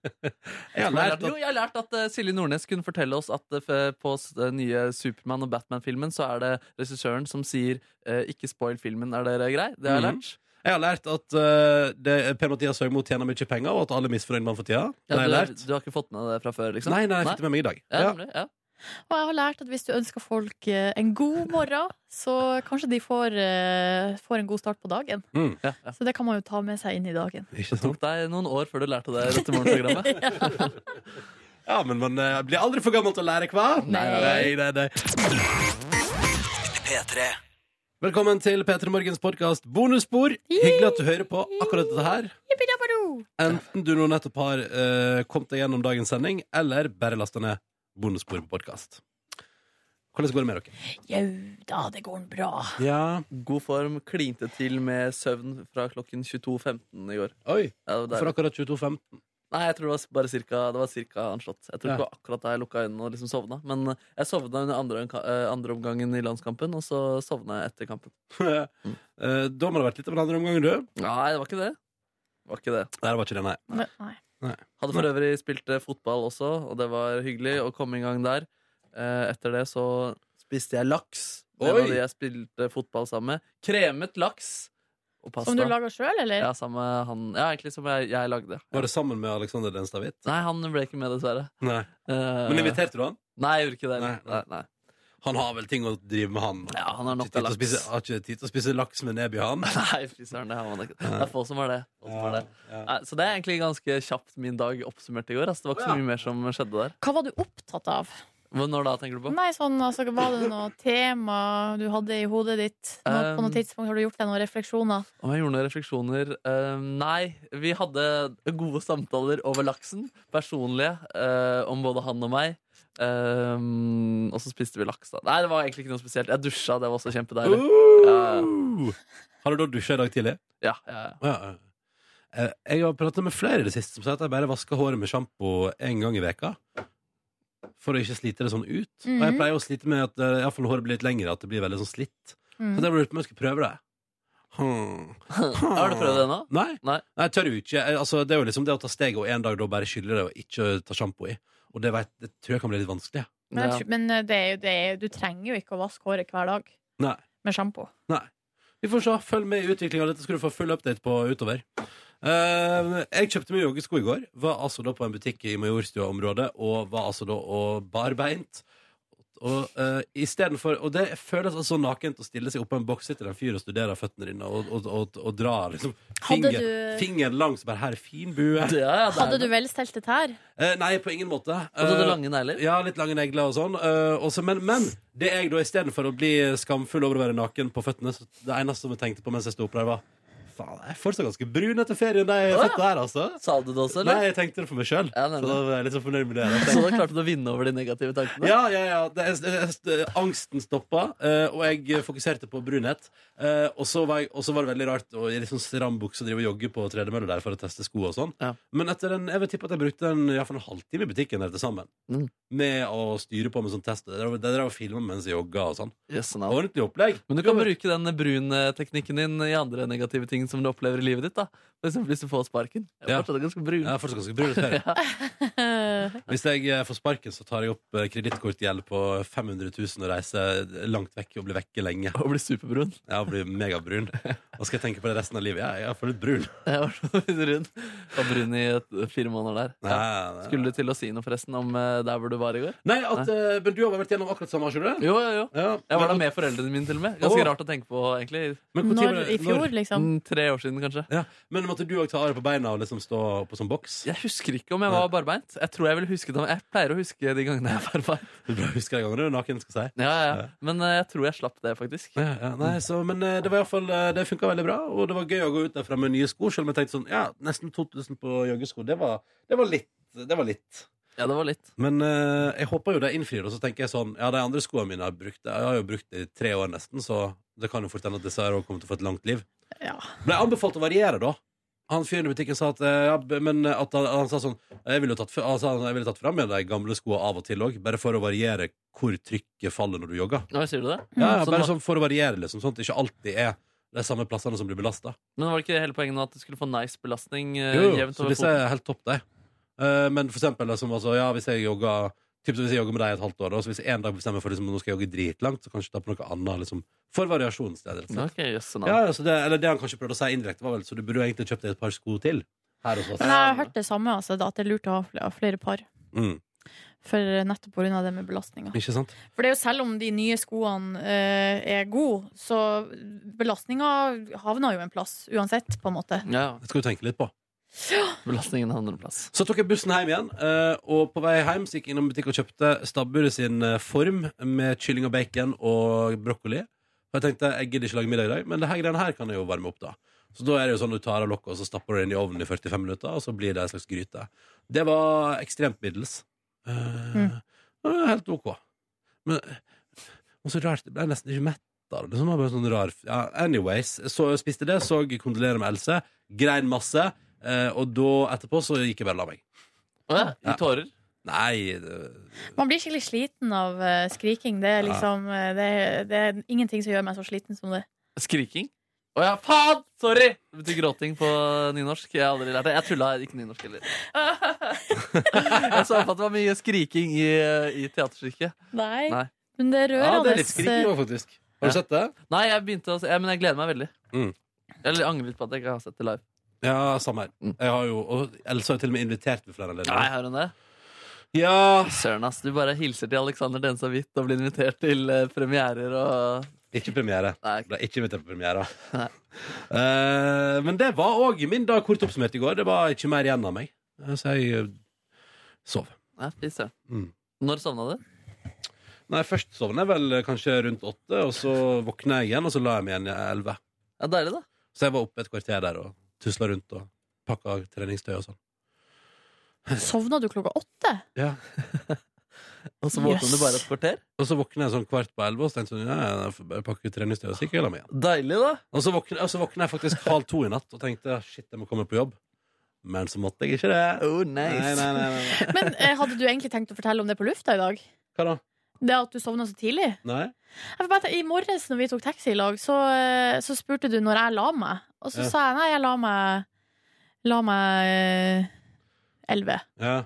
Speaker 2: [laughs] Jeg har
Speaker 4: Som jeg
Speaker 2: lært
Speaker 4: lærte- Jo,
Speaker 2: at
Speaker 4: jeg har lært at eh, Silje Nordnes kunne fortelle oss at eh, f- på s- den nye Supermann og Batman-filmen så er det regissøren som sier eh, 'ikke spoil filmen', er dere grei? Det har jeg
Speaker 2: Mhm.
Speaker 4: lært.
Speaker 2: jeg har lært at eh, det- Per-Mathias Høgmo tjener mye penger, og at alle er misfornøyd med han for tida.
Speaker 4: Ja,
Speaker 2: det har
Speaker 4: du,
Speaker 2: jeg
Speaker 4: har-
Speaker 2: lært.
Speaker 4: du har ikke fått med det fra før, liksom?
Speaker 2: Nei, nei, jeg fikk det med meg i dag.
Speaker 4: Ja,
Speaker 2: Ja.
Speaker 4: nemlig, ja.
Speaker 3: Og jeg har lært at hvis du ønsker folk eh, en god morgen, så kanskje de får, eh, får en god start på dagen.
Speaker 2: Mm.
Speaker 4: Ja, ja.
Speaker 3: Så det kan man jo ta med seg inn i dagen.
Speaker 2: Ikke
Speaker 4: Det
Speaker 2: sant?
Speaker 4: tok deg noen år før du lærte det dette morgenprogrammet.
Speaker 2: Ja, men man eh, blir aldri for gammel til å lære, hva?
Speaker 3: Nei.
Speaker 2: nei, nei, nei. Velkommen til P3 Morgens podkast Bonusspor. Hyggelig at du hører på akkurat dette her. Enten du nå nettopp har eh, kommet deg gjennom dagens sending, eller bare lasta ned bonusspor på podkast. Hvordan går det med dere?
Speaker 3: Jau da, det går bra.
Speaker 2: Ja.
Speaker 4: [laughs] God form, klinte til med søvn fra klokken 22.15 i går.
Speaker 2: Oi,
Speaker 4: Ja, det var
Speaker 2: for akkurat
Speaker 4: deilig.
Speaker 2: 22.15.
Speaker 4: Nei, jeg tror det var s- bare cirka, det var cirka anslått. Jeg tror
Speaker 2: Ja.
Speaker 4: ikke det var akkurat da jeg lukka øynene og liksom sovna. Men eh, jeg sovna under andre, eh, andre omgangen i landskampen, og så sovna jeg etter kampen.
Speaker 2: [laughs] Eh, da må det ha vært litt av en andre omgang, du.
Speaker 4: Nei, det var ikke det. Det Var ikke det.
Speaker 2: Nei, det var ikke det, nei.
Speaker 3: Men- Nei.
Speaker 4: Hadde for øvrig spilt eh, fotball også, og det var hyggelig å komme i gang der. Eh, Etter det så spiste jeg laks. Det
Speaker 2: Oi!
Speaker 4: var de jeg spilte fotball sammen med. Kremet laks og pasta.
Speaker 3: Som du lager sjøl, eller?
Speaker 4: Ja, sammen med han Ja, egentlig som jeg, jeg lagde.
Speaker 2: Var det sammen med Alexander Denstadhvit?
Speaker 4: Nei, han ble ikke med, dessverre.
Speaker 2: Nei.
Speaker 4: Eh,
Speaker 2: Men inviterte du han?
Speaker 4: Nei, jeg gjorde ikke det.
Speaker 2: Nei,
Speaker 4: Nei,
Speaker 2: nei.
Speaker 4: nei.
Speaker 2: Han har vel ting å drive med, han.
Speaker 4: Ja, han har
Speaker 2: Har
Speaker 4: nok
Speaker 2: ikke tid til å
Speaker 4: av laks.
Speaker 2: spise- har ikke tid til å spise laks med nebb i han.
Speaker 4: [laughs] Nei, fy søren, det har man ikke. Det er få som har det. Få som har det. Nei, så det er egentlig ganske kjapt min dag oppsummert i går. Altså, det var ikke så mye mer som skjedde der.
Speaker 3: Hva var du opptatt av?
Speaker 4: Hvor- Når da, tenker du på?
Speaker 3: Nei, sånn, altså, Var det noe tema du hadde i hodet ditt? Nå, på
Speaker 4: Um,
Speaker 3: noe tidspunkt Har du gjort deg noen refleksjoner?
Speaker 4: Om jeg gjorde noen refleksjoner? Eh, nei, vi hadde gode samtaler over laksen. Personlige. eh, om både han og meg. Eh, og så spiste vi laks, da. Nei, det var egentlig ikke noe spesielt. Jeg dusja, det var også kjempedeilig. Ja,
Speaker 2: Uh. Har du da dusja i dag tidlig?
Speaker 4: Ja, ja, ja.
Speaker 2: Ja, ja. Eh, Jeg har pratet med flere i det siste som sier at jeg bare vasker håret med sjampo en gang i veka For å ikke slite det sånn ut. Og jeg
Speaker 3: Mhm.
Speaker 2: pleier å slite med at eh, i hvert fall håret blir litt lengre, at det blir veldig sånn slitt. Så
Speaker 3: Mm.
Speaker 2: det har jeg lurt på om jeg skulle prøve det. Hmm.
Speaker 4: Har du prøvd
Speaker 2: [laughs]
Speaker 4: det nå?
Speaker 2: Nei.
Speaker 4: Nei.
Speaker 2: jeg tør jo ikke. Jeg- Altså, det er jo liksom det å ta steget og en dag da bare skylle det og ikke ta sjampo i. Og det, vet, det tror jeg kan bli litt vanskelig.
Speaker 3: Men,
Speaker 4: Ja.
Speaker 3: jeg, tr- men eh, det er jo, det er, jo- du trenger jo ikke å vaske håret hver dag
Speaker 2: Nei.
Speaker 3: med sjampo.
Speaker 2: Vi får se. Følg med i utviklinga. Dette skal du få full update på utover. Eh, jeg kjøpte meg joggesko i går. Var altså da på en butikk i Majorstua-området og var altså da og barbeint. Og, uh, istedenfor, og det føles altså så nakent å stille seg oppå en boks til en fyr og studere føttene dine og, og, og, og dra liksom
Speaker 3: Hadde
Speaker 2: finger,
Speaker 3: du,
Speaker 2: fingeren langs. Bare her, fin bue.
Speaker 4: Det, ja, det er
Speaker 3: hadde
Speaker 4: det.
Speaker 3: du velstelte tær?
Speaker 2: Eh, nei, på ingen måte.
Speaker 4: Hadde du
Speaker 2: Eh,
Speaker 4: lange negler?
Speaker 2: ja, litt lange negler og sånn. eh, også, men, men det jeg da istedenfor å bli skamfull over å være naken på føttene, så det eneste som jeg tenkte på mens jeg sto opp der, var Faen, jeg er fortsatt ganske brun etter ferien, de
Speaker 4: Å, ja.
Speaker 2: føttene her, altså.
Speaker 4: Sa du det også, eller?
Speaker 2: Nei, jeg tenkte det for meg sjøl.
Speaker 4: Ja,
Speaker 2: så
Speaker 4: nemlig.
Speaker 2: da var jeg litt så fornøyd med det. da.
Speaker 4: Så da klarte du å vinne over de negative tankene?
Speaker 2: Ja, ja, ja. Det, jeg, jeg, jeg, angsten stoppa, eh, og jeg fokuserte på brunhet. Eh, og så var, jeg- og så var det veldig rart å i litt sånn stram bukse drive og jogge på tredemølle der for å teste sko og sånn.
Speaker 4: Ja.
Speaker 2: Men etter en, jeg vil tippe at jeg brukte en, i hvert fall en halvtime i butikken der til sammen
Speaker 4: Mm.
Speaker 2: med å styre på med sånn test. Det drev det drev og filma mens jeg jogga og sånn.
Speaker 4: Yes, no.
Speaker 2: Ordentlig opplegg.
Speaker 4: Men du kan bruke den brun-teknikken din i andre negative ting som du opplever i livet ditt. da For For eksempel hvis du får sparken. Jeg er
Speaker 2: Ja.
Speaker 4: fortsatt ganske brun.
Speaker 2: Jeg er fortsatt ganske brun, det ser
Speaker 4: [laughs]
Speaker 2: jeg.
Speaker 3: [laughs]
Speaker 2: Hvis jeg eh, får sparken, så tar jeg opp eh, kredittkortgjeld på 500 000 og reiser langt vekk og blir vekke lenge.
Speaker 4: Og blir superbrun.
Speaker 2: Ja, og blir megabrun. Og skal jeg tenke på det resten av livet. Ja, jeg er for litt brun.
Speaker 4: Jeg var så vidt brun. Var brun i et- fire måneder der. Ja.
Speaker 2: Nei, nei, nei.
Speaker 4: Skulle du til å si noe forresten om eh, der hvor du var i går?
Speaker 2: Nei, at, eh, men du har vært gjennom akkurat samme, har ikke du? det?
Speaker 4: Jo, jo, jo. Jeg var der med foreldrene mine til og med. Ganske
Speaker 2: Åh.
Speaker 4: rart å tenke på, egentlig.
Speaker 2: Men hvor tid Når- var det- i fjor, når-
Speaker 3: liksom?
Speaker 4: Mm, Tre år siden, kanskje.
Speaker 2: Ja, Men måtte du òg ta arret på beina og liksom stå på sånn boks?
Speaker 4: Jeg husker ikke om jeg var barbeint. Jeg tror jeg ville husket om Jeg pleier å huske de gangene jeg var barbeint.
Speaker 2: Du bør huske de gangene du er naken, skal jeg si.
Speaker 4: Ja, ja. Men eh, jeg tror jeg slapp det, faktisk.
Speaker 2: Ja, ja, nei, så, men eh, det var i hvert fall, eh, det funka veldig bra, og det var gøy å gå ut derfra med nye sko. Selv om jeg tenkte sånn, ja, nesten 2000 på joggesko, det var, det var litt. Det var litt.
Speaker 4: Ja, det var litt.
Speaker 2: Men eh, jeg håper jo det innfrir, og så tenker jeg sånn Ja, de andre skoene mine har jeg brukt, jeg har jo brukt det i tre år nesten, så det kan jo fort hende at disse her også kommer til å få et langt liv.
Speaker 3: Ja.
Speaker 2: Ble anbefalt å variere, da. Han fyren i butikken sa at, eh, ja, b- men at han, han sa sånn Jeg ville jo tatt, f- han sa, jeg ville tatt fram igjen de gamle skoene av og til òg, bare for å variere hvor trykket faller når du jogger.
Speaker 4: Nå, sier du det?
Speaker 2: Ja, ja,
Speaker 4: Mm. Så
Speaker 2: bare
Speaker 4: nå-
Speaker 2: sånn for å variere, liksom, sånn at det ikke alltid er de samme plassene som blir belasta.
Speaker 4: Men var det ikke hele poenget nå at du skulle få nice belastning eh,
Speaker 2: Jo, jo,
Speaker 4: jevnt
Speaker 2: så
Speaker 4: over
Speaker 2: disse er
Speaker 4: foten?
Speaker 2: helt topp, de. Eh, men for eksempel, liksom, altså, ja, hvis jeg jogger typ, Hvis jeg jogger med deg et halvt år, da, så hvis jeg en dag bestemmer for liksom, nå skal jeg jogge dritlangt, så kanskje ta på noe annet. Liksom, for variasjonssteder. rett og slett.
Speaker 4: Ok, jøsse navn.
Speaker 2: Ja, ja, så det, eller det han kanskje prøvde å si indirekte, var vel så du burde jo egentlig kjøpt deg et par sko til. Her hos oss.
Speaker 3: Men jeg har hørt det samme, altså, da, at det er lurt å ha fl- ha flere par.
Speaker 2: Mm.
Speaker 3: For nettopp på grunn av det med belastninga.
Speaker 2: Ikke sant?
Speaker 3: For det er jo selv om de nye skoene eh, er gode, så belastninga havner jo en plass uansett, på en måte.
Speaker 4: Ja,
Speaker 2: Det skal du tenke litt på.
Speaker 4: belastningen havner en plass.
Speaker 2: Så tok jeg bussen hjem igjen, eh, og på vei hjem så gikk jeg innom butikk og kjøpte stabburet sin eh, form med kylling og bacon og brokkoli. Og jeg tenkte jeg gidder ikke lage middag i dag, men det her greiene her kan jeg jo varme opp, da. Så da er det jo sånn du tar av lokket og så stapper du det inn i ovnen i 45 minutter, og så blir det en slags gryte. Det var ekstremt middels. Eh, det var Helt OK. Men og så rart, det ble jeg nesten ikke mett. av det. Det var bare sånn rar ja, Anyways, så spiste det, så kondolerer med Else, grein masse, eh, og da etterpå så gikk jeg bare og la meg.
Speaker 4: Å ja, I
Speaker 2: Ja.
Speaker 4: tårer?
Speaker 2: Nei det,
Speaker 3: Man blir skikkelig sliten av eh, skriking. Det er
Speaker 2: Ja.
Speaker 3: liksom eh, det, det er ingenting som gjør meg så sliten som det.
Speaker 4: Skriking? Å ja, faen! Sorry! Det betyr gråting på nynorsk. Jeg har aldri lært det. Jeg tulla ikke nynorsk
Speaker 2: [laughs]
Speaker 4: heller. Jeg så på at det var mye skriking i, i teaterstykket.
Speaker 3: [laughs] Nei.
Speaker 4: Nei.
Speaker 3: Men det er rørende.
Speaker 2: òg, faktisk. Har
Speaker 4: eh, Ja.
Speaker 2: du sett det?
Speaker 4: Nei, jeg begynte å se, ja, men jeg gleder meg veldig.
Speaker 2: Mm.
Speaker 4: Jeg angrer litt på at jeg ikke har sett det live.
Speaker 2: Ja, samme her.
Speaker 4: Mm.
Speaker 2: Jeg har jo, og Else har jo til og med invitert ved flere
Speaker 4: Nei,
Speaker 2: anledninger.
Speaker 4: har hun det?
Speaker 2: Ja,
Speaker 4: Søren, ass. Du bare hilser til Alexander Densa Hvitt og blir invitert til eh, premierer og
Speaker 2: ikke premiere.
Speaker 4: Nei,
Speaker 2: Ble ikke invitert på premiere.
Speaker 4: Nei.
Speaker 2: Eh, men det var òg min dag kort oppsummert i går. Det var ikke mer igjen av meg. Eh, Så jeg eh, sov.
Speaker 4: Nei, fy søren.
Speaker 2: Mm.
Speaker 4: Når sovna du?
Speaker 2: Nei, Først sovna jeg vel eh, kanskje rundt åtte, og så våkna jeg igjen, og så la jeg meg igjen i elleve.
Speaker 4: Ja, Deilig, da.
Speaker 2: Så jeg var oppe et kvarter der og tusla rundt og pakka treningstøy og sånn.
Speaker 3: Sovna Eh, du klokka åtte?
Speaker 2: Ja.
Speaker 4: Og så våkna
Speaker 3: Yes.
Speaker 4: du bare et kvarter?
Speaker 2: Og så våkna jeg sånn kvart på elleve og så tenkte jeg sånn, ja, jeg får bare pakke treningstøy og sikre meg igjen.
Speaker 4: Deilig, da.
Speaker 2: Og så våkna, og så våkna jeg faktisk halv to i natt og tenkte shit, jeg må komme på jobb. Men så måtte jeg ikke det.
Speaker 4: Oh,
Speaker 2: Nei, nei, nei, nei, nei.
Speaker 3: Men eh, hadde du egentlig tenkt å fortelle om det på lufta i dag?
Speaker 2: Hva da?
Speaker 3: Det at du sovna så tidlig?
Speaker 2: Nei?
Speaker 3: Jeg får bare ta- I morges når vi tok taxi i lag, så, eh, så spurte du når jeg la meg. Og så
Speaker 2: Ja.
Speaker 3: sa jeg nei, jeg la meg La meg eh, elleve.
Speaker 2: Ja.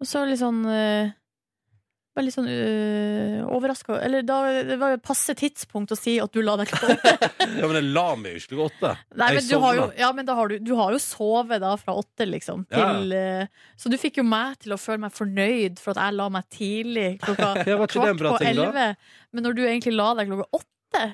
Speaker 3: Og så litt sånn eh, Bare litt sånn uh, overraska Eller da, det var jo et passe tidspunkt å si at du la deg klokka
Speaker 2: [laughs]
Speaker 3: åtte.
Speaker 2: ja, men jeg la meg jo ikke klokka åtte.
Speaker 3: Nei,
Speaker 2: Jeg
Speaker 3: men du har, jo,
Speaker 2: sovna.
Speaker 3: ja, men da har du, du har jo sovet da fra åtte, liksom.
Speaker 2: Ja.
Speaker 3: Til, eh, så du fikk jo meg til å føle meg fornøyd for at jeg la meg tidlig klokka
Speaker 2: [laughs] Ja, var ikke det en
Speaker 3: kvart
Speaker 2: bra
Speaker 3: på
Speaker 2: ting, da?
Speaker 3: elleve. Men når du egentlig la deg klokka åtte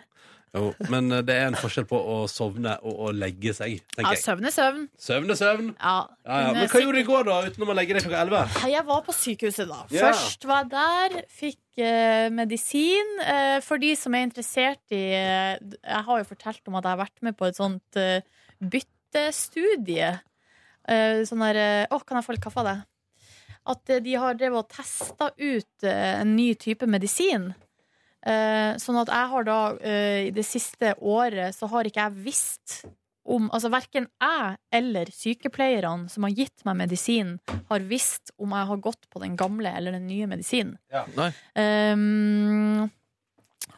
Speaker 2: Jo, men eh, det er en forskjell på å sovne og å legge seg,
Speaker 3: Ja,
Speaker 2: tenker jeg.
Speaker 3: søvn er søvn.
Speaker 2: Søvn er søvn.
Speaker 3: Ja.
Speaker 2: Ja, ja. Men
Speaker 3: jeg,
Speaker 2: hva gjorde du i går, da, utenom å legge deg klokka elleve?
Speaker 3: jeg var på sykehuset, da.
Speaker 2: Ja.
Speaker 3: Først var jeg der, fikk eh, medisin. Eh, for de som er interessert i eh, Jeg har jo fortalt om at jeg har vært med på et sånt eh, byttestudie. Eh, sånn der eh, Å, kan jeg få litt kaffe av deg? at eh, de har drevet og testa ut eh, en ny type medisin. Eh, sånn at jeg har da eh, i det siste året så har ikke jeg visst om Altså verken jeg eller sykepleierne som har gitt meg medisin, har visst om jeg har gått på den gamle eller den nye medisinen.
Speaker 2: Ja.
Speaker 4: Nei.
Speaker 3: Ehm,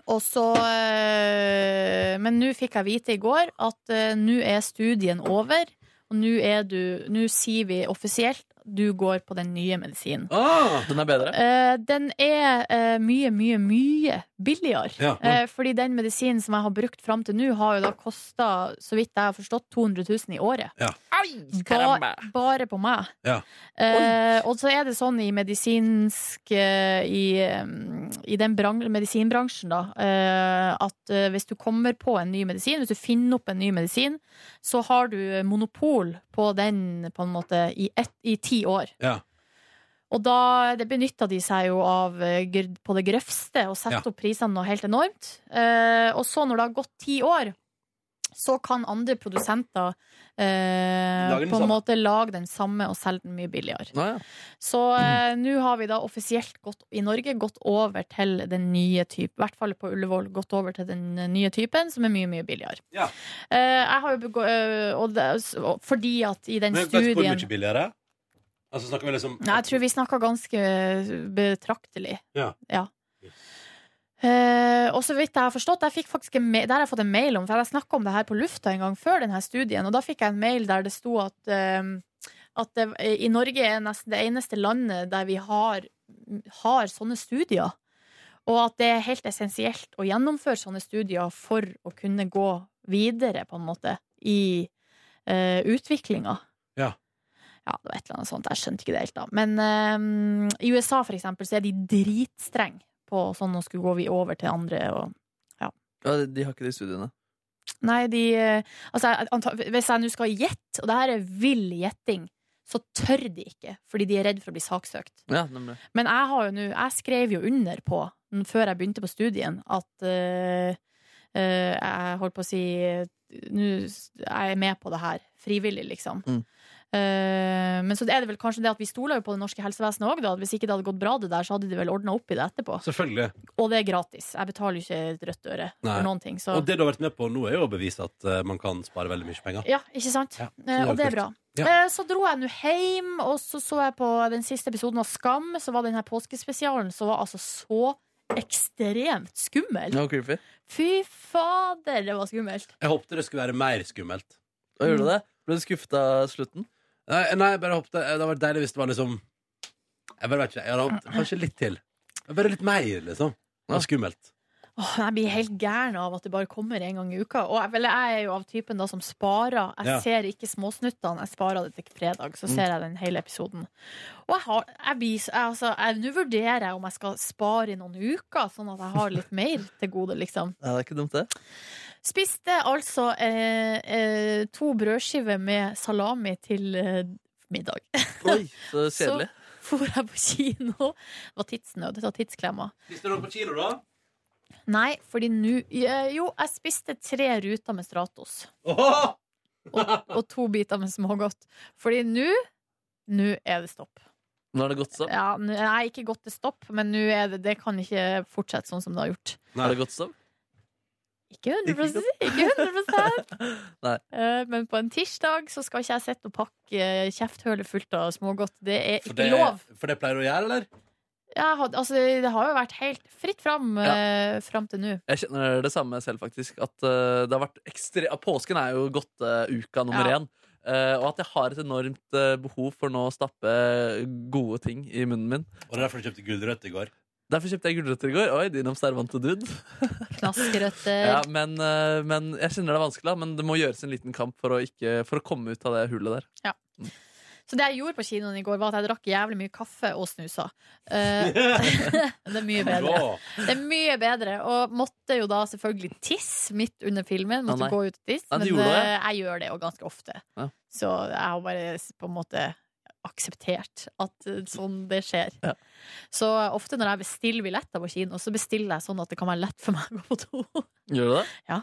Speaker 3: og så eh, Men nå fikk jeg vite i går at eh, nå er studien over. Og nå er du Nå sier vi offisielt du går på den nye medisinen.
Speaker 4: Den er bedre.
Speaker 3: Eh, den er eh, mye, mye, mye billigere.
Speaker 4: Ja.
Speaker 3: Eh, fordi den medisinen som jeg har brukt fram til nå, har jo da kosta, så vidt jeg har forstått, 200 000 i året.
Speaker 2: Ja.
Speaker 3: Ba bare på meg.
Speaker 2: Ja.
Speaker 3: Eh, og så er det sånn i medisinsk eh, I, um, i den bran- medisinbransjen, da, eh, at eh, hvis du kommer på en ny medisin, hvis du finner opp en ny medisin, så har du monopol på den på en måte i, ett, i ti år.
Speaker 2: Ja.
Speaker 3: Og da det benytta de seg jo av eh, gr- på det grøvste og
Speaker 2: Ja.
Speaker 3: setter opp prisene noe helt enormt. Eh, og så, når det har gått ti år, så kan andre produsenter eh,
Speaker 11: Lage den
Speaker 3: på en
Speaker 11: samme.
Speaker 3: måte lage den samme og selge den mye billigere. Så eh, nå har vi da offisielt gått, i Norge gått over til den nye typen, i hvert fall på Ullevål, gått over til den eh, nye typen, som er mye, mye billigere.
Speaker 2: Ja.
Speaker 3: Eh, jeg har jo begå... eh, og det, og fordi at i den
Speaker 2: Men vet du hvor
Speaker 3: studien
Speaker 2: mye billigere? Altså snakker vi liksom
Speaker 3: Nei, jeg tror vi snakka ganske eh, betraktelig.
Speaker 2: Ja.
Speaker 3: Ja. Eh, og så vidt jeg har forstått, jeg fikk faktisk en ma- det har jeg fått en mail om, for jeg snakka om det her på lufta en gang før denne studien, og da fikk jeg en mail der det sto at, eh, at det, i Norge er nesten det eneste landet der vi har, har sånne studier. Og at det er helt essensielt å gjennomføre sånne studier for å kunne gå videre, på en måte, i uh, utviklinga.
Speaker 2: Ja.
Speaker 3: Ja, det var et eller annet sånt. Jeg skjønte ikke det helt, da. Men ehm, i USA, for eksempel, så er de dritstrenge på sånn å skulle gå vi over til andre og
Speaker 4: Ja, de har ikke det i studiene.
Speaker 3: Nei, de eh, Altså, jeg- anta- hvis jeg nå skal gjette, og det her er vill gjetting, så tør de ikke, fordi de er redd for å bli saksøkt.
Speaker 4: Ja, nemlig.
Speaker 3: Men jeg har jo nå Jeg skrev jo under på, n- før jeg begynte på studien, at eh, eh, jeg holdt på å si eh, Nå s- jeg er med på det her. Frivillig, liksom.
Speaker 4: Mm.
Speaker 3: Eh, men så er det vel kanskje det at vi stoler jo på det norske helsevesenet òg, da. at Hvis ikke det hadde gått bra, det der, så hadde de vel ordna opp i det etterpå.
Speaker 2: Selvfølgelig.
Speaker 3: Og det er gratis. Jeg betaler jo ikke et rødt øre
Speaker 2: Nei.
Speaker 3: for noen ting. Så.
Speaker 2: Og det du har vært med på nå, er jo å bevise at eh, man kan spare veldig mye penger.
Speaker 3: Ja, ikke sant?
Speaker 2: Ja, så
Speaker 3: Eh,
Speaker 2: det er
Speaker 3: og det er bra.
Speaker 2: kult. Ja.
Speaker 3: Eh, Så dro jeg nå hjem, og så så jeg på den siste episoden av Skam, så var den her påskespesialen, som var altså så ekstremt skummel.
Speaker 4: No creepy.
Speaker 3: Fy fader, det var skummelt.
Speaker 2: Jeg håpte det skulle være mer skummelt.
Speaker 4: Og gjorde du det? Ble du skuffet av slutten?
Speaker 2: Nei, nei, jeg bare håpte eh, Det hadde vært deilig hvis det var liksom Jeg bare vet ikke. Jeg hadde håpet kanskje litt til. Bare litt mer, liksom. Det var skummelt.
Speaker 3: Åh, jeg blir helt gæren av at det bare kommer en gang i uka. Og jeg, vel, jeg er jo av typen da som sparer. Jeg
Speaker 2: Ja.
Speaker 3: ser ikke småsnuttene, jeg sparer det til fredag. Så
Speaker 11: Mm.
Speaker 3: ser jeg den hele episoden. Og jeg har, jeg blir, så- jeg, altså, jeg- nå vurderer jeg om jeg skal spare i noen uker, sånn at jeg har litt mer til gode, liksom.
Speaker 4: Nei, det er ikke dumt, det.
Speaker 3: Spiste altså eh, eh, to brødskiver med salami til eh, middag. [laughs]
Speaker 4: Oi, [laughs] så kjedelig.
Speaker 3: Så for jeg på kino. Det var tidsnød. Det var tidsklemma.
Speaker 2: Spiste du noe på kino, da?
Speaker 3: Nei, fordi nå eh, Jo, jeg spiste tre ruter med Stratos.
Speaker 2: Åhå!
Speaker 3: og, og to biter med smågodt. Fordi nå Nå er det stopp.
Speaker 4: Nå har det gått stopp.
Speaker 3: Ja, nå- nei, ikke godt til stopp, men nå er det Det kan ikke fortsette sånn som det har gjort.
Speaker 4: Har det gått stopp?
Speaker 3: Ikke 100, ikke 100
Speaker 4: Nei.
Speaker 3: Eh, Men på en tirsdag så skal ikke jeg sitte og pakke eh, kjefthølet fullt av smågodt. Det er
Speaker 2: For
Speaker 3: ikke
Speaker 2: det,
Speaker 3: lov.
Speaker 2: for det pleier du å gjøre, eller?
Speaker 3: Jeg had, altså, det har jo vært helt fritt fram eh, fram til nå.
Speaker 4: Jeg kjenner det samme selv, faktisk. At eh, det har vært ekstre... at Påsken er jo godteuka nummer
Speaker 3: Ja.
Speaker 4: én. Eh, og at jeg har et enormt eh, behov for nå å stappe eh, gode ting i munnen min.
Speaker 2: Og derfor du kjøpte gulrøtter i går?
Speaker 4: Derfor kjøpte jeg gulrøtter i går. Oi, din observante dude.
Speaker 3: Knaskrøtter.
Speaker 4: Ja, men, eh, men jeg kjenner det er vanskelig, da, men det må gjøres en liten kamp for å, ikke, for å komme ut av det hullet der.
Speaker 3: Ja. Så det jeg gjorde på kinoen i går, var at jeg drakk jævlig mye kaffe og snusa. Eh, [laughs] det er mye bedre.
Speaker 4: Bra.
Speaker 3: Det er mye bedre. Og måtte jo da selvfølgelig tisse midt under filmen.
Speaker 4: Ja,
Speaker 3: Måtte
Speaker 4: nei.
Speaker 3: gå ut og tisse.
Speaker 4: Ja, du
Speaker 3: Men
Speaker 4: gjorde
Speaker 3: eh,
Speaker 4: det?
Speaker 3: jeg gjør det jo ganske ofte.
Speaker 4: Ja.
Speaker 3: Så jeg har bare s- på en måte akseptert at eh, sånn det skjer. Så ofte når jeg bestiller billetter på kino, så bestiller jeg sånn at det kan være lett for meg å gå på do.
Speaker 4: Gjør du det?
Speaker 3: Ja.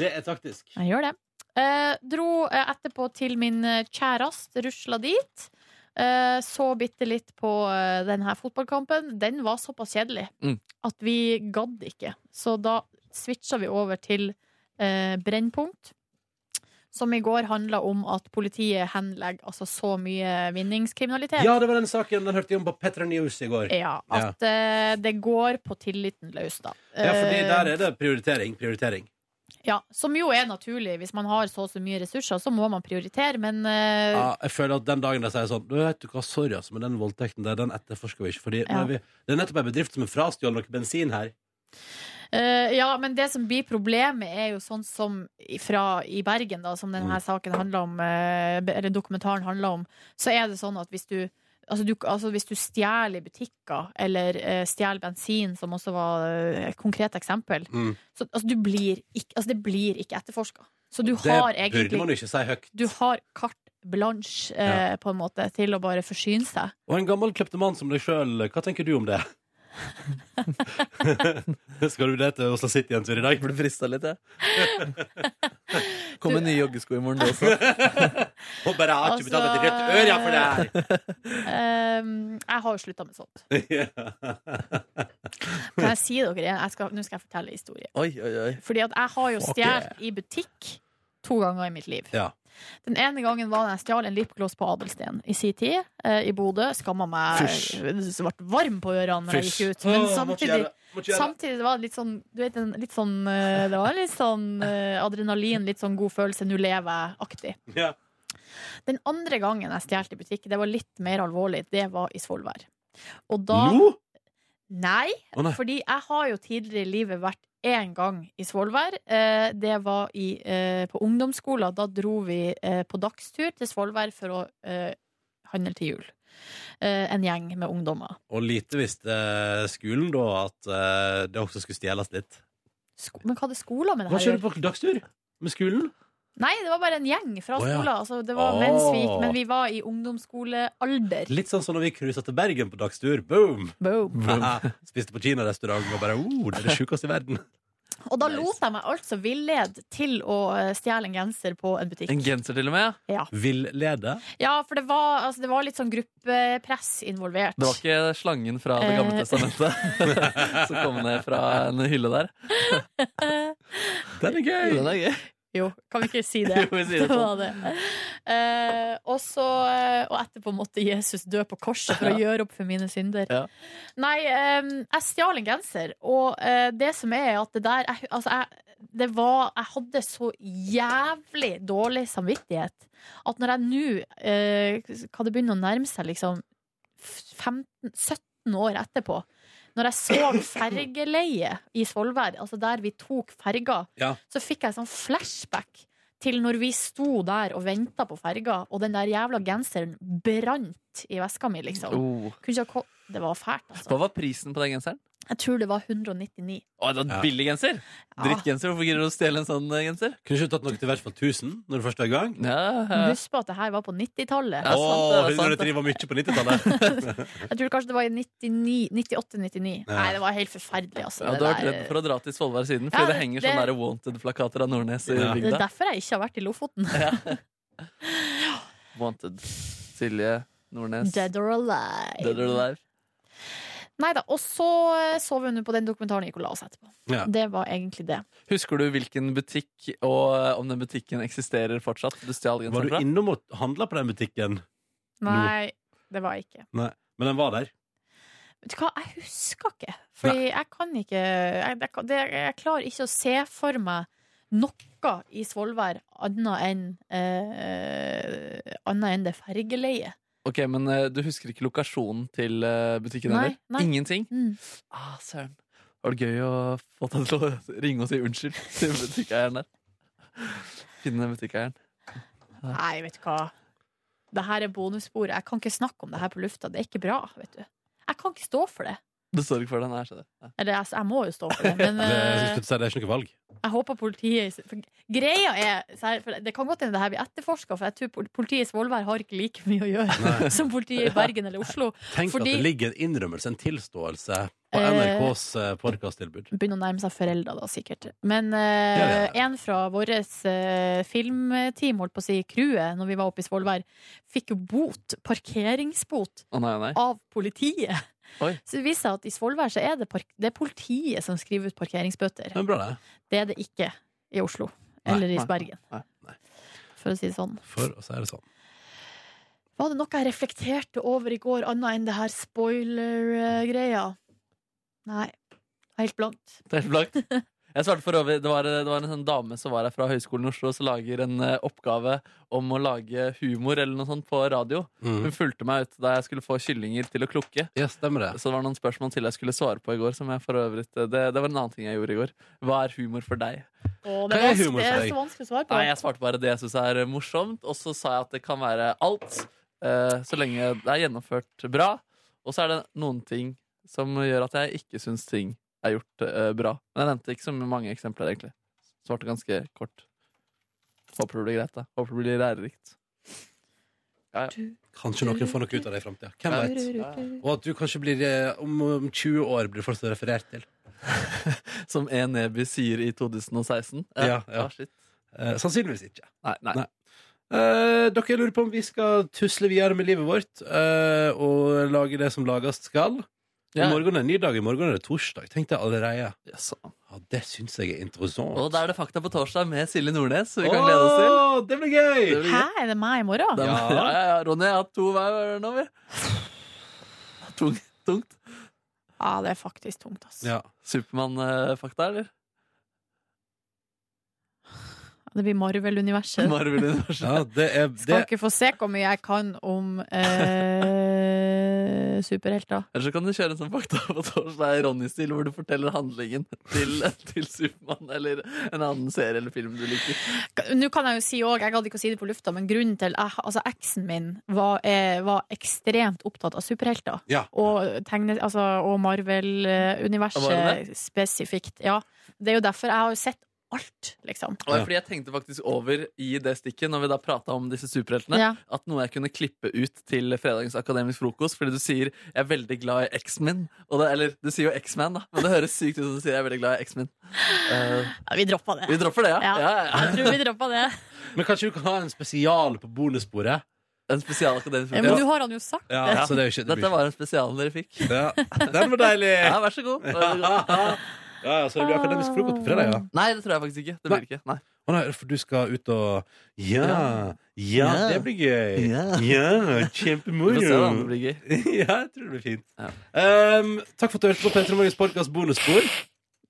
Speaker 2: Det er taktisk.
Speaker 3: Jeg gjør det. Eh, dro eh, etterpå til min eh, kjæreste, rusla dit. Eh, så bitte litt på eh, den her fotballkampen. Den var såpass kjedelig
Speaker 4: Mm.
Speaker 3: at vi gadd ikke. Så da switcha vi over til eh, Brennpunkt. Som i går handla om at politiet henlegger altså så mye vinningskriminalitet.
Speaker 2: Ja, det var den saken den hørte jeg om på Petra News i går.
Speaker 3: Ja, at eh, det går på tilliten løs, da. Eh,
Speaker 2: Ja, fordi der er det prioritering. Prioritering.
Speaker 3: Ja, som jo er naturlig. Hvis man har så og så mye ressurser, så må man prioritere, men eh,
Speaker 2: Ja, jeg føler at den dagen de sier sånn Du vet du hva, sorry, altså, men den voldtekten der, den etterforsker vi ikke. Fordi nå
Speaker 3: Ja.
Speaker 2: er vi, det er nettopp en bedrift som er frastjålet noe bensin her.
Speaker 3: Eh, ja, men det som blir problemet er jo sånn som i- fra i Bergen, da, som
Speaker 2: Mm.
Speaker 3: denne saken handler om, eh, be- eller dokumentaren handler om, så er det sånn at hvis du Altså, du, altså Hvis du stjeler i butikker, eller eh, stjeler bensin, som også var eh, et konkret eksempel
Speaker 2: Mm.
Speaker 3: så, altså, du blir ikke, altså, Det blir ikke etterforska. Så du
Speaker 2: Det
Speaker 3: har
Speaker 2: burde man jo ikke si høyt.
Speaker 3: Du har carte blanche, eh, på en måte, til å bare forsyne seg.
Speaker 2: Og en gammel kleptoman som deg sjøl, hva tenker du om
Speaker 3: [laughs]
Speaker 2: det? Skal du det til Oslo City en tur i dag? Ble
Speaker 4: frista litt, jeg. [laughs] Kommer nye joggesko i morgen, det også.
Speaker 2: Og bare har ikke betalt et rødt øre for det her!
Speaker 3: [laughs] Eh, jeg har jo slutta med sånt. Kan jeg si dere en? Jeg skal, nå skal jeg fortelle en historie.
Speaker 4: [laughs] Oi, oi, oi.
Speaker 3: Fordi at jeg har jo
Speaker 4: Fuck
Speaker 3: stjålet i butikk to ganger i mitt liv.
Speaker 2: Ja.
Speaker 3: Den ene gangen var da jeg stjal en lipgloss på Adelsten i sin tid, eh, i Bodø. Skamma meg.
Speaker 2: Fysj.
Speaker 3: Det ble varm på ørene når jeg
Speaker 2: Fysj.
Speaker 3: gikk ut. Men
Speaker 2: Åh, må ikke gjøre
Speaker 3: samtidig,
Speaker 2: det, må ikke gjøre det.
Speaker 3: samtidig det var det litt sånn, du vet, en- litt sånn eh, Det var litt sånn eh, adrenalin, litt sånn god følelse, nå lever jeg-aktig.
Speaker 2: Ja.
Speaker 3: Den andre gangen jeg stjal i butikk, det var litt mer alvorlig. Det var i Svolvær. Og da
Speaker 2: Nå?
Speaker 3: Nei,
Speaker 2: Å, nei.
Speaker 3: fordi jeg har jo tidligere i livet vært én gang i Svolvær. Eh, Det var i, eh, på ungdomsskolen. Da dro vi eh, på dagstur til Svolvær for å eh, handle til jul. Eh, En gjeng med ungdommer.
Speaker 2: Og lite visste eh, skolen da at eh, det også skulle stjeles litt.
Speaker 3: Sko- Men hva hadde skolen med det
Speaker 2: Hva
Speaker 3: her? å
Speaker 2: skjer
Speaker 3: gjøre?
Speaker 2: på dagstur med skolen?
Speaker 3: Nei, det var bare en gjeng fra
Speaker 2: Å, ja.
Speaker 3: skolen. Altså, det var
Speaker 2: Å.
Speaker 3: mens vi gikk, men vi var i ungdomsskolealder.
Speaker 2: Litt sånn som når vi cruisa til Bergen på dagstur. Boom!
Speaker 3: Boom.
Speaker 2: Haha, [laughs] Spiste på kinarestaurant og bare oh, det er det sjukeste i verden.
Speaker 3: Og da lot jeg meg altså villede til å eh, stjele en genser på en butikk.
Speaker 4: [laughs] En genser til og med?
Speaker 3: Ja.
Speaker 2: Villede?
Speaker 3: Ja, for det var, altså, det var litt sånn gruppepress involvert.
Speaker 4: Det var ikke slangen fra Det gamle
Speaker 3: Eh.
Speaker 4: testamentet [laughs] som kom ned fra en hylle
Speaker 3: [laughs]
Speaker 4: der?
Speaker 2: Den er gøy!
Speaker 4: Den er gøy.
Speaker 3: Jo, kan vi ikke si det?
Speaker 4: [laughs] Jo, vi sier det sånn.
Speaker 3: det var det. Eh, og, så, eh, og etterpå måtte Jesus dø på korset
Speaker 4: [laughs]
Speaker 3: for å gjøre opp for mine synder.
Speaker 4: Ja.
Speaker 3: Nei, eh, jeg stjal en genser, og eh, det som er at det der jeg, Altså, jeg, det var, jeg hadde så jævlig dårlig samvittighet at når jeg nå eh, Kan det begynne å nærme seg liksom f- 15, 17 år etterpå? Når jeg
Speaker 4: [coughs]
Speaker 3: så fergeleiet i Svolvær, altså der vi tok ferga,
Speaker 2: Ja.
Speaker 3: så fikk jeg sånn flashback til når vi sto der og venta på ferga, og den der jævla genseren brant i veska mi, liksom.
Speaker 4: Oh.
Speaker 3: Kunne ikke ha ko- det var fælt, altså.
Speaker 4: Hva var prisen på den genseren?
Speaker 3: Jeg tror det var 199.
Speaker 4: Å,
Speaker 2: Ja.
Speaker 4: det var en billig genser! Drittgenser. Hvorfor gidder du å stjele en sånn eh, genser?
Speaker 2: Kunne ikke du tatt noe til i hvert fall 1000 når du først var i gang?
Speaker 3: Men
Speaker 4: Ja,
Speaker 3: Husk på at det her var på 90-tallet.
Speaker 2: Å, 103 var mye på 90-tallet.
Speaker 3: Jeg tror kanskje det var i 98-99.
Speaker 4: Ja.
Speaker 3: Nei, det var helt forferdelig, altså.
Speaker 4: Ja,
Speaker 3: det
Speaker 4: du har vært
Speaker 3: der-
Speaker 4: redd for å dra til Svolvær siden,
Speaker 3: Ja,
Speaker 4: fordi det
Speaker 3: det-
Speaker 4: henger
Speaker 3: det-
Speaker 4: sånne der wanted-plakater av Nordnes i
Speaker 3: Det er
Speaker 4: bygda.
Speaker 3: derfor jeg ikke har vært i Lofoten.
Speaker 4: [laughs] Wanted. Silje Nordnes.
Speaker 3: Dead or alive.
Speaker 4: Dead or alive.
Speaker 3: Nei da. Og så eh, så vi nå på den dokumentaren vi gikk og la oss etterpå.
Speaker 4: Ja.
Speaker 3: Det var egentlig det.
Speaker 4: Husker du hvilken butikk, og eh, om den butikken eksisterer fortsatt? Du stjal
Speaker 2: Var
Speaker 4: genseren
Speaker 2: du
Speaker 4: fra?
Speaker 2: innom og handla på den butikken?
Speaker 3: Nei, det var jeg ikke.
Speaker 2: Nei, men den var der.
Speaker 3: Vet du hva, jeg husker ikke. Fordi jeg kan ikke jeg, jeg, kan- det, jeg klarer ikke å se for meg noe i Svolvær annet enn eh, Annet enn det fergeleiet.
Speaker 4: Ok, men eh, du husker ikke lokasjonen til eh, butikken
Speaker 3: Nei,
Speaker 4: heller?
Speaker 3: nei.
Speaker 4: Ingenting?
Speaker 3: Mm.
Speaker 4: Ah, søren. Var det gøy å få deg til å ringe og si unnskyld [laughs] til butikkeieren der? Finne butikkeieren.
Speaker 3: Nei, vet du hva. Det her er bonussporet. Jeg kan ikke snakke om det her på lufta. Det er ikke bra, vet du. Jeg kan ikke stå for det.
Speaker 4: Du står ikke for den her, skjønner jeg.
Speaker 3: Eller altså, jeg må jo stå for det,
Speaker 2: [laughs]
Speaker 3: men
Speaker 2: Det, jeg
Speaker 3: eh,
Speaker 2: skulle si, det er ikke noe valg.
Speaker 3: Jeg håper politiet for Greia er sær- for Det kan godt hende det her blir etterforska, for jeg tror pol- politiet i Svolvær har ikke like mye å gjøre
Speaker 2: Nei.
Speaker 3: [laughs] som politiet i Bergen eller Oslo.
Speaker 2: Tenk
Speaker 3: fordi
Speaker 2: at det ligger en innrømmelse, en tilståelse, på
Speaker 3: Eh,
Speaker 2: NRKs eh, podkasttilbud.
Speaker 3: Begynner å nærme seg foreldre, da, sikkert. Men eh,
Speaker 2: Ja,
Speaker 3: en fra vårt eh, filmteam, holdt på å si, crewet, når vi var oppe i Svolvær, fikk jo bot, parkeringsbot,
Speaker 4: Å nei, nei.
Speaker 3: av politiet.
Speaker 4: Oi.
Speaker 3: Så det viser seg at i Svolvær så er det, park det er politiet som skriver ut parkeringsbøter.
Speaker 2: Men bra, det.
Speaker 3: Det er det ikke i Oslo.
Speaker 2: Nei,
Speaker 3: Eller i
Speaker 2: nei,
Speaker 3: Bergen,
Speaker 2: nei,
Speaker 3: for å si det sånn.
Speaker 2: For å si det sånn.
Speaker 3: Var det noe jeg reflekterte over i går, annet enn det her spoiler-greia? Nei. Helt blankt. [laughs]
Speaker 4: Det er helt blankt. Jeg svarte for over, det, var, det var en sånn dame som var her fra Høgskolen i Oslo som lager en eh, oppgave om å lage humor eller noe sånt på radio.
Speaker 2: Mhm.
Speaker 4: Hun fulgte meg ut da jeg skulle få kyllinger til å klukke.
Speaker 2: det.
Speaker 4: Så det var noen spørsmål til jeg skulle svare på i går. Som jeg for øvrig, det, det var en annen ting jeg gjorde i går. Hva er humor for deg?
Speaker 3: Å,
Speaker 4: Hva
Speaker 3: det,
Speaker 4: er
Speaker 3: er vanskelig- det
Speaker 4: humor for
Speaker 3: er
Speaker 4: deg?
Speaker 3: så vanskelig å svare på.
Speaker 4: Nei, jeg svarte bare det jeg syns er eh, morsomt, og så sa jeg at det kan være alt. eh, så lenge det er gjennomført bra. Og så er det noen ting som gjør at jeg ikke syns ting er gjort eh, bra. Men jeg nevnte ikke så mange eksempler, egentlig. Svarte ganske kort. Håper det blir greit, da. Håper det blir lærerikt. [laughs] Ja, ja.
Speaker 2: Kanskje noen får noe ut av det i framtida. Hvem veit? Og at du kanskje blir eh, om, om 20 år blir du fortsatt referert til.
Speaker 4: Som E. Neby sier i 2016.
Speaker 2: Ja, ja.
Speaker 4: shit.
Speaker 2: Eh, sannsynligvis ikke.
Speaker 4: Nei, nei.
Speaker 2: Nei. Eh, dere lurer på om vi skal tusle videre med livet vårt eh, og lage det som lages skal. I
Speaker 4: Ja.
Speaker 2: morgen er en ny dag. I morgen er det torsdag. Tenk deg allerede.
Speaker 4: Yes.
Speaker 2: Ja, det syns jeg er interessant.
Speaker 4: Og da er sånn. det Fakta på torsdag med Silje Nordnes, som vi kan
Speaker 2: Åh,
Speaker 4: glede oss til.
Speaker 2: Det blir gøy!
Speaker 4: Det blir
Speaker 3: Hæ,
Speaker 4: gøy.
Speaker 3: er det meg i morgen?
Speaker 4: Det er-
Speaker 2: Ja.
Speaker 4: Ja, ja, ja. Ronny, jeg har hatt to hver nå, vi. Tung, tungt.
Speaker 3: Ja, det er faktisk tungt, ass.
Speaker 2: Ja.
Speaker 4: Supermann-fakta, eller?
Speaker 3: Det blir Marvel-universet.
Speaker 4: Marvel-universet.
Speaker 2: Ja, det
Speaker 4: [laughs]
Speaker 2: er det.
Speaker 3: Skal ikke få se hvor mye jeg kan om eh, [laughs] superhelter.
Speaker 4: Eller så kan du kjøre en sånn fakta på torsdag i Ronny-stil, hvor du forteller handlingen til, til Supermann eller en annen serie eller film du liker.
Speaker 3: Nå kan jeg jo si også, jeg hadde ikke å si det på lufta, men grunnen til jeg, altså Eksen min var, eh, var ekstremt opptatt av superhelter.
Speaker 2: Ja.
Speaker 3: Og, tegne, altså, og
Speaker 4: Var hun
Speaker 3: Marvel-universet spesifikt. Ja. Det er jo derfor jeg har jo sett alt, liksom.
Speaker 4: Og det er fordi jeg tenkte faktisk over i det stikket når vi da prata om disse superheltene,
Speaker 3: Ja.
Speaker 4: at noe jeg kunne klippe ut til fredagens akademisk frokost. Fordi du sier 'jeg er veldig glad i X-Men'. Og det- Eller du sier jo X-Man, da, men det høres sykt ut som du sier 'jeg er veldig glad i X-Men'. Eh,
Speaker 3: Ja, vi droppa det.
Speaker 4: vi dropper det, ja.
Speaker 3: Ja.
Speaker 4: ja. ja, ja.
Speaker 3: Jeg tror vi droppa det.
Speaker 2: Men kanskje du kan ha en spesial på bonussporet?
Speaker 4: En spesialakademisk
Speaker 3: Ja, men
Speaker 4: frokost.
Speaker 3: du har han jo sagt.
Speaker 2: Ja, så det er jo ikke, det blir
Speaker 4: Dette var en spesial dere fikk.
Speaker 2: ikke. Ja. Den var deilig!
Speaker 4: [laughs] Ja, vær så god. Vær så god.
Speaker 2: [laughs] Ja, ja, så det blir akademisk frokost på fredag, ja.
Speaker 4: Nei, det tror jeg faktisk ikke. Det blir det ikke. Nei.
Speaker 2: Å nei, for du skal ut og Ja, ja,
Speaker 4: Ja.
Speaker 2: det blir gøy. Ja,
Speaker 4: Ja. Vi
Speaker 2: kjempemoro.
Speaker 4: får se da, om det blir gøy.
Speaker 2: [laughs] ja, jeg tror det blir fint.
Speaker 4: Ja.
Speaker 2: Ehm, takk for at du hørte på Petra Morgens podkast bonusspor.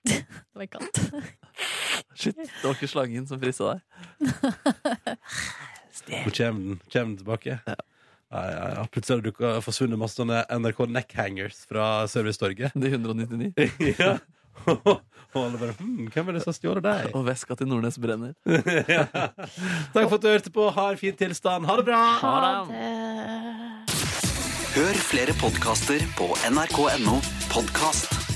Speaker 3: Det var ikke alt.
Speaker 4: Shit, det var ikke slangen som frista deg.
Speaker 2: Nå kommer den, kommer den tilbake. Ja. Ja, ja, Plutselig har det dukket- forsvunnet masse sånne NRK neckhangers fra
Speaker 4: [laughs]
Speaker 2: Servicetorget.
Speaker 4: De 199.
Speaker 2: ja. Og alle bare hm, Hvem er det som stjal deg?
Speaker 4: Og veska til Nordnes brenner.
Speaker 2: ja. Takk for at du hørte på. Ha en fin tilstand. Ha det bra!
Speaker 3: Ha
Speaker 4: Ha det.
Speaker 3: det.
Speaker 11: Hør flere podkaster på nrk.no podkast.